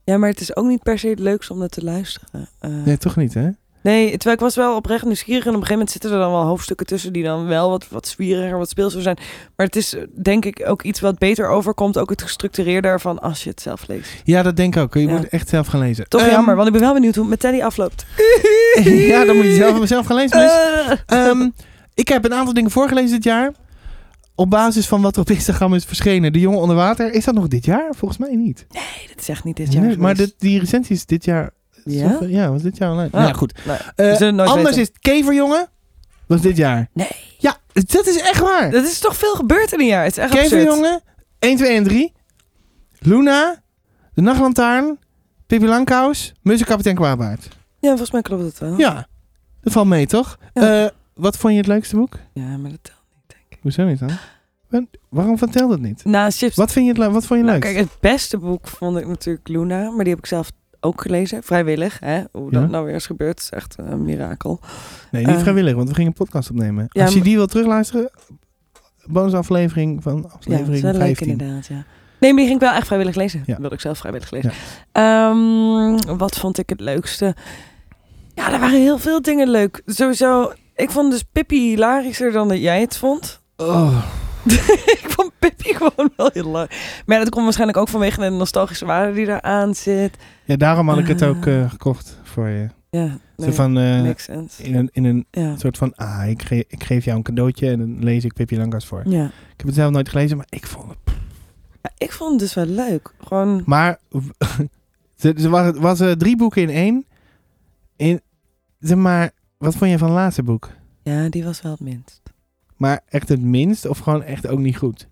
Speaker 2: Ja, maar het is ook niet per se het leukste om dat te luisteren. Eh, nee.
Speaker 1: Nee, toch niet, hè?
Speaker 2: terwijl ik was wel oprecht nieuwsgierig. En op een gegeven moment zitten er dan wel hoofdstukken tussen... die dan wel wat, wat zwieriger, wat speelser zijn. Maar het is eh, denk ik ook iets wat beter overkomt. Ook het gestructureerder ervan als je het zelf leest.
Speaker 1: Ja, dat denk ik ook. Je
Speaker 2: Ja.
Speaker 1: moet echt zelf gaan lezen.
Speaker 2: Toch
Speaker 1: Ehm,
Speaker 2: jammer, want ik ben wel benieuwd hoe het met Teddy afloopt.
Speaker 1: ja, dan moet je zelf, zelf gaan lezen. mensen.
Speaker 2: Eh,
Speaker 1: Ehm, ik heb een aantal dingen voorgelezen dit jaar. Op basis van wat er op Instagram is verschenen. De jongen onder water. Is dat nog dit jaar? Volgens mij niet.
Speaker 2: nee, dit is echt niet dit jaar
Speaker 1: Nee, maar
Speaker 2: geweest.
Speaker 1: dit, die recensie is dit jaar.
Speaker 2: Ja?
Speaker 1: Ja, was dit jaar online.
Speaker 2: Ah.
Speaker 1: Nou ja, goed.
Speaker 2: Nou,
Speaker 1: Eh,
Speaker 2: we zullen het nooit
Speaker 1: anders
Speaker 2: weten.
Speaker 1: is het Keverjongen. Was dit jaar.
Speaker 2: Nee.
Speaker 1: Ja, dat is echt waar.
Speaker 2: Dat is toch veel gebeurd in een jaar. Het is echt absurd.
Speaker 1: Keverjongen. 1, 2 en 3. Luna. De Nachtlantaarn. Pippi Langkous. Muziek Kapitein Kwaadbaard.
Speaker 2: Ja, volgens mij klopt dat wel.
Speaker 1: Ja, dat valt mee, toch?
Speaker 2: Ja.
Speaker 1: Eh, wat vond je het leukste boek?
Speaker 2: Ja, maar dat telt niet, denk ik.
Speaker 1: Hoezo niet dan? Wa- Waarom vertel dat niet?
Speaker 2: Na Chips...
Speaker 1: Wat vind je, het, le- wat vond je
Speaker 2: Nou,
Speaker 1: leuk?
Speaker 2: kijk, het beste boek vond ik natuurlijk Luna. Maar die heb ik zelf ook gelezen. Vrijwillig, hè. Hoe dat
Speaker 1: Ja.
Speaker 2: nou weer is gebeurd, is echt een mirakel.
Speaker 1: nee, niet
Speaker 2: eh,
Speaker 1: vrijwillig, want we gingen een podcast opnemen.
Speaker 2: Ja,
Speaker 1: Als je
Speaker 2: maar-
Speaker 1: die wil terugluisteren, bonusaflevering van
Speaker 2: Ja, dat is
Speaker 1: aflevering
Speaker 2: wel leuk
Speaker 1: 15.
Speaker 2: inderdaad, ja. Nee, maar die ging ik wel echt vrijwillig lezen.
Speaker 1: Ja.
Speaker 2: Dat wilde ik zelf vrijwillig lezen. Ehm, wat vond ik het leukste? Ja, er waren heel veel dingen leuk. Sowieso, ik vond dus Pippi hilarischer dan dat jij het vond.
Speaker 1: Oh,
Speaker 2: ik vond Pippi gewoon wel heel leuk. Maar ja, dat komt waarschijnlijk ook vanwege de nostalgische waarde die eraan zit.
Speaker 1: ja, daarom had ik het ook
Speaker 2: Ah.
Speaker 1: eh, gekocht voor je.
Speaker 2: Ja,
Speaker 1: Zo
Speaker 2: nee,
Speaker 1: van, eh,
Speaker 2: makes sense.
Speaker 1: in, een, in een
Speaker 2: Ja.
Speaker 1: soort van, ah, ik, ge- ik geef jou een cadeautje en dan lees ik Pippi Langkous voor.
Speaker 2: Ja.
Speaker 1: Ik heb het zelf nooit gelezen, maar ik vond het...
Speaker 2: Maar ik vond het dus wel leuk. Gewoon,
Speaker 1: Maar ze- ze was, was er drie boeken in één. In, zeg maar, wat vond je van het laatste boek?
Speaker 2: ja, die was wel het minst.
Speaker 1: Maar echt het minst of gewoon echt ook niet goed?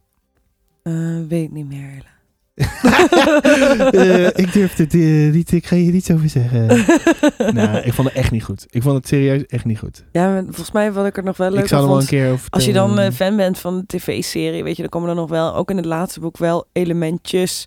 Speaker 2: Eh, weet niet meer. helaas.
Speaker 1: Eh, ik durf het eh, niet, ik ga hier niets over zeggen. nou, ik vond het echt niet goed. Ik vond het serieus echt niet goed.
Speaker 2: Ja, maar volgens mij wat ik er nog wel leuk
Speaker 1: ik zou
Speaker 2: aan
Speaker 1: er wel een
Speaker 2: vond.
Speaker 1: keer over Mm.
Speaker 2: Als je
Speaker 1: vertellen.
Speaker 2: dan eh, fan bent van de tv-serie, weet je, dan komen er nog wel, ook in het laatste boek, wel elementjes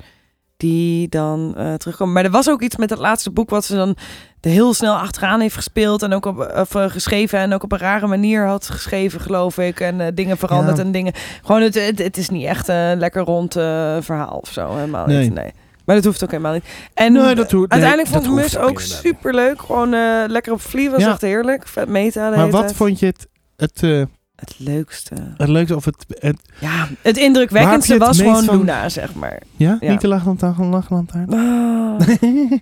Speaker 2: die dan eh, terugkomen. Maar er was ook iets met het laatste boek wat ze dan er heel snel achteraan heeft gespeeld en ook op, of, eh, geschreven en ook op een rare manier had geschreven, geloof ik. En eh, dingen veranderd
Speaker 1: Ja.
Speaker 2: en dingen. Gewoon, het, het, het is niet echt een lekker rond eh, verhaal of zo. Helemaal
Speaker 1: Nee.
Speaker 2: niet. Nee. Maar dat hoeft ook helemaal niet. En
Speaker 1: Nee, dat hoort- nee,
Speaker 2: uiteindelijk
Speaker 1: dat
Speaker 2: vond ik
Speaker 1: hoeft
Speaker 2: Mus ook
Speaker 1: inderdaad.
Speaker 2: superleuk. Gewoon eh, lekker op vliegen was
Speaker 1: Ja.
Speaker 2: echt heerlijk. Vet meta. de
Speaker 1: Maar
Speaker 2: hele
Speaker 1: wat
Speaker 2: tijd.
Speaker 1: vond je het, het, eh,
Speaker 2: het leukste?
Speaker 1: het leukste of het... het
Speaker 2: Ja, het
Speaker 1: Waar heb je
Speaker 2: indrukwekkendste
Speaker 1: het
Speaker 2: was
Speaker 1: meest
Speaker 2: gewoon
Speaker 1: van-
Speaker 2: Luna, zeg maar.
Speaker 1: ja?
Speaker 2: Ja.
Speaker 1: Niet de lachlantaarn, gewoon lachlantaarn.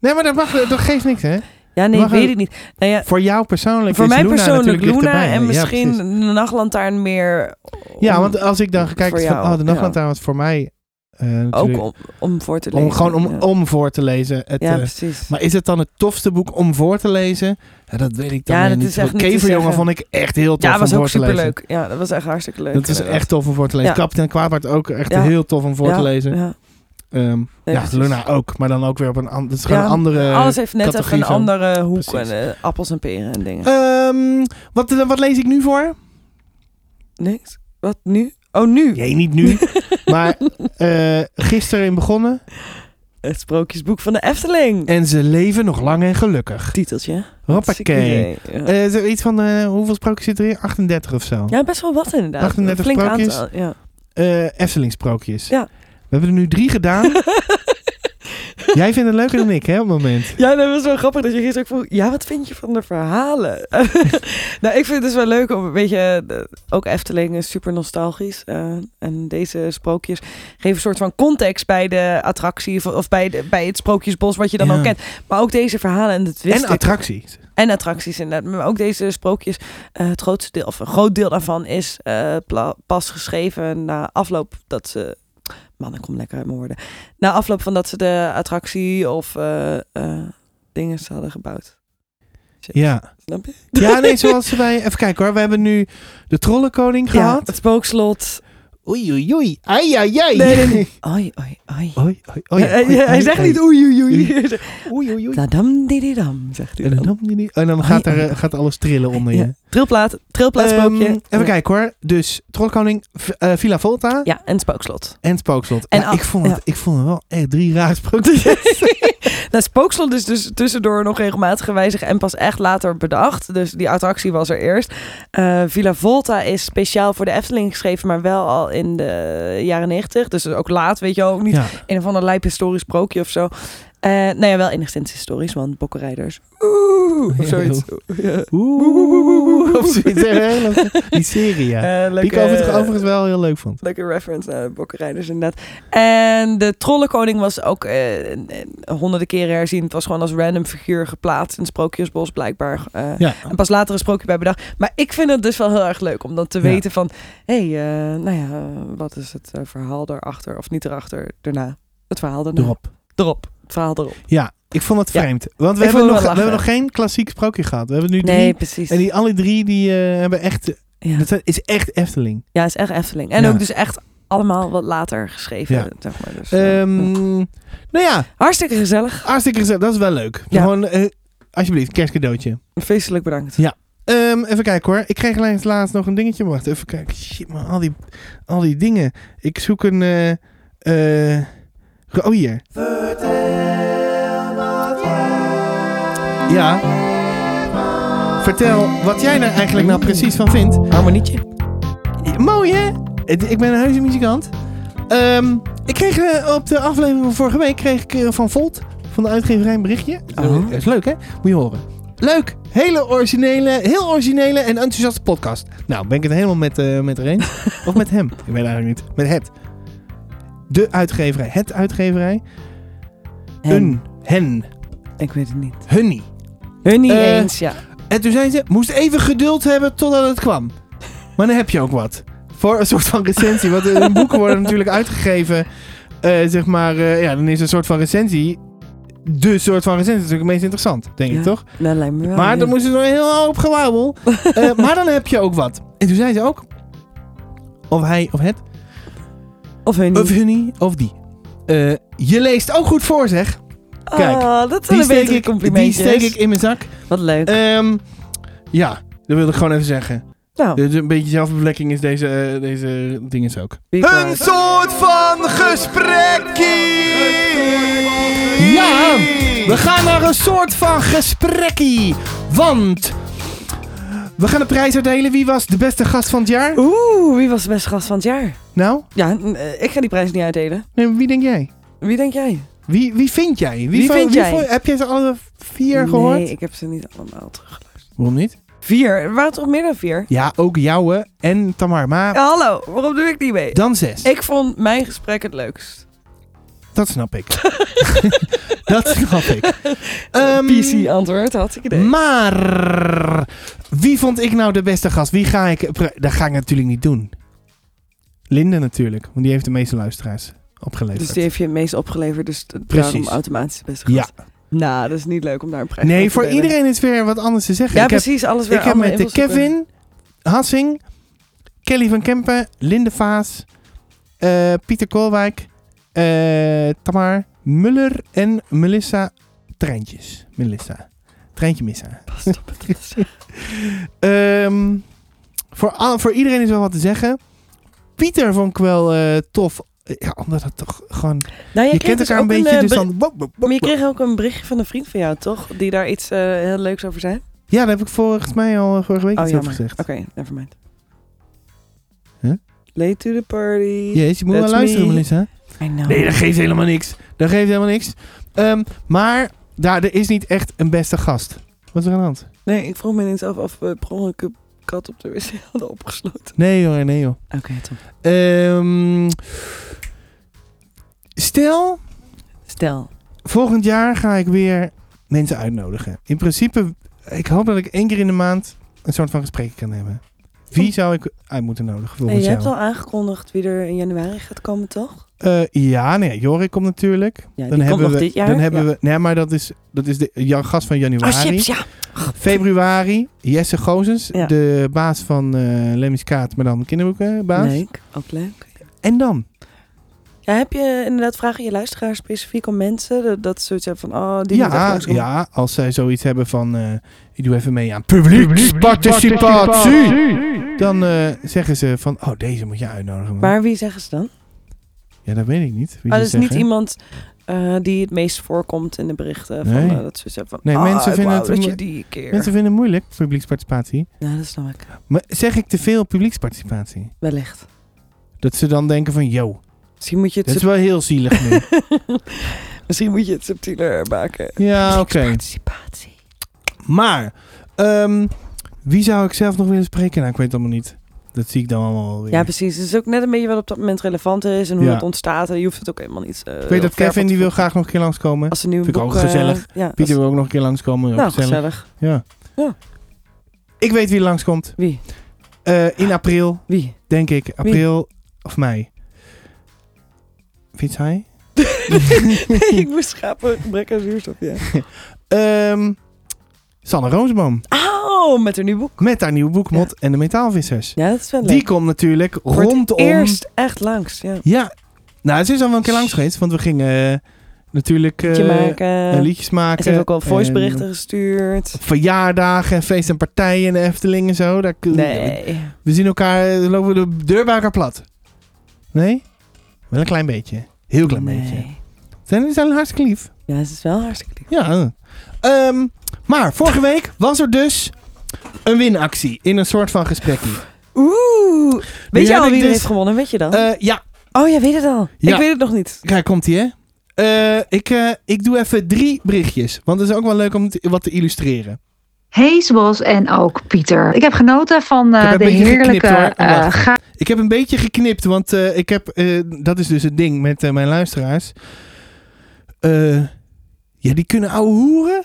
Speaker 1: nee, maar dat, mag, dat geeft niks, hè?
Speaker 2: Ja, nee,
Speaker 1: Mag
Speaker 2: weet
Speaker 1: het-
Speaker 2: ik niet. Nou ja,
Speaker 1: Voor jou persoonlijk
Speaker 2: voor
Speaker 1: is
Speaker 2: mij
Speaker 1: Luna
Speaker 2: persoonlijk
Speaker 1: natuurlijk
Speaker 2: Luna
Speaker 1: dichterbij, hè?
Speaker 2: en
Speaker 1: Ja,
Speaker 2: misschien
Speaker 1: precies.
Speaker 2: de nachtlantaarn meer. om-
Speaker 1: Ja, want als ik dan kijk,
Speaker 2: voor
Speaker 1: van,
Speaker 2: jou,
Speaker 1: oh, de nachtlantaarn was voor mij eh,
Speaker 2: ook
Speaker 1: natuurlijk-
Speaker 2: om, om voor te
Speaker 1: om,
Speaker 2: lezen.
Speaker 1: gewoon om,
Speaker 2: ja.
Speaker 1: om voor te lezen. Het,
Speaker 2: ja,
Speaker 1: eh,
Speaker 2: precies.
Speaker 1: maar is het dan het tofste boek om voor te lezen? Ja, dat weet ik dan
Speaker 2: Ja,
Speaker 1: weer
Speaker 2: dat
Speaker 1: niet.
Speaker 2: is echt
Speaker 1: zo.
Speaker 2: niet te
Speaker 1: Keverjongen
Speaker 2: zeggen.
Speaker 1: vond ik echt heel tof
Speaker 2: Ja, was
Speaker 1: om
Speaker 2: ook
Speaker 1: voor te lezen.
Speaker 2: superleuk. Ja, dat was echt hartstikke leuk.
Speaker 1: Dat is echt tof om voor te lezen.
Speaker 2: Ja.
Speaker 1: Kapitein Kwaadbaard ook echt
Speaker 2: Ja.
Speaker 1: heel tof om voor te lezen.
Speaker 2: Ja,
Speaker 1: Ehm,
Speaker 2: Nee,
Speaker 1: ja,
Speaker 2: precies.
Speaker 1: Luna ook, maar dan ook weer op een, an- dat is gewoon
Speaker 2: Ja,
Speaker 1: een andere...
Speaker 2: Alles heeft net even
Speaker 1: categorie
Speaker 2: een
Speaker 1: zo.
Speaker 2: andere hoek.
Speaker 1: Precies.
Speaker 2: En, eh, appels en peren en dingen.
Speaker 1: Ehm, wat, wat lees ik nu voor?
Speaker 2: Niks? Wat nu? Oh, nu?
Speaker 1: Nee, niet nu. maar eh gisteren in begonnen.
Speaker 2: Het sprookjesboek van de Efteling.
Speaker 1: En ze leven nog lang en gelukkig.
Speaker 2: Titeltje.
Speaker 1: Hoppakee.
Speaker 2: Ziek idee, ja.
Speaker 1: Eh, is er iets van, eh, hoeveel sprookjes zit erin? 38 of zo.
Speaker 2: Ja, best wel wat inderdaad.
Speaker 1: 38
Speaker 2: Flink
Speaker 1: sprookjes.
Speaker 2: aantal, ja.
Speaker 1: Eh, Efteling-sprookjes.
Speaker 2: Ja.
Speaker 1: We hebben er nu drie gedaan. Jij vindt het leuker dan ik, hè, op het moment.
Speaker 2: Ja, dat was wel grappig dat je gisteren ook vroeg... Ja, wat vind je van de verhalen? nou, ik vind het dus wel leuk om... Weet je, de- ook Efteling is super nostalgisch. eh, en deze sprookjes geven een soort van context bij de attractie... Of, of bij, de, bij het sprookjesbos wat je dan
Speaker 1: Ja.
Speaker 2: al kent. Maar ook deze verhalen en het wist
Speaker 1: en
Speaker 2: ik.
Speaker 1: attracties.
Speaker 2: En attracties inderdaad. Maar ook deze sprookjes, eh, het grootste deel, of een groot deel daarvan is eh, pla- pas geschreven na afloop dat ze. Man, ik kom lekker uit mijn woorden. Na afloop van dat ze de attractie of eh, eh, dingen hadden gebouwd. Shit,
Speaker 1: Ja.
Speaker 2: Snap je?
Speaker 1: Ja, nee, zoals wij... Even kijken hoor. We hebben nu de Trollenkoning
Speaker 2: Ja,
Speaker 1: gehad.
Speaker 2: het spookslot.
Speaker 1: Oei, oei, oei. Ai, ai, ai.
Speaker 2: Nee, nee, nee. Oei, oei, oei.
Speaker 1: Oei, oei, oei.
Speaker 2: Hij-
Speaker 1: oei,
Speaker 2: hij
Speaker 1: oei,
Speaker 2: zegt
Speaker 1: oei.
Speaker 2: niet oei, oei, oei.
Speaker 1: Oei, oei, oei.
Speaker 2: Dadam, dididam, zegt hij
Speaker 1: En dan,
Speaker 2: dan.
Speaker 1: en dan
Speaker 2: Oei,
Speaker 1: gaat, er,
Speaker 2: oei.
Speaker 1: eh, gaat alles trillen onder je.
Speaker 2: Ja. Trilplaat, trilplaat
Speaker 1: Ehm,
Speaker 2: spookje.
Speaker 1: even kijken hoor. Dus Trollenkoning, v- eh, Villa Volta
Speaker 2: Ja, en het spookslot.
Speaker 1: en Spookslot.
Speaker 2: En
Speaker 1: Ja,
Speaker 2: al-
Speaker 1: ik, vond het,
Speaker 2: ja.
Speaker 1: ik vond het wel echt drie raar sprookjes.
Speaker 2: Nou, Spookslot is dus tussendoor nog regelmatig gewijzigd en pas echt later bedacht. Dus die attractie was er eerst. Eh, Villa Volta is speciaal voor de Efteling geschreven, maar wel al in de jaren 90. Dus ook laat, weet je wel, ook niet
Speaker 1: ja.
Speaker 2: een of ander lijp historisch sprookje of zo. Eh nou ja, wel enigszins historisch, want bokkenrijders. Oeh, of zoiets. Ja.
Speaker 1: Oeh,
Speaker 2: Oeh, oeh, oeh, oeh.
Speaker 1: Of zoiets, hè? Leuk. Die serie, ja.
Speaker 2: Eh,
Speaker 1: Die ik
Speaker 2: leuke-
Speaker 1: overigens, overigens wel heel leuk vond.
Speaker 2: Leuke reference naar de bokkenrijders inderdaad. En de trollenkoning was ook eh, een- een- honderden keren herzien. Het was gewoon als random figuur geplaatst in het Sprookjesbos blijkbaar. eh,
Speaker 1: Ja.
Speaker 2: En pas later een sprookje bij bedacht. Maar ik vind het dus wel heel erg leuk om dan te
Speaker 1: Ja.
Speaker 2: weten van... Hé, hey, eh, nou ja, eh, wat is het eh, verhaal daarachter? Of niet erachter, daarna. Het verhaal daarna.
Speaker 1: Erop.
Speaker 2: Erop. Het verhaal erop.
Speaker 1: Ja, ik vond het
Speaker 2: Ja.
Speaker 1: vreemd. Want we
Speaker 2: Ik vond het
Speaker 1: hebben,
Speaker 2: wel
Speaker 1: nog, we
Speaker 2: lachen.
Speaker 1: hebben nog geen klassiek sprookje gehad. We hebben nu drie.
Speaker 2: Nee, precies.
Speaker 1: En die, alle drie die eh, hebben echt...
Speaker 2: ja.
Speaker 1: Dat zijn- is echt Efteling.
Speaker 2: ja, is echt Efteling. En
Speaker 1: Ja.
Speaker 2: ook dus echt allemaal wat later geschreven,
Speaker 1: Ja.
Speaker 2: zeg maar. Dus, eh,
Speaker 1: Ehm, nou ja,
Speaker 2: Hartstikke gezellig.
Speaker 1: hartstikke gezellig. Dat is wel leuk.
Speaker 2: Ja.
Speaker 1: Gewoon, eh, alsjeblieft, kerstcadeautje.
Speaker 2: Feestelijk bedankt.
Speaker 1: Ehm, even kijken hoor. Ik kreeg laatst, laatst nog een dingetje. Wacht, even kijken. Shit man, al die, al die dingen. Ik zoek een... eh, eh, oh hier. Ja. Vertel wat jij er eigenlijk nou precies van vindt.
Speaker 2: Harmonietje.
Speaker 1: Mooi hè? Het- Ik ben een heuse muzikant. Ehm, ik kreeg eh, op de aflevering van vorige week kreeg ik eh, van Volt, van de uitgeverij, een berichtje.
Speaker 2: Oh.
Speaker 1: Dat is leuk hè? Moet je horen. Leuk, hele originele, heel originele en enthousiaste podcast. Nou, ben ik het helemaal met, eh met Reen. of met hem. Ik weet het eigenlijk niet. Met het. De uitgeverij. Het uitgeverij. Een. Hen.
Speaker 2: Ik weet het niet.
Speaker 1: Hunnie.
Speaker 2: Hun niet
Speaker 1: Eh,
Speaker 2: eens, ja.
Speaker 1: En toen zei ze, moest even geduld hebben totdat het kwam. Maar dan heb je ook wat. Voor een soort van recensie. Want eh, boeken worden natuurlijk uitgegeven. eh, zeg maar, eh, ja, dan is een soort van recensie. De soort van recensie natuurlijk het meest interessant, denk
Speaker 2: Ja.
Speaker 1: ik toch?
Speaker 2: Nou, lijkt me wel.
Speaker 1: Maar
Speaker 2: ja.
Speaker 1: dan moesten ze nog een heel hoop gewauwel. Eh, maar dan heb je ook wat. En toen zei ze ook. Of hij of het.
Speaker 2: Of hun
Speaker 1: Of
Speaker 2: niet.
Speaker 1: hunnie of die. Eh, je leest ook goed voor, zeg. kijk,
Speaker 2: Ah, dat
Speaker 1: Die
Speaker 2: zijn een
Speaker 1: steek,
Speaker 2: betere
Speaker 1: ik, die
Speaker 2: complimentjes.
Speaker 1: steek ik in mijn zak.
Speaker 2: Wat leuk.
Speaker 1: Ehm, ja, dat wilde ik gewoon even zeggen.
Speaker 2: nou,
Speaker 1: Dus een beetje zelfbevlekking is deze, eh, deze ding is ook.
Speaker 2: be
Speaker 1: Een
Speaker 2: quiet.
Speaker 1: soort van gesprekkie! Ja, we gaan naar een soort van gesprekkie. Want we gaan de prijs uitdelen. Wie was de beste gast van het jaar?
Speaker 2: Oeh, wie was de beste gast van het jaar?
Speaker 1: Nou,
Speaker 2: Ja, n- eh, ik ga die prijs niet uitdelen.
Speaker 1: nee, wie denk jij?
Speaker 2: Wie denk jij?
Speaker 1: Wie, wie vind jij? Wie,
Speaker 2: Wie
Speaker 1: vo-
Speaker 2: vind jij?
Speaker 1: vo- heb jij ze alle vier gehoord?
Speaker 2: Nee, ik heb ze niet allemaal teruggeluisterd.
Speaker 1: Waarom niet?
Speaker 2: Vier? Er waren toch meer dan vier?
Speaker 1: Ja, ook jouwe en Tamar. Maar
Speaker 2: Hallo, waarom doe ik die mee?
Speaker 1: dan zes.
Speaker 2: Oh, Ik vond mijn gesprek het leukst.
Speaker 1: Dat snap ik. dat snap ik. Ehm, Mm.
Speaker 2: PC-antwoord had ik idee.
Speaker 1: Maar wie vond ik nou de beste gast? Wie ga ik. pre- Dat ga ik natuurlijk niet doen. Linde natuurlijk, want die heeft de meeste luisteraars opgeleverd.
Speaker 2: dus die heeft je het meest opgeleverd, dus t-
Speaker 1: Precies.
Speaker 2: daarom automatisch de beste
Speaker 1: Ja.
Speaker 2: gast. Nou, dat is niet leuk om daar een prijs
Speaker 1: nee,
Speaker 2: voor
Speaker 1: voor
Speaker 2: te delen.
Speaker 1: iedereen is weer wat anders te zeggen.
Speaker 2: Ja,
Speaker 1: ik heb,
Speaker 2: precies. alles weer
Speaker 1: ik heb
Speaker 2: allemaal
Speaker 1: met de
Speaker 2: invalshoeken.
Speaker 1: Kevin, Hassing, Kelly van Kempen, Linde Vaas, eh, Pieter Koolwijk, eh, Tamar Muller en Melissa Treintjes. Melissa. Treintje Missa.
Speaker 2: Pas op het recept.
Speaker 1: Ehm, voor, al- voor iedereen is wel wat te zeggen. Pieter vond ik wel eh, tof. Ja, omdat het toch gewoon...
Speaker 2: nou, jij
Speaker 1: je
Speaker 2: kreeg
Speaker 1: kent
Speaker 2: dus
Speaker 1: elkaar een
Speaker 2: ook
Speaker 1: beetje,
Speaker 2: eh,
Speaker 1: dus
Speaker 2: beri-
Speaker 1: dan... wop, wop, wop,
Speaker 2: Maar je
Speaker 1: wop.
Speaker 2: kreeg ook een berichtje van een vriend van jou, toch? Die daar iets eh, heel leuks over zei?
Speaker 1: Ja, daar heb ik volgens mij al eh, vorige week
Speaker 2: Oh,
Speaker 1: iets
Speaker 2: ja,
Speaker 1: over
Speaker 2: maar.
Speaker 1: gezegd.
Speaker 2: Oké, nevermind.
Speaker 1: Huh?
Speaker 2: Late to the party.
Speaker 1: Jezus, je moet wel
Speaker 2: That's
Speaker 1: luisteren,
Speaker 2: me.
Speaker 1: Melissa.
Speaker 2: I know.
Speaker 1: Nee, dat geeft helemaal niks. Dat geeft helemaal niks. Ehm, maar daar, er is niet echt een beste gast. Wat is er aan de hand?
Speaker 2: Nee, ik vroeg me ineens af of we per ongeluk een kat op de wc hadden opgesloten.
Speaker 1: Nee hoor, nee joh.
Speaker 2: Oké, Tom.
Speaker 1: Ehm, stel,
Speaker 2: Stel.
Speaker 1: Volgend jaar ga ik weer mensen uitnodigen. In principe, ik hoop dat ik één keer in de maand een soort van gesprek kan hebben. Wie zou ik uit moeten nodigen
Speaker 2: Hey,
Speaker 1: volgens
Speaker 2: je
Speaker 1: jou?
Speaker 2: hebt al aangekondigd wie er in januari gaat komen, toch?
Speaker 1: Eh, ja, nee, Jorik komt natuurlijk.
Speaker 2: die komt nog
Speaker 1: we,
Speaker 2: dit jaar,
Speaker 1: Dan hebben
Speaker 2: ja. Oh,
Speaker 1: we, nee, maar dat is, dat is de ja, gast van januari.
Speaker 2: ja.
Speaker 1: Februari, Jesse Gozens,
Speaker 2: Ja.
Speaker 1: de baas van eh Lemmy's Kaat, maar dan kinderboekenbaas.
Speaker 2: Leuk, ook leuk.
Speaker 1: En dan?
Speaker 2: Ja, heb je inderdaad vragen aan je luisteraars specifiek om mensen? Dat, dat ze zoiets hebben van, oh, die moet echt
Speaker 1: ja,
Speaker 2: langskomen.
Speaker 1: ja, als zij zoiets hebben van, eh, ik doe even mee aan publieksparticipatie. Dan eh, zeggen ze van, oh, deze moet je uitnodigen. man.
Speaker 2: Maar wie zeggen ze dan?
Speaker 1: Ja, dat weet ik niet. Wie
Speaker 2: Ah,
Speaker 1: ze
Speaker 2: dus niet
Speaker 1: zeggen.
Speaker 2: iemand eh, die het meest voorkomt in de berichten. Van,
Speaker 1: Nee.
Speaker 2: eh, dat ze zeggen van,
Speaker 1: Nee,
Speaker 2: ah,
Speaker 1: mensen vinden
Speaker 2: wauw,
Speaker 1: het
Speaker 2: dat
Speaker 1: een-
Speaker 2: je die keer...
Speaker 1: Mensen vinden het moeilijk, publieksparticipatie.
Speaker 2: Nou, dat snap ik.
Speaker 1: Maar zeg ik te veel publieksparticipatie?
Speaker 2: Wellicht.
Speaker 1: Dat ze dan denken van, yo,
Speaker 2: Misschien moet je het,
Speaker 1: dat is
Speaker 2: sub-
Speaker 1: wel heel zielig nu.
Speaker 2: Misschien moet je het subtieler maken.
Speaker 1: ja, Ah, oké.
Speaker 2: Participatie.
Speaker 1: Maar, ehm, wie zou ik zelf nog willen spreken? Nou, ik weet het allemaal niet. Dat zie ik dan allemaal wel weer.
Speaker 2: Ja, precies. Het is ook net een beetje wat op dat moment relevant is en hoe
Speaker 1: Ja.
Speaker 2: het ontstaat. En je hoeft het ook helemaal niet... eh,
Speaker 1: ik weet dat
Speaker 2: ver
Speaker 1: Kevin,
Speaker 2: van
Speaker 1: die
Speaker 2: te-
Speaker 1: wil graag nog een keer langskomen.
Speaker 2: Als ze nu een
Speaker 1: Vind ik
Speaker 2: boek,
Speaker 1: ook
Speaker 2: eh,
Speaker 1: gezellig.
Speaker 2: ja, als-
Speaker 1: Pieter wil ook nog een keer langskomen. ook
Speaker 2: nou,
Speaker 1: gezellig.
Speaker 2: gezellig.
Speaker 1: Ja.
Speaker 2: Ja.
Speaker 1: Ik weet wie langskomt.
Speaker 2: Wie?
Speaker 1: Eh, in april,
Speaker 2: Wie?
Speaker 1: denk ik. April of mei. Vind je het saai?
Speaker 2: ik moest schapen gebrek aan zuurstof, ja.
Speaker 1: Ehm, Sanne Roosboom.
Speaker 2: Oh, met haar nieuw boek.
Speaker 1: Met haar nieuwe boek Mot en de Metaalvissers.
Speaker 2: Ja, dat is wel leuk.
Speaker 1: Die komt natuurlijk
Speaker 2: Voor het
Speaker 1: rondom...
Speaker 2: eerst echt langs, ja.
Speaker 1: Ja. Nou, ze is al wel een keer langs geweest. Want we gingen eh, natuurlijk... eh,
Speaker 2: Liedje maken.
Speaker 1: eh, liedjes maken.
Speaker 2: Ze heeft ook al
Speaker 1: en
Speaker 2: voiceberichten gestuurd.
Speaker 1: Verjaardagen en feesten en partijen in de Efteling en zo. Daar,
Speaker 2: Nee.
Speaker 1: We zien elkaar, eh, lopen we de deur bij elkaar plat. Nee? Wel een klein beetje. Heel klein
Speaker 2: Nee.
Speaker 1: beetje. Zijn, zijn hartstikke lief.
Speaker 2: Ja, ze is wel hartstikke lief.
Speaker 1: Ja. Ehm, maar vorige week was er dus een winactie in een soort van gesprekje.
Speaker 2: Oeh. Weet je
Speaker 1: heb
Speaker 2: al
Speaker 1: ik
Speaker 2: wie er
Speaker 1: dus-
Speaker 2: heeft gewonnen? Weet je dan?
Speaker 1: Eh, ja,
Speaker 2: oh, jij weet het al.
Speaker 1: ja.
Speaker 2: Ik weet het nog niet.
Speaker 1: kijk, komt ie hè. Eh, ik, eh, ik doe even drie berichtjes. Want het is ook wel leuk om te- wat te illustreren.
Speaker 6: Hey, Zwols en ook Pieter. Ik heb genoten van eh,
Speaker 1: Ik heb een
Speaker 6: de
Speaker 1: beetje
Speaker 6: heerlijke
Speaker 1: geknipt, hoor.
Speaker 6: eh,
Speaker 1: Wacht.
Speaker 6: ga-
Speaker 1: Ik heb een beetje geknipt, want eh, ik heb... eh, dat is dus het ding met eh, mijn luisteraars. Eh, ja, die kunnen ouwe hoeren.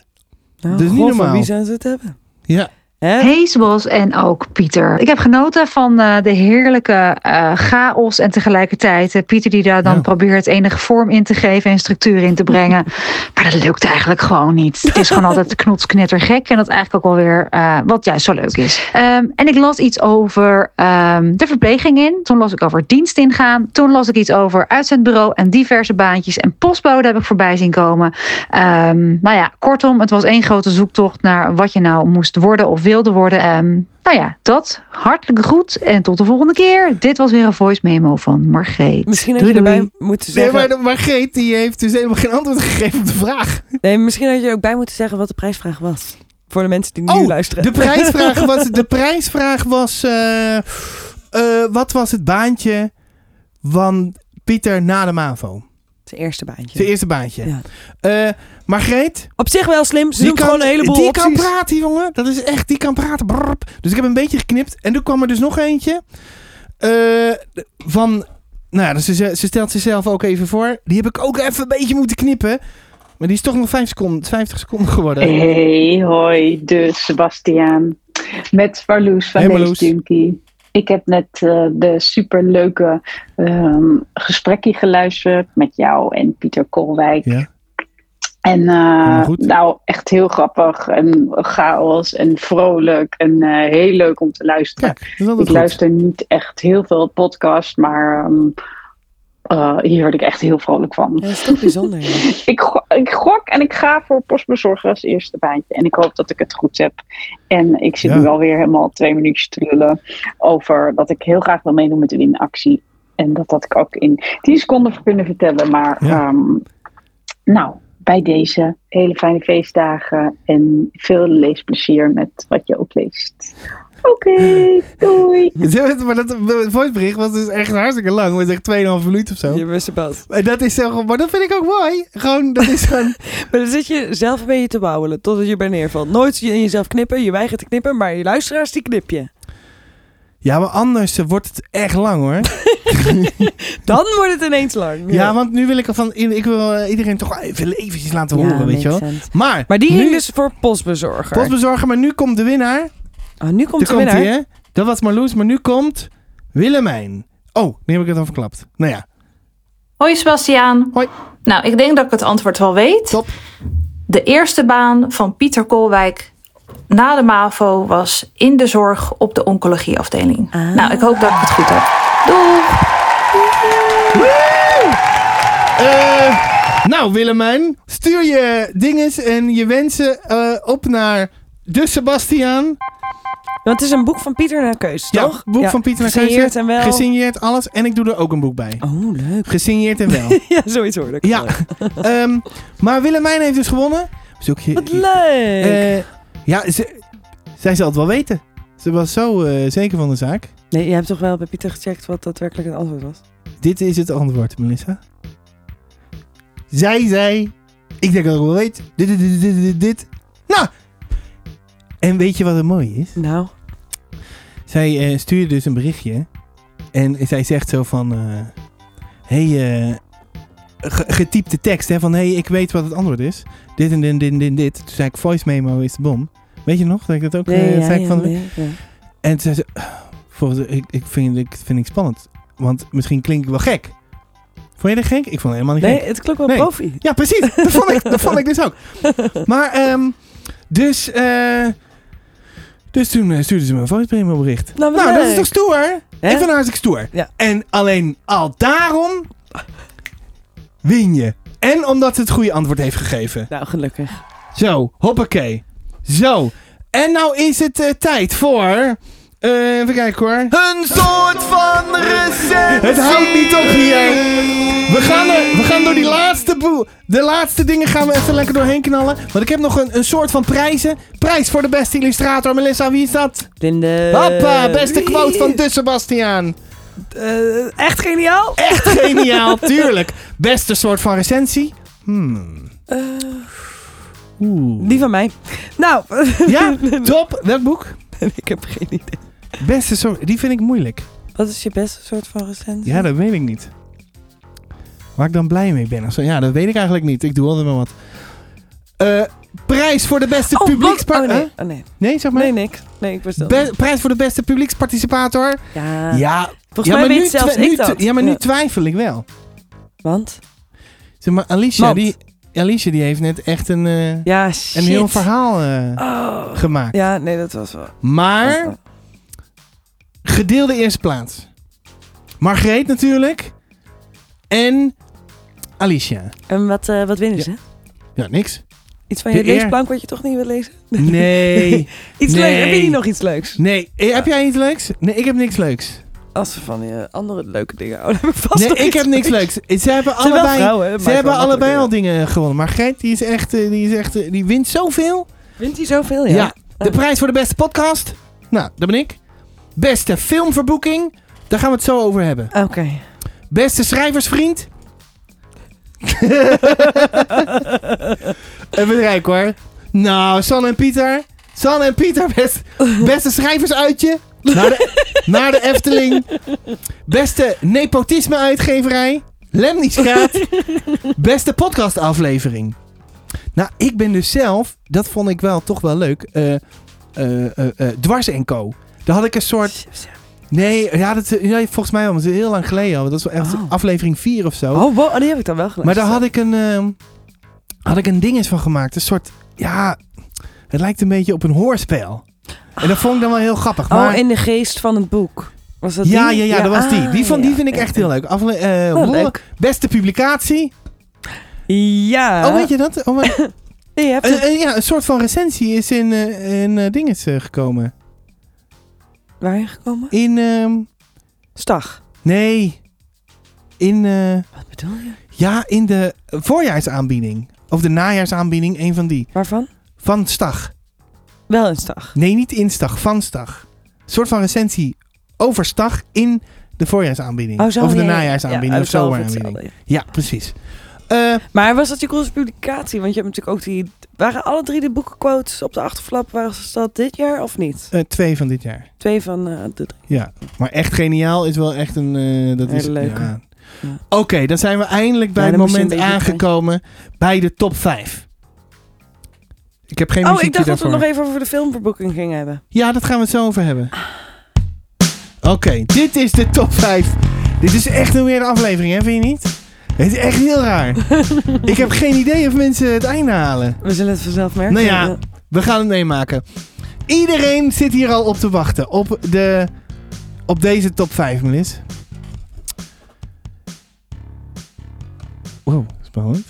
Speaker 2: Nou,
Speaker 1: Dat is niet
Speaker 2: goh, van
Speaker 1: Dus normaal.
Speaker 2: wie zouden ze het hebben?
Speaker 1: Ja.
Speaker 2: Hè?
Speaker 6: Heesbos en ook Pieter. Ik heb genoten van eh, de heerlijke eh, chaos en tegelijkertijd eh, Pieter die daar dan
Speaker 1: Ja.
Speaker 6: probeert enige vorm in te geven en structuur in te brengen. maar dat lukt eigenlijk gewoon niet. Het is gewoon altijd knotsknettergek en dat eigenlijk ook wel weer eh, wat juist zo leuk is. Ehm, en ik las iets over ehm, de verpleging in. Toen las ik over dienst ingaan. Toen las ik iets over uitzendbureau en diverse baantjes en postbode heb ik voorbij zien komen. Ehm, nou ja, kortom, het was één grote zoektocht naar wat je nou moest worden of wilde worden. Ehm, nou ja, dat. Hartelijk goed en tot de volgende keer. Dit was weer een voice memo van Margreet.
Speaker 2: Misschien had
Speaker 6: Doei,
Speaker 2: je erbij
Speaker 6: doei.
Speaker 2: moeten
Speaker 1: Nee,
Speaker 2: zeggen. Nee,
Speaker 1: maar, maar Geet die heeft dus helemaal geen antwoord gegeven op de vraag.
Speaker 2: misschien had je er ook bij moeten zeggen wat de prijsvraag was. Voor de mensen die nu
Speaker 1: Oh,
Speaker 2: luisteren.
Speaker 1: De prijsvraag was, de prijsvraag was eh, eh, wat was het baantje van Pieter na de MAVO?
Speaker 2: Zijn eerste baantje.
Speaker 1: Zijn eerste baantje.
Speaker 2: Ja.
Speaker 1: Eh, Margreet,
Speaker 2: Op zich wel slim. Ze doen gewoon een heleboel
Speaker 1: die
Speaker 2: opties.
Speaker 1: kan praten, jongen. Dat is echt, die kan praten. Brrp. Dus ik heb een beetje geknipt. En toen kwam er dus nog eentje. Eh, van, nou ja, dus ze, ze stelt zichzelf ook even voor. Die heb ik ook even een beetje moeten knippen. Maar die is toch nog 5 seconden, 50 seconden geworden.
Speaker 7: Hey, hoi, dus Sebastiaan. Met Marloes van
Speaker 1: Hey,
Speaker 7: hey,
Speaker 1: Marloes.
Speaker 7: Ik heb net eh, de superleuke ehm gesprekje geluisterd met jou en Pieter Kolwijk.
Speaker 1: Ja.
Speaker 7: En eh,
Speaker 1: maar goed.
Speaker 7: nou, echt heel grappig en chaos en vrolijk en eh, heel leuk om te luisteren.
Speaker 1: Kijk, dat is altijd
Speaker 7: ik
Speaker 1: goed.
Speaker 7: luister niet echt heel veel podcasts, maar ehm, eh, hier word ik echt heel vrolijk van.
Speaker 2: Ja, dat is toch bijzonder. ja.
Speaker 7: Dus Ik, go- ik gok en ik ga voor postbezorger als eerste baantje. En ik hoop dat ik het goed heb. En ik zit
Speaker 1: Ja.
Speaker 7: nu alweer helemaal twee minuutjes te lullen over dat ik heel graag wil meedoen met de winactie. En dat had ik ook in tien seconden voor kunnen vertellen. Maar
Speaker 1: Ja.
Speaker 7: ehm, nou, bij deze hele fijne feestdagen en veel leesplezier met wat je ook leest. Oké, doei!
Speaker 1: Maar dat voicebericht was dus echt hartstikke lang. Het was echt 2,5 minuten of zo.
Speaker 2: Je wist het wel.
Speaker 1: En dat is zo, maar dat vind ik ook mooi. Gewoon, dat is gewoon...
Speaker 2: Maar dan zit je zelf een beetje te bouwelen totdat je bij neervalt. Nooit je in jezelf knippen, je weigert te knippen, maar je luisteraars die knip je.
Speaker 1: ja, maar anders eh, wordt het echt lang hoor.
Speaker 2: Dan wordt het ineens lang.
Speaker 1: Ja, want nu wil ik al van, ik wil eh, iedereen toch wel even eventjes laten horen, weet je wel. Maar,
Speaker 2: Maar die
Speaker 1: nu,
Speaker 2: ging dus voor postbezorger.
Speaker 1: Postbezorger, maar nu komt de winnaar.
Speaker 2: oh, nu komt
Speaker 1: Daar
Speaker 2: de
Speaker 1: komt hij,
Speaker 2: winnaar.
Speaker 1: hè? Dat was Marloes, maar nu komt Willemijn. Oh, nu heb ik het al verklapt. Nou ja,
Speaker 8: Hoi Sebastiaan.
Speaker 1: Hoi.
Speaker 8: Nou, ik denk dat ik het antwoord wel weet.
Speaker 1: Top.
Speaker 8: De eerste baan van Pieter Kolwijk na de MAVO was in de zorg op de oncologieafdeling. Nou, ik hoop dat ik het goed heb. Doeg!
Speaker 1: Eh, nou, Willemijn, stuur je dinges en je wensen eh, op naar de Sebastiaan.
Speaker 2: Want het is een boek van Pieter naar Keus,
Speaker 1: Ja,
Speaker 2: toch?
Speaker 1: boek van Pieter
Speaker 2: Gesigneerd
Speaker 1: Keuze.
Speaker 2: en wel.
Speaker 1: Gesigneerd alles. En ik doe er ook een boek bij.
Speaker 2: Oh, leuk.
Speaker 1: Gesigneerd en wel.
Speaker 2: Ja, zoiets hoorde ik.
Speaker 1: ja.
Speaker 2: al.
Speaker 1: Ehm, maar Willemijn heeft dus gewonnen. Zoek je,
Speaker 2: Wat leuk.
Speaker 1: Eh, ja, ze- zij zal het wel weten. Ze was zo eh, zeker van de zaak.
Speaker 2: nee, je hebt toch wel bij Pieter gecheckt wat daadwerkelijk het antwoord was?
Speaker 1: Dit is het antwoord, Melissa. Zij zei... Ik denk dat ik wel weet. Dit, dit, dit, dit, dit, dit. Nou! En weet je wat het mooie is?
Speaker 2: Nou,
Speaker 1: Zij eh, stuurde dus een berichtje. En zij zegt zo van... eh, hey, eh, ge- getypte tekst. Hè, van, hey, ik weet wat het antwoord is. Dit en dit en dit en dit. Toen zei ik, voice memo is de bom. Weet je nog? Dat ik dat ook eh, zei ik van... de-
Speaker 2: nee, ja.
Speaker 1: En toen zei ze, "Ah, volgens, ik, ik vind ik vind ik spannend. Want misschien klink ik wel gek. Vond je dat gek? Ik vond het helemaal niet
Speaker 2: nee,
Speaker 1: gek.
Speaker 2: het klopt wel
Speaker 1: Nee.
Speaker 2: profi.
Speaker 1: Ja, precies. Dat vond ik, dat vond ik dus ook. Maar, ehm, dus, eh, dus toen eh, stuurde ze me een voicemail bericht.
Speaker 2: Nou, wat
Speaker 1: Nou, dat is
Speaker 2: leuk.
Speaker 1: toch stoer?
Speaker 2: Hè?
Speaker 1: Ik vind het hartstikke stoer.
Speaker 2: Ja.
Speaker 1: En alleen al daarom win je. En omdat ze het goede antwoord heeft gegeven.
Speaker 2: Nou, gelukkig.
Speaker 1: Zo, hoppakee. Zo. En nou is het eh, tijd voor... eh, even kijken hoor.
Speaker 4: Een soort van recensie.
Speaker 1: Het houdt niet op hier. We gaan, er, we gaan door die laatste boel. De laatste dingen gaan we even lekker doorheen knallen. Want ik heb nog een, een soort van prijzen. Prijs voor de beste illustrator. Melissa, wie is dat?
Speaker 2: Linde.
Speaker 4: Eh,
Speaker 1: Hoppa, beste quote van de Sebastiaan.
Speaker 2: Eh, echt geniaal?
Speaker 1: Echt geniaal, tuurlijk. Beste soort van recensie. Hmm.
Speaker 4: Eh.
Speaker 1: Oeh.
Speaker 2: Die van mij. Nou,
Speaker 1: Ja, top. Welk boek?
Speaker 2: ik heb geen idee.
Speaker 1: Beste soort, die vind ik moeilijk.
Speaker 2: Wat is je beste soort van recensie?
Speaker 1: Ja, dat weet ik niet. Waar ik dan blij mee ben. of zo. Ja, dat weet ik eigenlijk niet. Ik doe altijd maar wat. Eh, Prijs voor de beste
Speaker 2: Oh, wat? Oh,
Speaker 1: publieksparticipator.
Speaker 2: nee. Oh, nee.
Speaker 1: nee, zeg maar.
Speaker 2: Nee, niks. Nee, ik was dat.
Speaker 1: Be- prijs voor de beste publieksparticipator.
Speaker 2: Ja.
Speaker 1: Ja,
Speaker 2: Volgens mij
Speaker 1: maar
Speaker 2: weet
Speaker 1: nu
Speaker 2: zelfs
Speaker 1: twi- nu
Speaker 2: ik dat.
Speaker 1: twi- Ja, maar nu twijfel ik wel.
Speaker 2: Want?
Speaker 1: Zeg maar, Alicia,
Speaker 2: Want?
Speaker 1: die, Alicia die heeft net echt een, eh,
Speaker 2: Ja, shit.
Speaker 1: een heel verhaal eh,
Speaker 2: Oh.
Speaker 1: gemaakt.
Speaker 2: Ja, Oh, nee, dat was wel...
Speaker 1: Maar, gedeelde eerste plaats. Margreet natuurlijk. En Alicia.
Speaker 2: En wat, eh, wat winnen ze?
Speaker 1: Ja, niks.
Speaker 2: Iets van
Speaker 1: De
Speaker 2: je
Speaker 1: eer.
Speaker 2: leesplank wat je toch niet wil lezen?
Speaker 1: Nee.
Speaker 2: Iets
Speaker 1: Nee.
Speaker 2: leuks. Heb je niet nog iets leuks?
Speaker 1: Nee, Eh, heb jij iets leuks? Nee, ik heb niks leuks.
Speaker 2: Als we van die andere leuke dingen houden, hebben we vast
Speaker 1: nee,
Speaker 2: nog
Speaker 1: ik
Speaker 2: iets
Speaker 1: heb niks leuks. Eh, Ze hebben
Speaker 2: Het zijn wel
Speaker 1: allebei,
Speaker 2: vrouwen, hè,
Speaker 1: ze
Speaker 2: maar
Speaker 1: hebben
Speaker 2: wel makkelijk,
Speaker 1: allebei
Speaker 2: ja.
Speaker 1: al dingen gewonnen. Maar Gert, die is echt, eh, die is echt, eh, die wint zoveel.
Speaker 2: Wint hij zoveel?
Speaker 1: Ja.
Speaker 2: Ja.
Speaker 1: De prijs voor de beste podcast. Nou, dat ben ik. Beste filmverboeking. Daar gaan we het zo over hebben.
Speaker 2: Oké.
Speaker 1: Beste schrijversvriend. Een bedrijf hoor. Nou, San en Pieter. San en Pieter, best, beste schrijversuitje. Naar de, naar de Efteling. Beste nepotisme-uitgeverij. Lemniscaat. Beste podcastaflevering. Nou, ik ben dus zelf, dat vond ik wel toch wel leuk. eh, eh, eh, eh, dwars en co. Daar had ik een soort Nee, ja, dat, eh, ja, volgens mij al. maar Het is heel lang geleden al. want Dat is wel echt
Speaker 2: Oh.
Speaker 1: aflevering 4 of zo.
Speaker 2: Oh, wow, oh, die heb ik dan wel geluisterd.
Speaker 1: maar daar had ik een, ehm, had ik een ding eens van gemaakt. Een soort, ja, het lijkt een beetje op een hoorspel. En dat vond ik dan wel heel grappig. maar,
Speaker 2: Oh, in de geest van het boek. Was dat
Speaker 1: ja,
Speaker 2: die?
Speaker 1: ja, ja, dat was die.
Speaker 2: ah,
Speaker 1: Die, van,
Speaker 2: ja.
Speaker 1: die vind ik echt heel leuk. Afle eh,
Speaker 2: Oh,
Speaker 1: hoor-
Speaker 2: leuk.
Speaker 1: Beste publicatie.
Speaker 2: Ja.
Speaker 1: Oh, weet je dat? Oh, maar-
Speaker 2: Nee, je hebt
Speaker 1: eh,
Speaker 2: het-
Speaker 1: eh, ja, een soort van recensie is in, eh, in eh, dinges eh, gekomen. eh-
Speaker 2: Waarheen gekomen?
Speaker 1: In, ehm,
Speaker 2: Stag.
Speaker 1: nee, in... eh,
Speaker 2: Wat bedoel je?
Speaker 1: Ja, in de voorjaarsaanbieding. Of de najaarsaanbieding, een van die.
Speaker 2: Waarvan?
Speaker 1: Van Stag.
Speaker 2: Wel een stag.
Speaker 1: Nee, niet in Stag, van Stag. Een soort van recensie over Stag in de voorjaarsaanbieding.
Speaker 2: Oh, zo,
Speaker 1: of de
Speaker 2: ja, ja, ja.
Speaker 1: najaarsaanbieding
Speaker 2: Ja, oh,
Speaker 1: of
Speaker 2: het zal
Speaker 1: zomeraanbieding.
Speaker 2: hetzelfde, ja.
Speaker 1: Ja, precies. Eh,
Speaker 2: Maar was dat je grootste publicatie? Want je hebt natuurlijk ook die... Waren alle drie de boekenquotes op de achterflap, was dat dit jaar of niet?
Speaker 1: eh, twee van dit jaar.
Speaker 2: Twee van eh, de drie.
Speaker 1: Ja, maar echt geniaal is wel echt een... eh, dat
Speaker 2: Hele
Speaker 1: is,
Speaker 2: leuke.
Speaker 1: ja.
Speaker 2: Ja.
Speaker 1: Oké, dan zijn we eindelijk bij
Speaker 2: Ja,
Speaker 1: het
Speaker 2: dan moest je een
Speaker 1: moment
Speaker 2: beetje
Speaker 1: aangekomen bij de top 5. Ik heb geen
Speaker 2: Oh,
Speaker 1: muziekje
Speaker 2: ik dacht dat we
Speaker 1: daarvoor.
Speaker 2: nog even over de filmverboeking gingen hebben.
Speaker 1: Ja, dat gaan we het zo over hebben. Oké, dit is de top 5. Dit is echt een weerde aflevering, hè? Vind je niet? Het is echt heel raar. ik heb geen idee of mensen het einde halen.
Speaker 2: We zullen het vanzelf merken.
Speaker 1: Nou ja, we gaan het meemaken. Iedereen zit hier al op te wachten. Op, de, op deze top 5, Melis. Wow, spannend.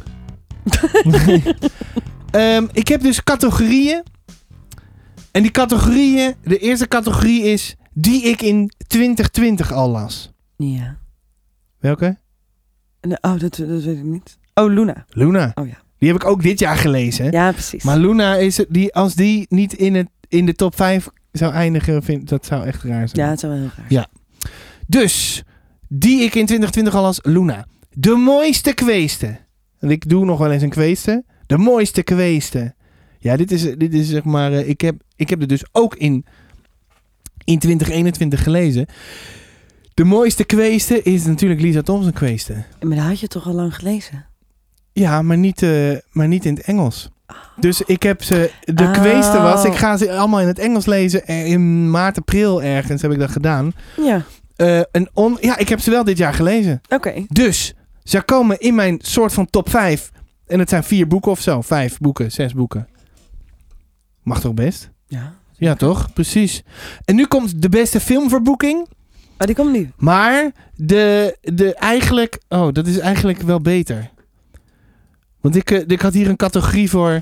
Speaker 1: Ehm, ik heb dus categorieën. En die categorieën, de eerste categorie is die ik in 2020 al las.
Speaker 2: Ja.
Speaker 1: Welke?
Speaker 2: Nee, Oh, dat, dat weet ik niet. Oh, Luna.
Speaker 1: Luna.
Speaker 2: Oh ja.
Speaker 1: Die heb ik ook dit jaar gelezen.
Speaker 2: Ja, precies.
Speaker 1: Maar Luna, is het, die, als die niet in, het, in de top 5 zou eindigen, vind, dat zou echt raar zijn.
Speaker 2: ja, het zou wel heel raar
Speaker 1: Ja. Dus, die ik in 2020 al als Luna. De mooiste kweesten. Want ik doe nog wel eens een kweesten. De mooiste kweesten. Ja, dit is, dit is zeg maar... eh, Ik heb, ik heb het dus ook in, in 2021 gelezen. De mooiste kweesten is natuurlijk Lisa Thompson kweesten.
Speaker 2: zijn. Maar dat had je toch al lang gelezen?
Speaker 1: Ja, maar niet, eh, maar niet in het Engels. Dus ik heb ze, de
Speaker 2: Oh.
Speaker 1: kweesten was, ik ga ze allemaal in het Engels lezen. En in maart, april ergens heb ik dat gedaan.
Speaker 2: Ja.
Speaker 1: Eh, een on, ja, ik heb ze wel dit jaar gelezen.
Speaker 2: Oké.
Speaker 1: Dus, ze komen in mijn soort van top 5. En het zijn vier boeken of zo. Vijf boeken, zes boeken. Mag toch best?
Speaker 2: Ja.
Speaker 1: Ja, toch? Precies. En nu komt de beste filmverboeking.
Speaker 2: Maar die komt nu.
Speaker 1: Maar de, de eigenlijk... Oh, dat is eigenlijk wel beter. Want ik, eh, ik had hier een categorie voor...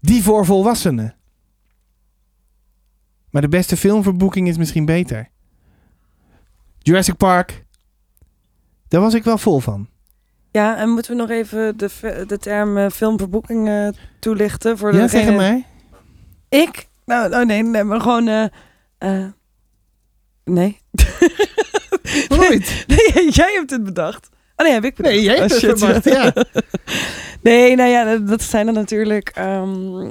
Speaker 1: Die voor volwassenen. Maar de beste filmverboeking is misschien beter. Jurassic Park. Daar was ik wel vol van.
Speaker 2: Ja, en moeten we nog even de, fe- de term eh, filmverboeking eh, toelichten? Voor
Speaker 1: Ja,
Speaker 2: degene-
Speaker 1: tegen mij?
Speaker 2: Ik? Nou, nou nee, nee, maar gewoon... eh, eh, nee.
Speaker 1: Nooit.
Speaker 2: nee, jij hebt het bedacht. Oh nee, heb ik bedacht.
Speaker 1: Nee, jij hebt
Speaker 2: Oh,
Speaker 1: het
Speaker 2: shit,
Speaker 1: verwacht, ja.
Speaker 2: Nee, nou ja, dat- dat zijn dan natuurlijk... ehm,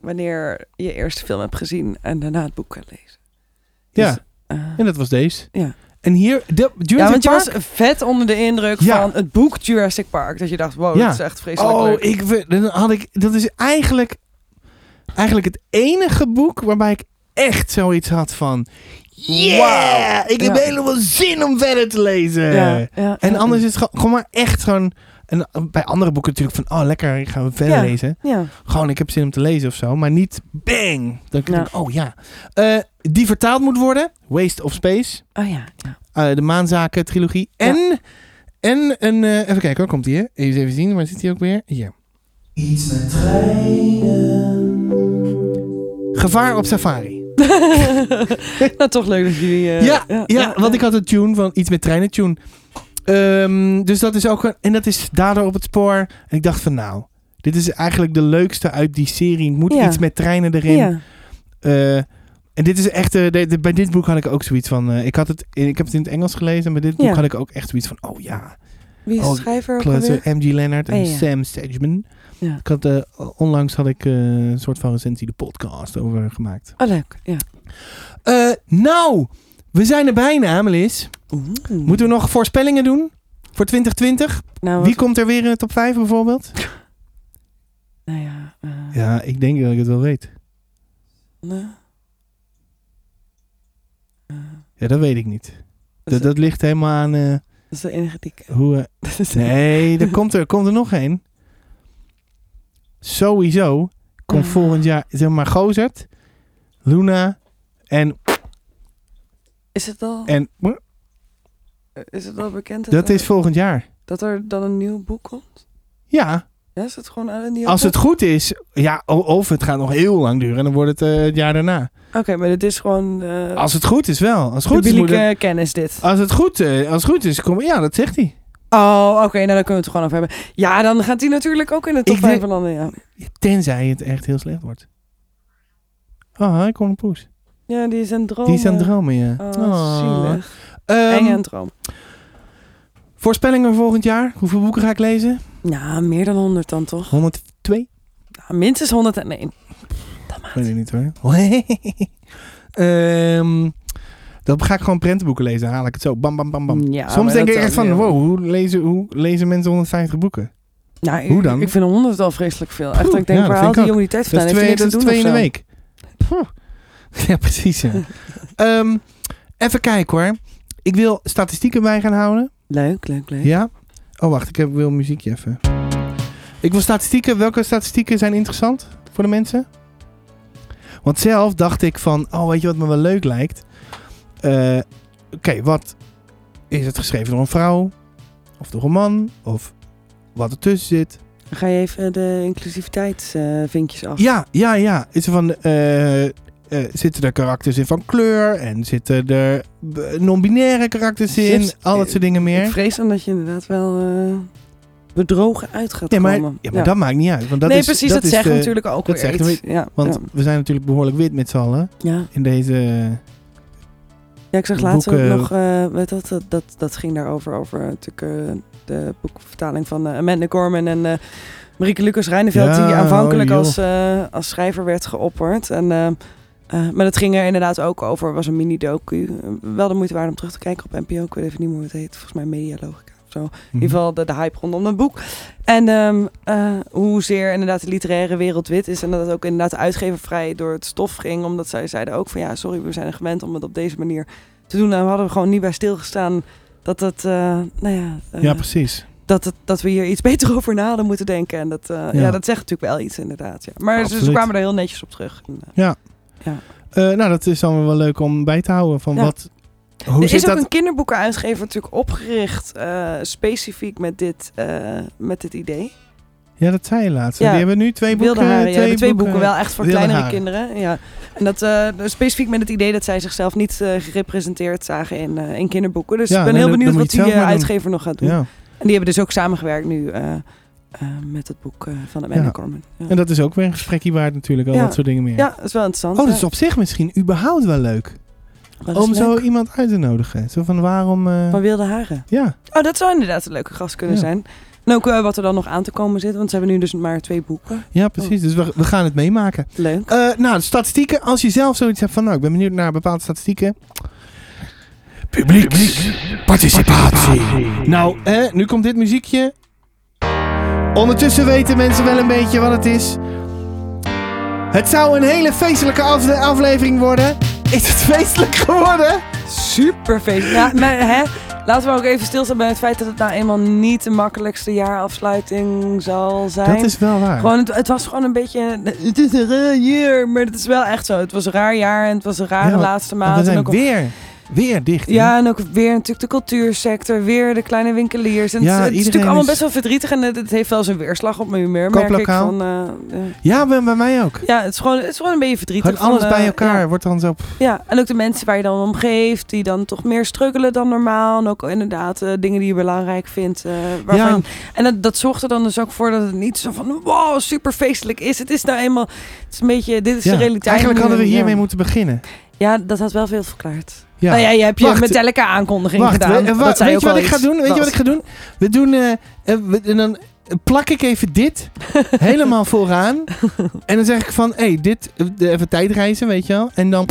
Speaker 2: wanneer je eerst de film hebt gezien en daarna het boek kan lezen. Dus,
Speaker 1: Ja,
Speaker 2: eh,
Speaker 1: en dat was deze.
Speaker 2: Ja.
Speaker 1: En hier... De, Jurassic
Speaker 2: ja, want je
Speaker 1: Park?
Speaker 2: was vet onder de indruk
Speaker 1: Ja.
Speaker 2: van het boek Jurassic Park. Dat je dacht, wow,
Speaker 1: Ja.
Speaker 2: dat is echt vreselijk
Speaker 1: oh,
Speaker 2: leuk.
Speaker 1: ik, we- dan had ik, dat is eigenlijk eigenlijk het enige boek waarbij ik echt zoiets had van... Yeah! Ik heb
Speaker 2: Ja.
Speaker 1: helemaal zin om verder te lezen.
Speaker 2: Ja, ja.
Speaker 1: En anders is het gewoon, gewoon maar echt zo'n... En bij andere boeken natuurlijk van, oh lekker, ik ga verder
Speaker 2: Ja.
Speaker 1: lezen.
Speaker 2: Ja.
Speaker 1: Gewoon, ik heb zin om te lezen of zo. Maar niet bang. Dat ik
Speaker 2: Ja.
Speaker 1: denk, oh ja. Eh, die vertaald moet worden. Waste of Space.
Speaker 2: Oh ja. ja.
Speaker 1: Eh, de Maanzaken trilogie. En, en een... eh, even kijken, waar komt die? Hè? Even, even zien, waar zit die ook weer? Hier.
Speaker 4: Iets met treinen.
Speaker 1: Gevaar op safari.
Speaker 2: nou, toch leuk dat jullie... eh,
Speaker 1: ja, ja, want ik had een tune van iets met treinen tune. Ehm, dus dat is ook een, en dat is daardoor op het spoor. En ik dacht van nou, dit is eigenlijk de leukste uit die serie. Moet
Speaker 2: Ja.
Speaker 1: iets met treinen erin.
Speaker 2: Ja.
Speaker 1: Eh, en dit is echt, eh, de- de- bij dit boek had ik ook zoets van. eh, ik, had het, ik heb het in het Engels gelezen, en bij dit boek
Speaker 2: Ja.
Speaker 1: had ik ook echt zoiets van. Oh ja,
Speaker 2: Wie is
Speaker 1: Oh,
Speaker 2: de schrijver ook
Speaker 1: Klasse,
Speaker 2: alweer?
Speaker 1: M.G. Leonard en
Speaker 2: Oh, ja.
Speaker 1: Sam Sageman.
Speaker 2: Ja.
Speaker 1: Ik had, eh, onlangs had ik eh, een soort van recensie de podcast over gemaakt.
Speaker 2: Oh, leuk. Ja.
Speaker 1: Eh, nou, we zijn er bijna, Melis. Moeten we nog voorspellingen doen? Voor 2020?
Speaker 2: nou,
Speaker 1: Wie
Speaker 2: wat-
Speaker 1: komt er weer in de top 5 bijvoorbeeld?
Speaker 2: Nou ja. eh,
Speaker 1: Ja, ik denk dat ik het wel weet.
Speaker 2: nou,
Speaker 1: Ja, dat weet ik niet.
Speaker 2: dat, is,
Speaker 1: Dat, dat ligt helemaal aan eh,
Speaker 2: dat is de enige die ik...
Speaker 1: hoe... eh,
Speaker 2: dat is-
Speaker 1: Nee, er komt er, komt er nog één. Sowieso komt
Speaker 2: Ah.
Speaker 1: volgend jaar, zeg maar, Gozert, Luna en...
Speaker 2: Is het al,
Speaker 1: en
Speaker 2: is het al bekend dat,
Speaker 1: dat
Speaker 2: er,
Speaker 1: is volgend jaar.
Speaker 2: dat er dan een nieuw boek komt?
Speaker 1: Ja,
Speaker 2: Ja, is het gewoon aan een nieuw
Speaker 1: als
Speaker 2: boek?
Speaker 1: het goed is. Ja, o- of het gaat nog heel lang duren en dan wordt het eh, het jaar daarna.
Speaker 2: Oké, maar dit is gewoon eh
Speaker 1: Als het goed is wel. Als het goed is, moet
Speaker 2: publieke
Speaker 1: het-
Speaker 2: kennis dit.
Speaker 1: als het goed, eh, als het goed is, kom, ja, dat zegt hij.
Speaker 2: Oh, oké, nou daar kunnen we het gewoon over hebben. Ja, dan gaat die natuurlijk ook in de top
Speaker 1: Ik denk-
Speaker 2: 5 belanden, ja.
Speaker 1: Tenzij het echt heel slecht wordt. Oh, hij komt een poes.
Speaker 2: Ja, die is aan het dromen.
Speaker 1: Die is aan het dromen, ja.
Speaker 2: Oh,
Speaker 1: Oh.
Speaker 2: zielig.
Speaker 1: Ehm,
Speaker 2: Eng en droom.
Speaker 1: voorspellingen volgend jaar. Hoeveel boeken ga ik lezen?
Speaker 2: Nou, meer dan 100 dan toch?
Speaker 1: 102?
Speaker 2: Nou, minstens 101.
Speaker 1: Weet ik niet hoor. Ehm, dan ga ik gewoon prentenboeken lezen. Dan haal ik het zo. Bam, bam, bam, bam.
Speaker 2: Ja,
Speaker 1: Soms
Speaker 2: maar
Speaker 1: denk ik
Speaker 2: dat
Speaker 1: echt
Speaker 2: ook
Speaker 1: van,
Speaker 2: niet.
Speaker 1: wow, hoe lezen, hoe lezen mensen 150 boeken?
Speaker 2: Nou, ik-
Speaker 1: hoe dan?
Speaker 2: Ik vind 100 al vreselijk veel. Echt,
Speaker 1: Poeh,
Speaker 2: ik denk,
Speaker 1: ja, dat vind
Speaker 2: waar haalt die
Speaker 1: ik ook.
Speaker 2: jongen die tijd
Speaker 1: Dat
Speaker 2: vandaan?
Speaker 1: is
Speaker 2: Heeft hij
Speaker 1: twee, dat is
Speaker 2: niks te doen
Speaker 1: twee in de week.
Speaker 2: of zo?
Speaker 1: Poeh. Ja, precies. Ja. Ehm, even kijken hoor. Ik wil statistieken bij gaan houden.
Speaker 2: Leuk, leuk, leuk.
Speaker 1: Ja? Oh, wacht. Ik heb, wil muziekje even. Ik wil statistieken. Welke statistieken zijn interessant voor de mensen? Want zelf dacht ik van... Oh, weet je wat me wel leuk lijkt? Eh, Oké, wat is het geschreven door een vrouw? Of door een man? Of wat ertussen zit?
Speaker 2: Dan ga je even de inclusiviteitsvinkjes af.
Speaker 1: Ja, ja, ja. Is er van, eh, eh, zitten er karakters in van kleur? En zitten er eh, non-binaire karakters in?
Speaker 2: Zit-
Speaker 1: al dat soort dingen meer.
Speaker 2: Ik vrees dan dat je inderdaad wel eh, bedrogen uit gaat
Speaker 1: nee, maar, ja, maar
Speaker 2: komen.
Speaker 1: dat maakt niet uit. Want dat
Speaker 2: nee,
Speaker 1: is,
Speaker 2: precies, dat,
Speaker 1: is
Speaker 2: zegt
Speaker 1: de-
Speaker 2: natuurlijk ook
Speaker 1: dat
Speaker 2: weer
Speaker 1: zegt
Speaker 2: iets. Ja,
Speaker 1: Want
Speaker 2: ja.
Speaker 1: we zijn natuurlijk behoorlijk wit met z'n allen
Speaker 2: Ja.
Speaker 1: in deze...
Speaker 2: Ja, ik zag laatst
Speaker 1: boeken-
Speaker 2: ook nog, eh, weet dat, dat, dat, dat ging daarover, over natuurlijk eh, de boekvertaling van eh, Amanda Gorman en eh Marieke Lucas Reineveld,
Speaker 1: Ja,
Speaker 2: die aanvankelijk
Speaker 1: oh, joh.
Speaker 2: als, eh, als schrijver werd geopperd. En, eh, eh, maar dat ging er inderdaad ook over, was een mini-docu. Eh, Wel de moeite waard om terug te kijken op NPO, ik weet even niet meer hoe het heet, volgens mij Medialogica of zo. In ieder geval de, de hype rondom dat boek. En ehm eh hoezeer inderdaad de literaire wereld wit is. En dat het ook inderdaad de uitgever vrij door het stof ging. Omdat zij zeiden ook van ja, sorry, we zijn er gewend om het op deze manier te doen. En we hadden er gewoon niet bij stilgestaan dat het, eh, nou ja, eh,
Speaker 1: Ja, precies.
Speaker 2: dat, het, dat we hier iets beter over na hadden moeten denken. En dat, eh, ja.
Speaker 1: Ja.
Speaker 2: dat zegt natuurlijk wel iets inderdaad. Ja. Maar ze- ze,
Speaker 1: Absoluut.
Speaker 2: kwamen er heel netjes op terug. En, eh,
Speaker 1: Eh, nou, dat is dan wel leuk om bij te houden van
Speaker 2: Ja.
Speaker 1: wat... Hoe
Speaker 2: er
Speaker 1: zit
Speaker 2: is ook
Speaker 1: dat?
Speaker 2: een kinderboekenuitgever natuurlijk opgericht eh, specifiek met dit, eh, met dit idee.
Speaker 1: Ja, dat zei je laatst.
Speaker 2: Ja.
Speaker 1: Die hebben nu twee boeken.
Speaker 2: Wilde haren, ja, hebben twee boeken, wel echt voor
Speaker 1: wilde
Speaker 2: kleinere
Speaker 1: haren.
Speaker 2: kinderen. Ja. En dat eh, specifiek met het idee dat zij zichzelf niet eh, gerepresenteerd zagen in, eh, in kinderboeken. Dus
Speaker 1: Ja,
Speaker 2: ik ben
Speaker 1: nee,
Speaker 2: heel
Speaker 1: dan-
Speaker 2: benieuwd
Speaker 1: dan
Speaker 2: wat
Speaker 1: moet je
Speaker 2: die
Speaker 1: het zelf
Speaker 2: eh,
Speaker 1: maar doen.
Speaker 2: uitgever nog gaat doen.
Speaker 1: Ja.
Speaker 2: En die hebben dus ook samengewerkt nu eh, eh, met het boek eh, van Amanda
Speaker 1: Ja.
Speaker 2: Corman. Ja.
Speaker 1: En dat is ook weer een gesprekje waard natuurlijk. Al
Speaker 2: Ja.
Speaker 1: dat soort dingen meer.
Speaker 2: ja, dat is wel interessant.
Speaker 1: Oh, dat
Speaker 2: ja.
Speaker 1: is op zich misschien überhaupt wel leuk.
Speaker 2: Wel eens
Speaker 1: Om
Speaker 2: leuk.
Speaker 1: zo iemand uit te nodigen. Zo van waarom. eh,
Speaker 2: Van wilde haren.
Speaker 1: ja,
Speaker 2: Oh, dat zou inderdaad een leuke gast kunnen
Speaker 1: Ja.
Speaker 2: zijn. En ook eh, wat er dan nog aan te komen zit. Want ze hebben nu dus maar twee boeken.
Speaker 1: ja, precies. Dus we, we gaan het meemaken.
Speaker 2: Leuk.
Speaker 1: Eh, nou, statistieken. Als je zelf zoiets hebt van. Nou, ik ben benieuwd naar bepaalde statistieken. Publiek. Participatie. Nou, eh, nu komt dit muziekje. Ondertussen weten mensen wel een beetje wat het is. Het zou een hele feestelijke af- aflevering worden. Is het feestelijk geworden?
Speaker 2: Super feest. Ja, maar hè, laten we ook even stilstaan bij het feit dat het nou eenmaal niet de makkelijkste jaarafsluiting zal zijn.
Speaker 1: Dat is wel waar.
Speaker 2: Gewoon, het, het was gewoon een beetje. Het is een raar jaar, maar het is wel echt zo. Het was een raar jaar en het was een rare
Speaker 1: Ja, want-
Speaker 2: laatste
Speaker 1: Want we
Speaker 2: maand. En
Speaker 1: zijn
Speaker 2: ook
Speaker 1: weer, weer dicht. hè?
Speaker 2: Ja, en ook weer natuurlijk de cultuursector, weer de kleine winkeliers. En
Speaker 1: Ja,
Speaker 2: het, het
Speaker 1: iedereen
Speaker 2: is natuurlijk allemaal
Speaker 1: is-
Speaker 2: best wel verdrietig en het, het heeft wel zijn weerslag op mijn humeur, merk ik.
Speaker 1: Kooplokaal.
Speaker 2: Van, eh, eh,
Speaker 1: ja bij, bij mij ook.
Speaker 2: ja, het is, gewoon, het is gewoon een beetje verdrietig.
Speaker 1: Gewoon alles
Speaker 2: van, eh,
Speaker 1: bij elkaar
Speaker 2: Ja,
Speaker 1: wordt dan zo...
Speaker 2: ja, en ook de mensen waar je dan om geeft, die dan toch meer struggelen dan normaal. En ook inderdaad eh, dingen die je belangrijk vindt. eh, waarvan, En dat, dat zorgt er dan dus ook voor dat het niet zo van, wow, super feestelijk is. Het is nou eenmaal, het is een beetje, dit is
Speaker 1: Ja,
Speaker 2: de realiteit.
Speaker 1: Eigenlijk
Speaker 2: nu.
Speaker 1: hadden we
Speaker 2: Ja.
Speaker 1: hiermee moeten beginnen.
Speaker 2: Ja, dat had wel veel verklaard.
Speaker 1: Ja.
Speaker 2: Nou ja, je hebt je
Speaker 1: Wacht.
Speaker 2: Metallica aankondiging
Speaker 1: Wacht,
Speaker 2: gedaan.
Speaker 1: we- eh, wa-
Speaker 2: Dat zei
Speaker 1: weet je
Speaker 2: ook
Speaker 1: wat ik ga
Speaker 2: al iets.
Speaker 1: doen? Weet je
Speaker 2: Dat-
Speaker 1: wat ik ga doen? We doen... eh, eh, we- en dan eh, plak ik even dit helemaal vooraan. En dan zeg ik van... Hé, hey, dit... eh, de- Even tijdreizen, weet je wel. En dan...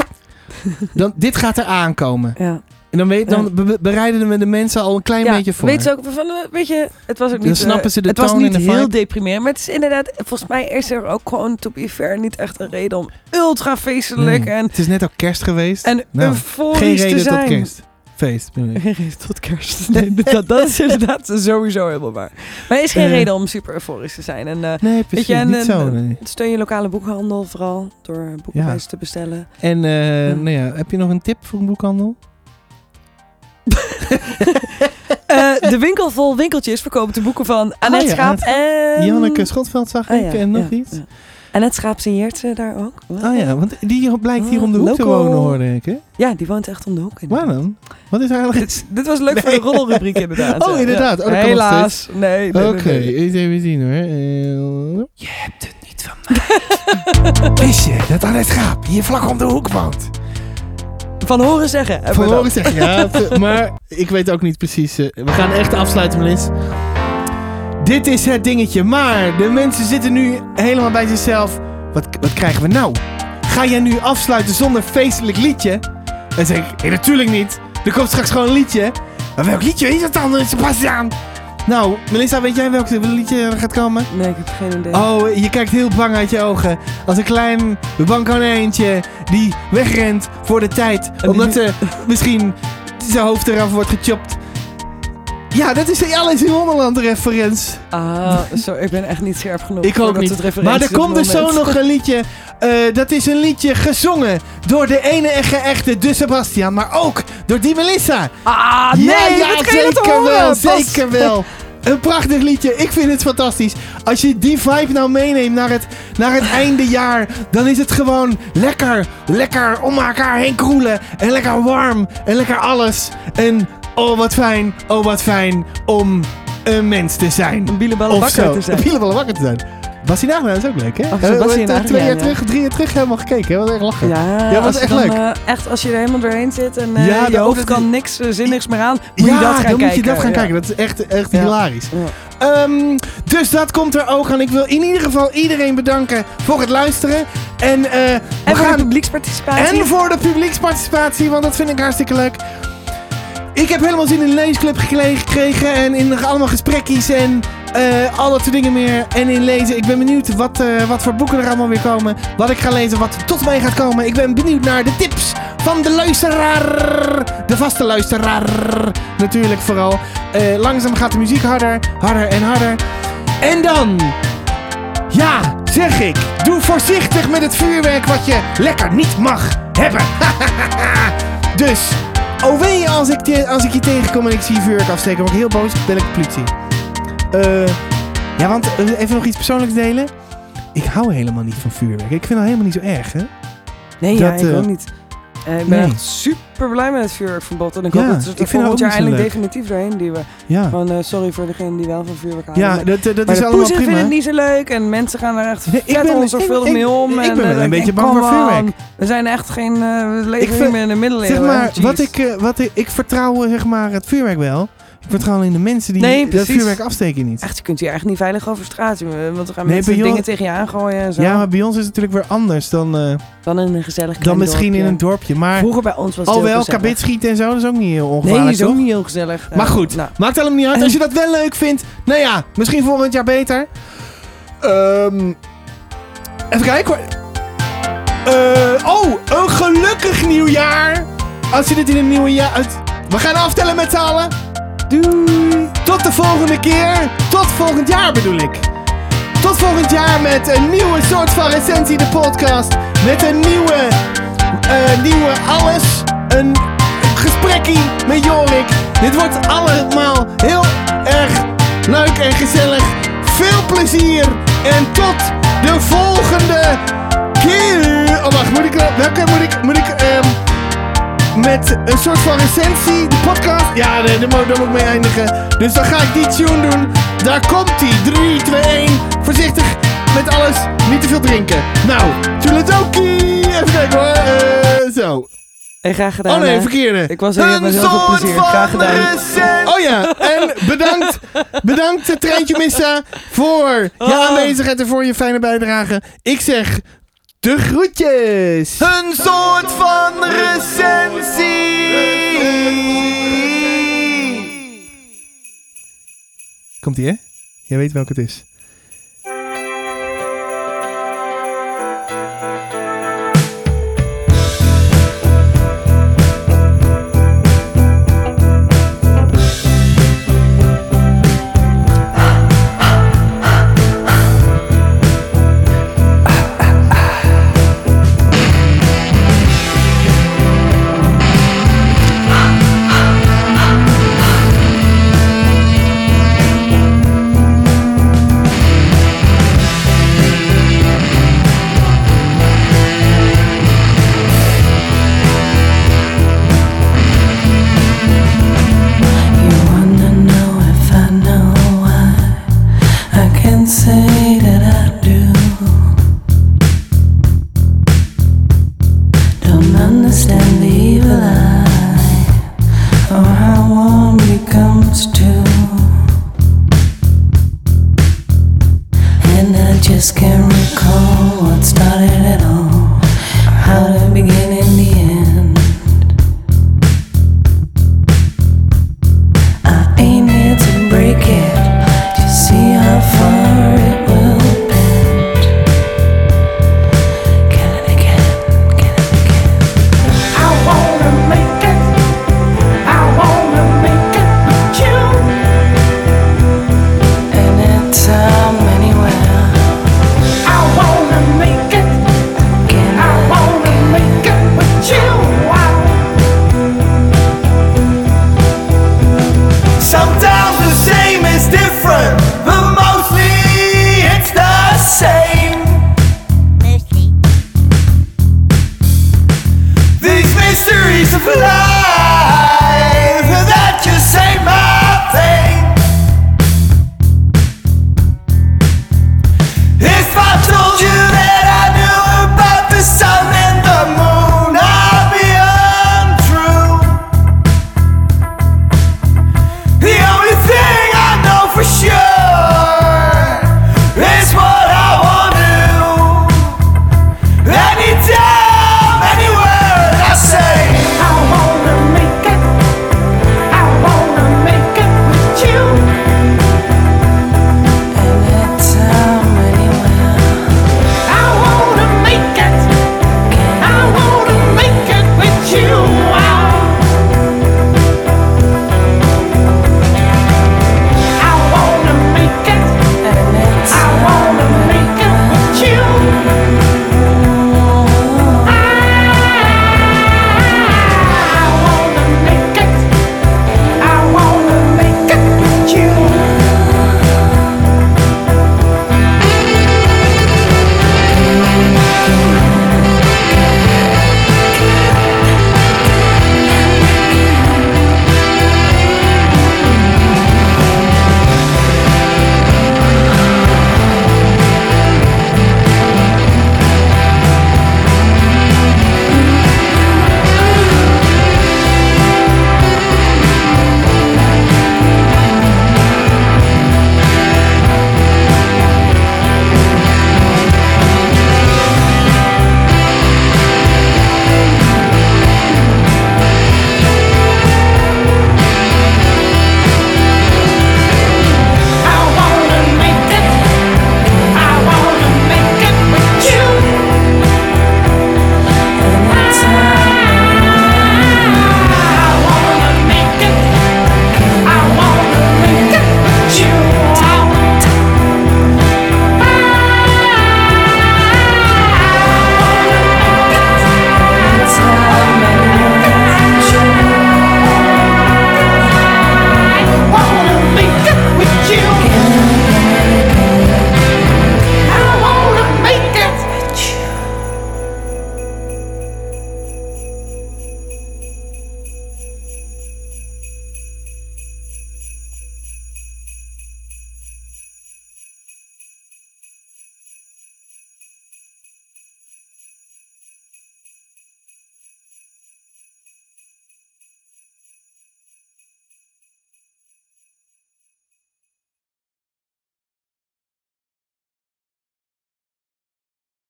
Speaker 1: dan dit gaat er aankomen.
Speaker 2: Ja.
Speaker 1: En dan, weet,
Speaker 2: Ja.
Speaker 1: dan be- be- bereiden we de mensen al een klein
Speaker 2: Ja,
Speaker 1: beetje voor.
Speaker 2: Weet ze ook van, eh, weet je, het was ook niet.
Speaker 1: Dan
Speaker 2: eh,
Speaker 1: snappen ze de
Speaker 2: Het was
Speaker 1: toon
Speaker 2: niet
Speaker 1: en de
Speaker 2: heel
Speaker 1: vibe.
Speaker 2: deprimerend, maar het is inderdaad. Volgens mij is er ook gewoon, to be fair, niet echt een reden om ultra feestelijk
Speaker 1: Nee,
Speaker 2: en
Speaker 1: het is net al kerst geweest.
Speaker 2: en
Speaker 1: Nou, Geen
Speaker 2: euforisch te
Speaker 1: reden tot
Speaker 2: zijn.
Speaker 1: kerstfeest. bedoel ik.
Speaker 2: Geen reden tot kerst. Nee, dat, dat is inderdaad sowieso helemaal waar. Maar er is geen
Speaker 1: Eh.
Speaker 2: reden om super euforisch te zijn. En eh,
Speaker 1: Nee, precies.
Speaker 2: je, en
Speaker 1: niet
Speaker 2: een-
Speaker 1: zo. nee.
Speaker 2: steun je lokale boekhandel vooral door boekwijs te bestellen.
Speaker 1: En eh,
Speaker 2: Ja.
Speaker 1: Nou ja, heb je nog een tip voor een boekhandel?
Speaker 2: Eh, de winkel vol winkeltjes verkoopt de boeken van Annette
Speaker 1: Ah, ja,
Speaker 2: Schaap en...
Speaker 1: Janneke Schotveld zag
Speaker 2: Ah,
Speaker 1: ik
Speaker 2: Ehm, ja,
Speaker 1: en nog
Speaker 2: ja,
Speaker 1: iets.
Speaker 2: ja. Annette Schaap signeert ze daar ook.
Speaker 1: Oh ja, want die hier- blijkt hier om de hoek te
Speaker 2: Local.
Speaker 1: wonen, hoorde ik. Hè?
Speaker 2: Ja, die woont echt om de hoek.
Speaker 1: Waar
Speaker 2: inderdaad.
Speaker 1: dan? Wat is eigenlijk...
Speaker 2: Dit, dit was leuk voor de roddelrubriek inderdaad.
Speaker 1: Oh,
Speaker 2: Ja.
Speaker 1: inderdaad. Oh, dat kan nog
Speaker 2: Helaas. Nee, nee, nee,
Speaker 1: Oké,
Speaker 2: nee.
Speaker 1: eens even zien hoor. Eh,
Speaker 4: Je hebt het niet van mij. Wist je dat aan het gaap hier vlak om de hoek woont?
Speaker 2: Van horen zeggen.
Speaker 1: Van
Speaker 2: hebben we Eh, dat.
Speaker 1: horen zeggen, ja. v- maar ik weet ook niet precies. eh, we gaan echt afsluiten, Melis. Dit is het dingetje. Maar de mensen zitten nu helemaal bij zichzelf. Wat, wat krijgen we nou? Ga jij nu afsluiten zonder feestelijk liedje? En zeg ik, hé, natuurlijk niet. Er komt straks gewoon een liedje. Maar welk liedje is dat dan, Sebastian? Nou, Melissa, weet jij welk liedje er gaat komen?
Speaker 2: Nee, ik heb geen idee.
Speaker 1: Oh, je kijkt heel bang uit je ogen. Als een klein bankonijntje die wegrent voor de tijd.
Speaker 2: die-
Speaker 1: Omdat ze misschien zijn hoofd eraf wordt gechopt. Ja, dat is de Alice in Wonderland referens.
Speaker 2: Ah, zo, ik ben echt niet scherp genoeg.
Speaker 1: Ik
Speaker 2: voor
Speaker 1: ook
Speaker 2: dat
Speaker 1: niet.
Speaker 2: soort referenties
Speaker 1: Maar er
Speaker 2: op
Speaker 1: komt
Speaker 2: het
Speaker 1: dus zo
Speaker 2: moment.
Speaker 1: nog een liedje. Eh, dat is een liedje gezongen door de ene en geëchte de Sebastian. Maar ook door die Melissa.
Speaker 2: Ah, nee,
Speaker 1: ja,
Speaker 2: wat kan je dat
Speaker 1: zeker
Speaker 2: horen?
Speaker 1: wel,
Speaker 2: Pas-
Speaker 1: zeker wel. Een prachtig liedje. Ik vind het fantastisch. Als je die vibe nou meeneemt naar het, naar het einde jaar, dan is het gewoon lekker, lekker om elkaar heen kroelen. En lekker warm en lekker alles. En oh wat fijn, oh wat fijn om een mens te zijn.
Speaker 2: Een bielenballenbakker te zijn.
Speaker 1: Bielen wakker te zijn. Bassie Nagel is ook leuk, hè?
Speaker 2: Oh, zo
Speaker 1: Eh,
Speaker 2: Bassie
Speaker 1: eh,
Speaker 2: Nagel,
Speaker 1: twee
Speaker 2: ja,
Speaker 1: jaar
Speaker 2: ja.
Speaker 1: terug, drie jaar terug helemaal gekeken. Hè? Wat echt lachen.
Speaker 2: Ja,
Speaker 1: Ja, was
Speaker 2: als je
Speaker 1: echt
Speaker 2: dan,
Speaker 1: leuk.
Speaker 2: eh, echt, als je er helemaal doorheen zit en eh,
Speaker 1: Ja,
Speaker 2: je
Speaker 1: dat-
Speaker 2: hoofd
Speaker 1: dat-
Speaker 2: kan niks eh, zinnigs meer aan, moet
Speaker 1: ja,
Speaker 2: je dat gaan
Speaker 1: dan
Speaker 2: kijken.
Speaker 1: moet je dat gaan
Speaker 2: Ja.
Speaker 1: kijken. Dat is echt, echt
Speaker 2: Ja.
Speaker 1: hilarisch. Ehm, dus dat komt er ook aan. Ik wil in ieder geval iedereen bedanken voor het luisteren. En, eh, we
Speaker 2: En voor de
Speaker 1: gaan-
Speaker 2: publieksparticipatie.
Speaker 1: en voor de publieksparticipatie, want dat vind ik hartstikke leuk. Ik heb helemaal zin in een leesclub gekle- gekregen en in nog allemaal gesprekjes en eh, al dat soort dingen meer. En in lezen. Ik ben benieuwd wat, eh, wat voor boeken er allemaal weer komen. Wat ik ga lezen, wat tot mij gaat komen. Ik ben benieuwd naar de tips van de luisteraar. De vaste luisteraar natuurlijk vooral. Eh, langzaam gaat de muziek harder, harder en harder. En dan, ja, zeg ik, doe voorzichtig met het vuurwerk wat je lekker niet mag hebben. dus, oh wee, als ik, te- als ik je tegenkom en ik zie vuurwerk afsteken, word ik heel boos, bel ik de politie. Eh, ja, want eh, even nog iets persoonlijks delen. Ik hou helemaal niet van vuurwerk. Ik vind dat helemaal niet zo erg, hè?
Speaker 2: Nee, ja,
Speaker 1: Dat,
Speaker 2: ik
Speaker 1: eh,
Speaker 2: ook niet. Eh, ik ben
Speaker 1: nee.
Speaker 2: echt super blij met het vuurwerkverbod. En ik
Speaker 1: Ja,
Speaker 2: hoop dat ze
Speaker 1: ik
Speaker 2: er
Speaker 1: vind
Speaker 2: volgend
Speaker 1: het
Speaker 2: jaar
Speaker 1: ook niet zo
Speaker 2: eindelijk
Speaker 1: leuk.
Speaker 2: definitief doorheen duwen.
Speaker 1: Ja,
Speaker 2: Van, eh, sorry voor degene die wel van vuurwerk houden.
Speaker 1: ja
Speaker 2: maar
Speaker 1: dat, eh, dat
Speaker 2: maar
Speaker 1: is
Speaker 2: de
Speaker 1: allemaal
Speaker 2: poezen
Speaker 1: prima.
Speaker 2: vinden het niet zo leuk. En mensen gaan er echt
Speaker 1: Nee, ik
Speaker 2: vet
Speaker 1: ben-
Speaker 2: onzorgvuldig
Speaker 1: ik-
Speaker 2: mee om.
Speaker 1: ik- ik
Speaker 2: en,
Speaker 1: ben
Speaker 2: eh,
Speaker 1: wel een
Speaker 2: ik
Speaker 1: beetje
Speaker 2: denk,
Speaker 1: bang voor
Speaker 2: come on,
Speaker 1: vuurwerk.
Speaker 2: We zijn echt geen... eh, we leven
Speaker 1: vind-
Speaker 2: niet meer in de middeleeuwen.
Speaker 1: Zeg maar,
Speaker 2: hè,
Speaker 1: wat
Speaker 2: jeez.
Speaker 1: ik, eh, wat ik, ik vertrouw eh, zeg maar, het vuurwerk wel. Ik vertrouw alleen de mensen die
Speaker 2: Nee,
Speaker 1: dat
Speaker 2: precies.
Speaker 1: vuurwerk afsteken niet.
Speaker 2: Echt, je kunt hier echt niet veilig over straat. eh, Want er gaan
Speaker 1: Nee,
Speaker 2: mensen
Speaker 1: bij jou-
Speaker 2: dingen tegen je aangooien en zo.
Speaker 1: Ja, maar bij ons is het natuurlijk weer anders dan, eh,
Speaker 2: Dan in een gezellig
Speaker 1: dan
Speaker 2: klein
Speaker 1: misschien in
Speaker 2: dorpje.
Speaker 1: een dorpje. Maar
Speaker 2: Vroeger bij ons was het heel
Speaker 1: alhoewel,
Speaker 2: gezellig.
Speaker 1: kabit schieten en zo, dat is ook niet heel
Speaker 2: Nee,
Speaker 1: ongevaarlijk,
Speaker 2: is ook
Speaker 1: toch?
Speaker 2: niet heel gezellig.
Speaker 1: Maar
Speaker 2: Eh,
Speaker 1: goed.
Speaker 2: nou,
Speaker 1: Maakt helemaal niet uit. Als je dat wel leuk vindt, nou ja, misschien volgend jaar beter. Ehm, even kijken hoor. Eh, oh, een gelukkig nieuwjaar. Als je dit in het nieuwe jaar... het- We gaan aftellen met z'n allen. Doei. Tot de volgende keer. Tot volgend jaar bedoel ik. Tot volgend jaar met een nieuwe soort van recensie, de podcast. Met een nieuwe, eh, nieuwe alles. Een gesprekkie met Jorik. Dit wordt allemaal heel erg leuk en gezellig. Veel plezier en tot de volgende keer. Oh wacht, moet ik, welke moet ik, moet ik, ehm, met een soort van recensie, de podcast. Ja, daar daar moet daar moet ik mee eindigen. Dus dan ga ik die tune doen. Daar komt ie. 3, 2, 1. Voorzichtig met alles. Niet te veel drinken. Nou, toedeledokie. Even kijken hoor. Eh, zo.
Speaker 2: En eh, graag gedaan.
Speaker 1: Oh nee,
Speaker 2: hè.
Speaker 1: verkeerde.
Speaker 2: Ik was er met heel veel plezier. Graag gedaan.
Speaker 1: Oh ja, en bedankt, bedankt Treintje Missa voor je aanwezigheid en voor je fijne bijdrage. Ik zeg de groetjes. Een soort van recensie. Komt ie hè? Jij weet welke het is.
Speaker 9: You wanna know if I know why I can't say that I do Don't understand the evil eye or how warm it comes to And I just can't recall what started it all How to begin and the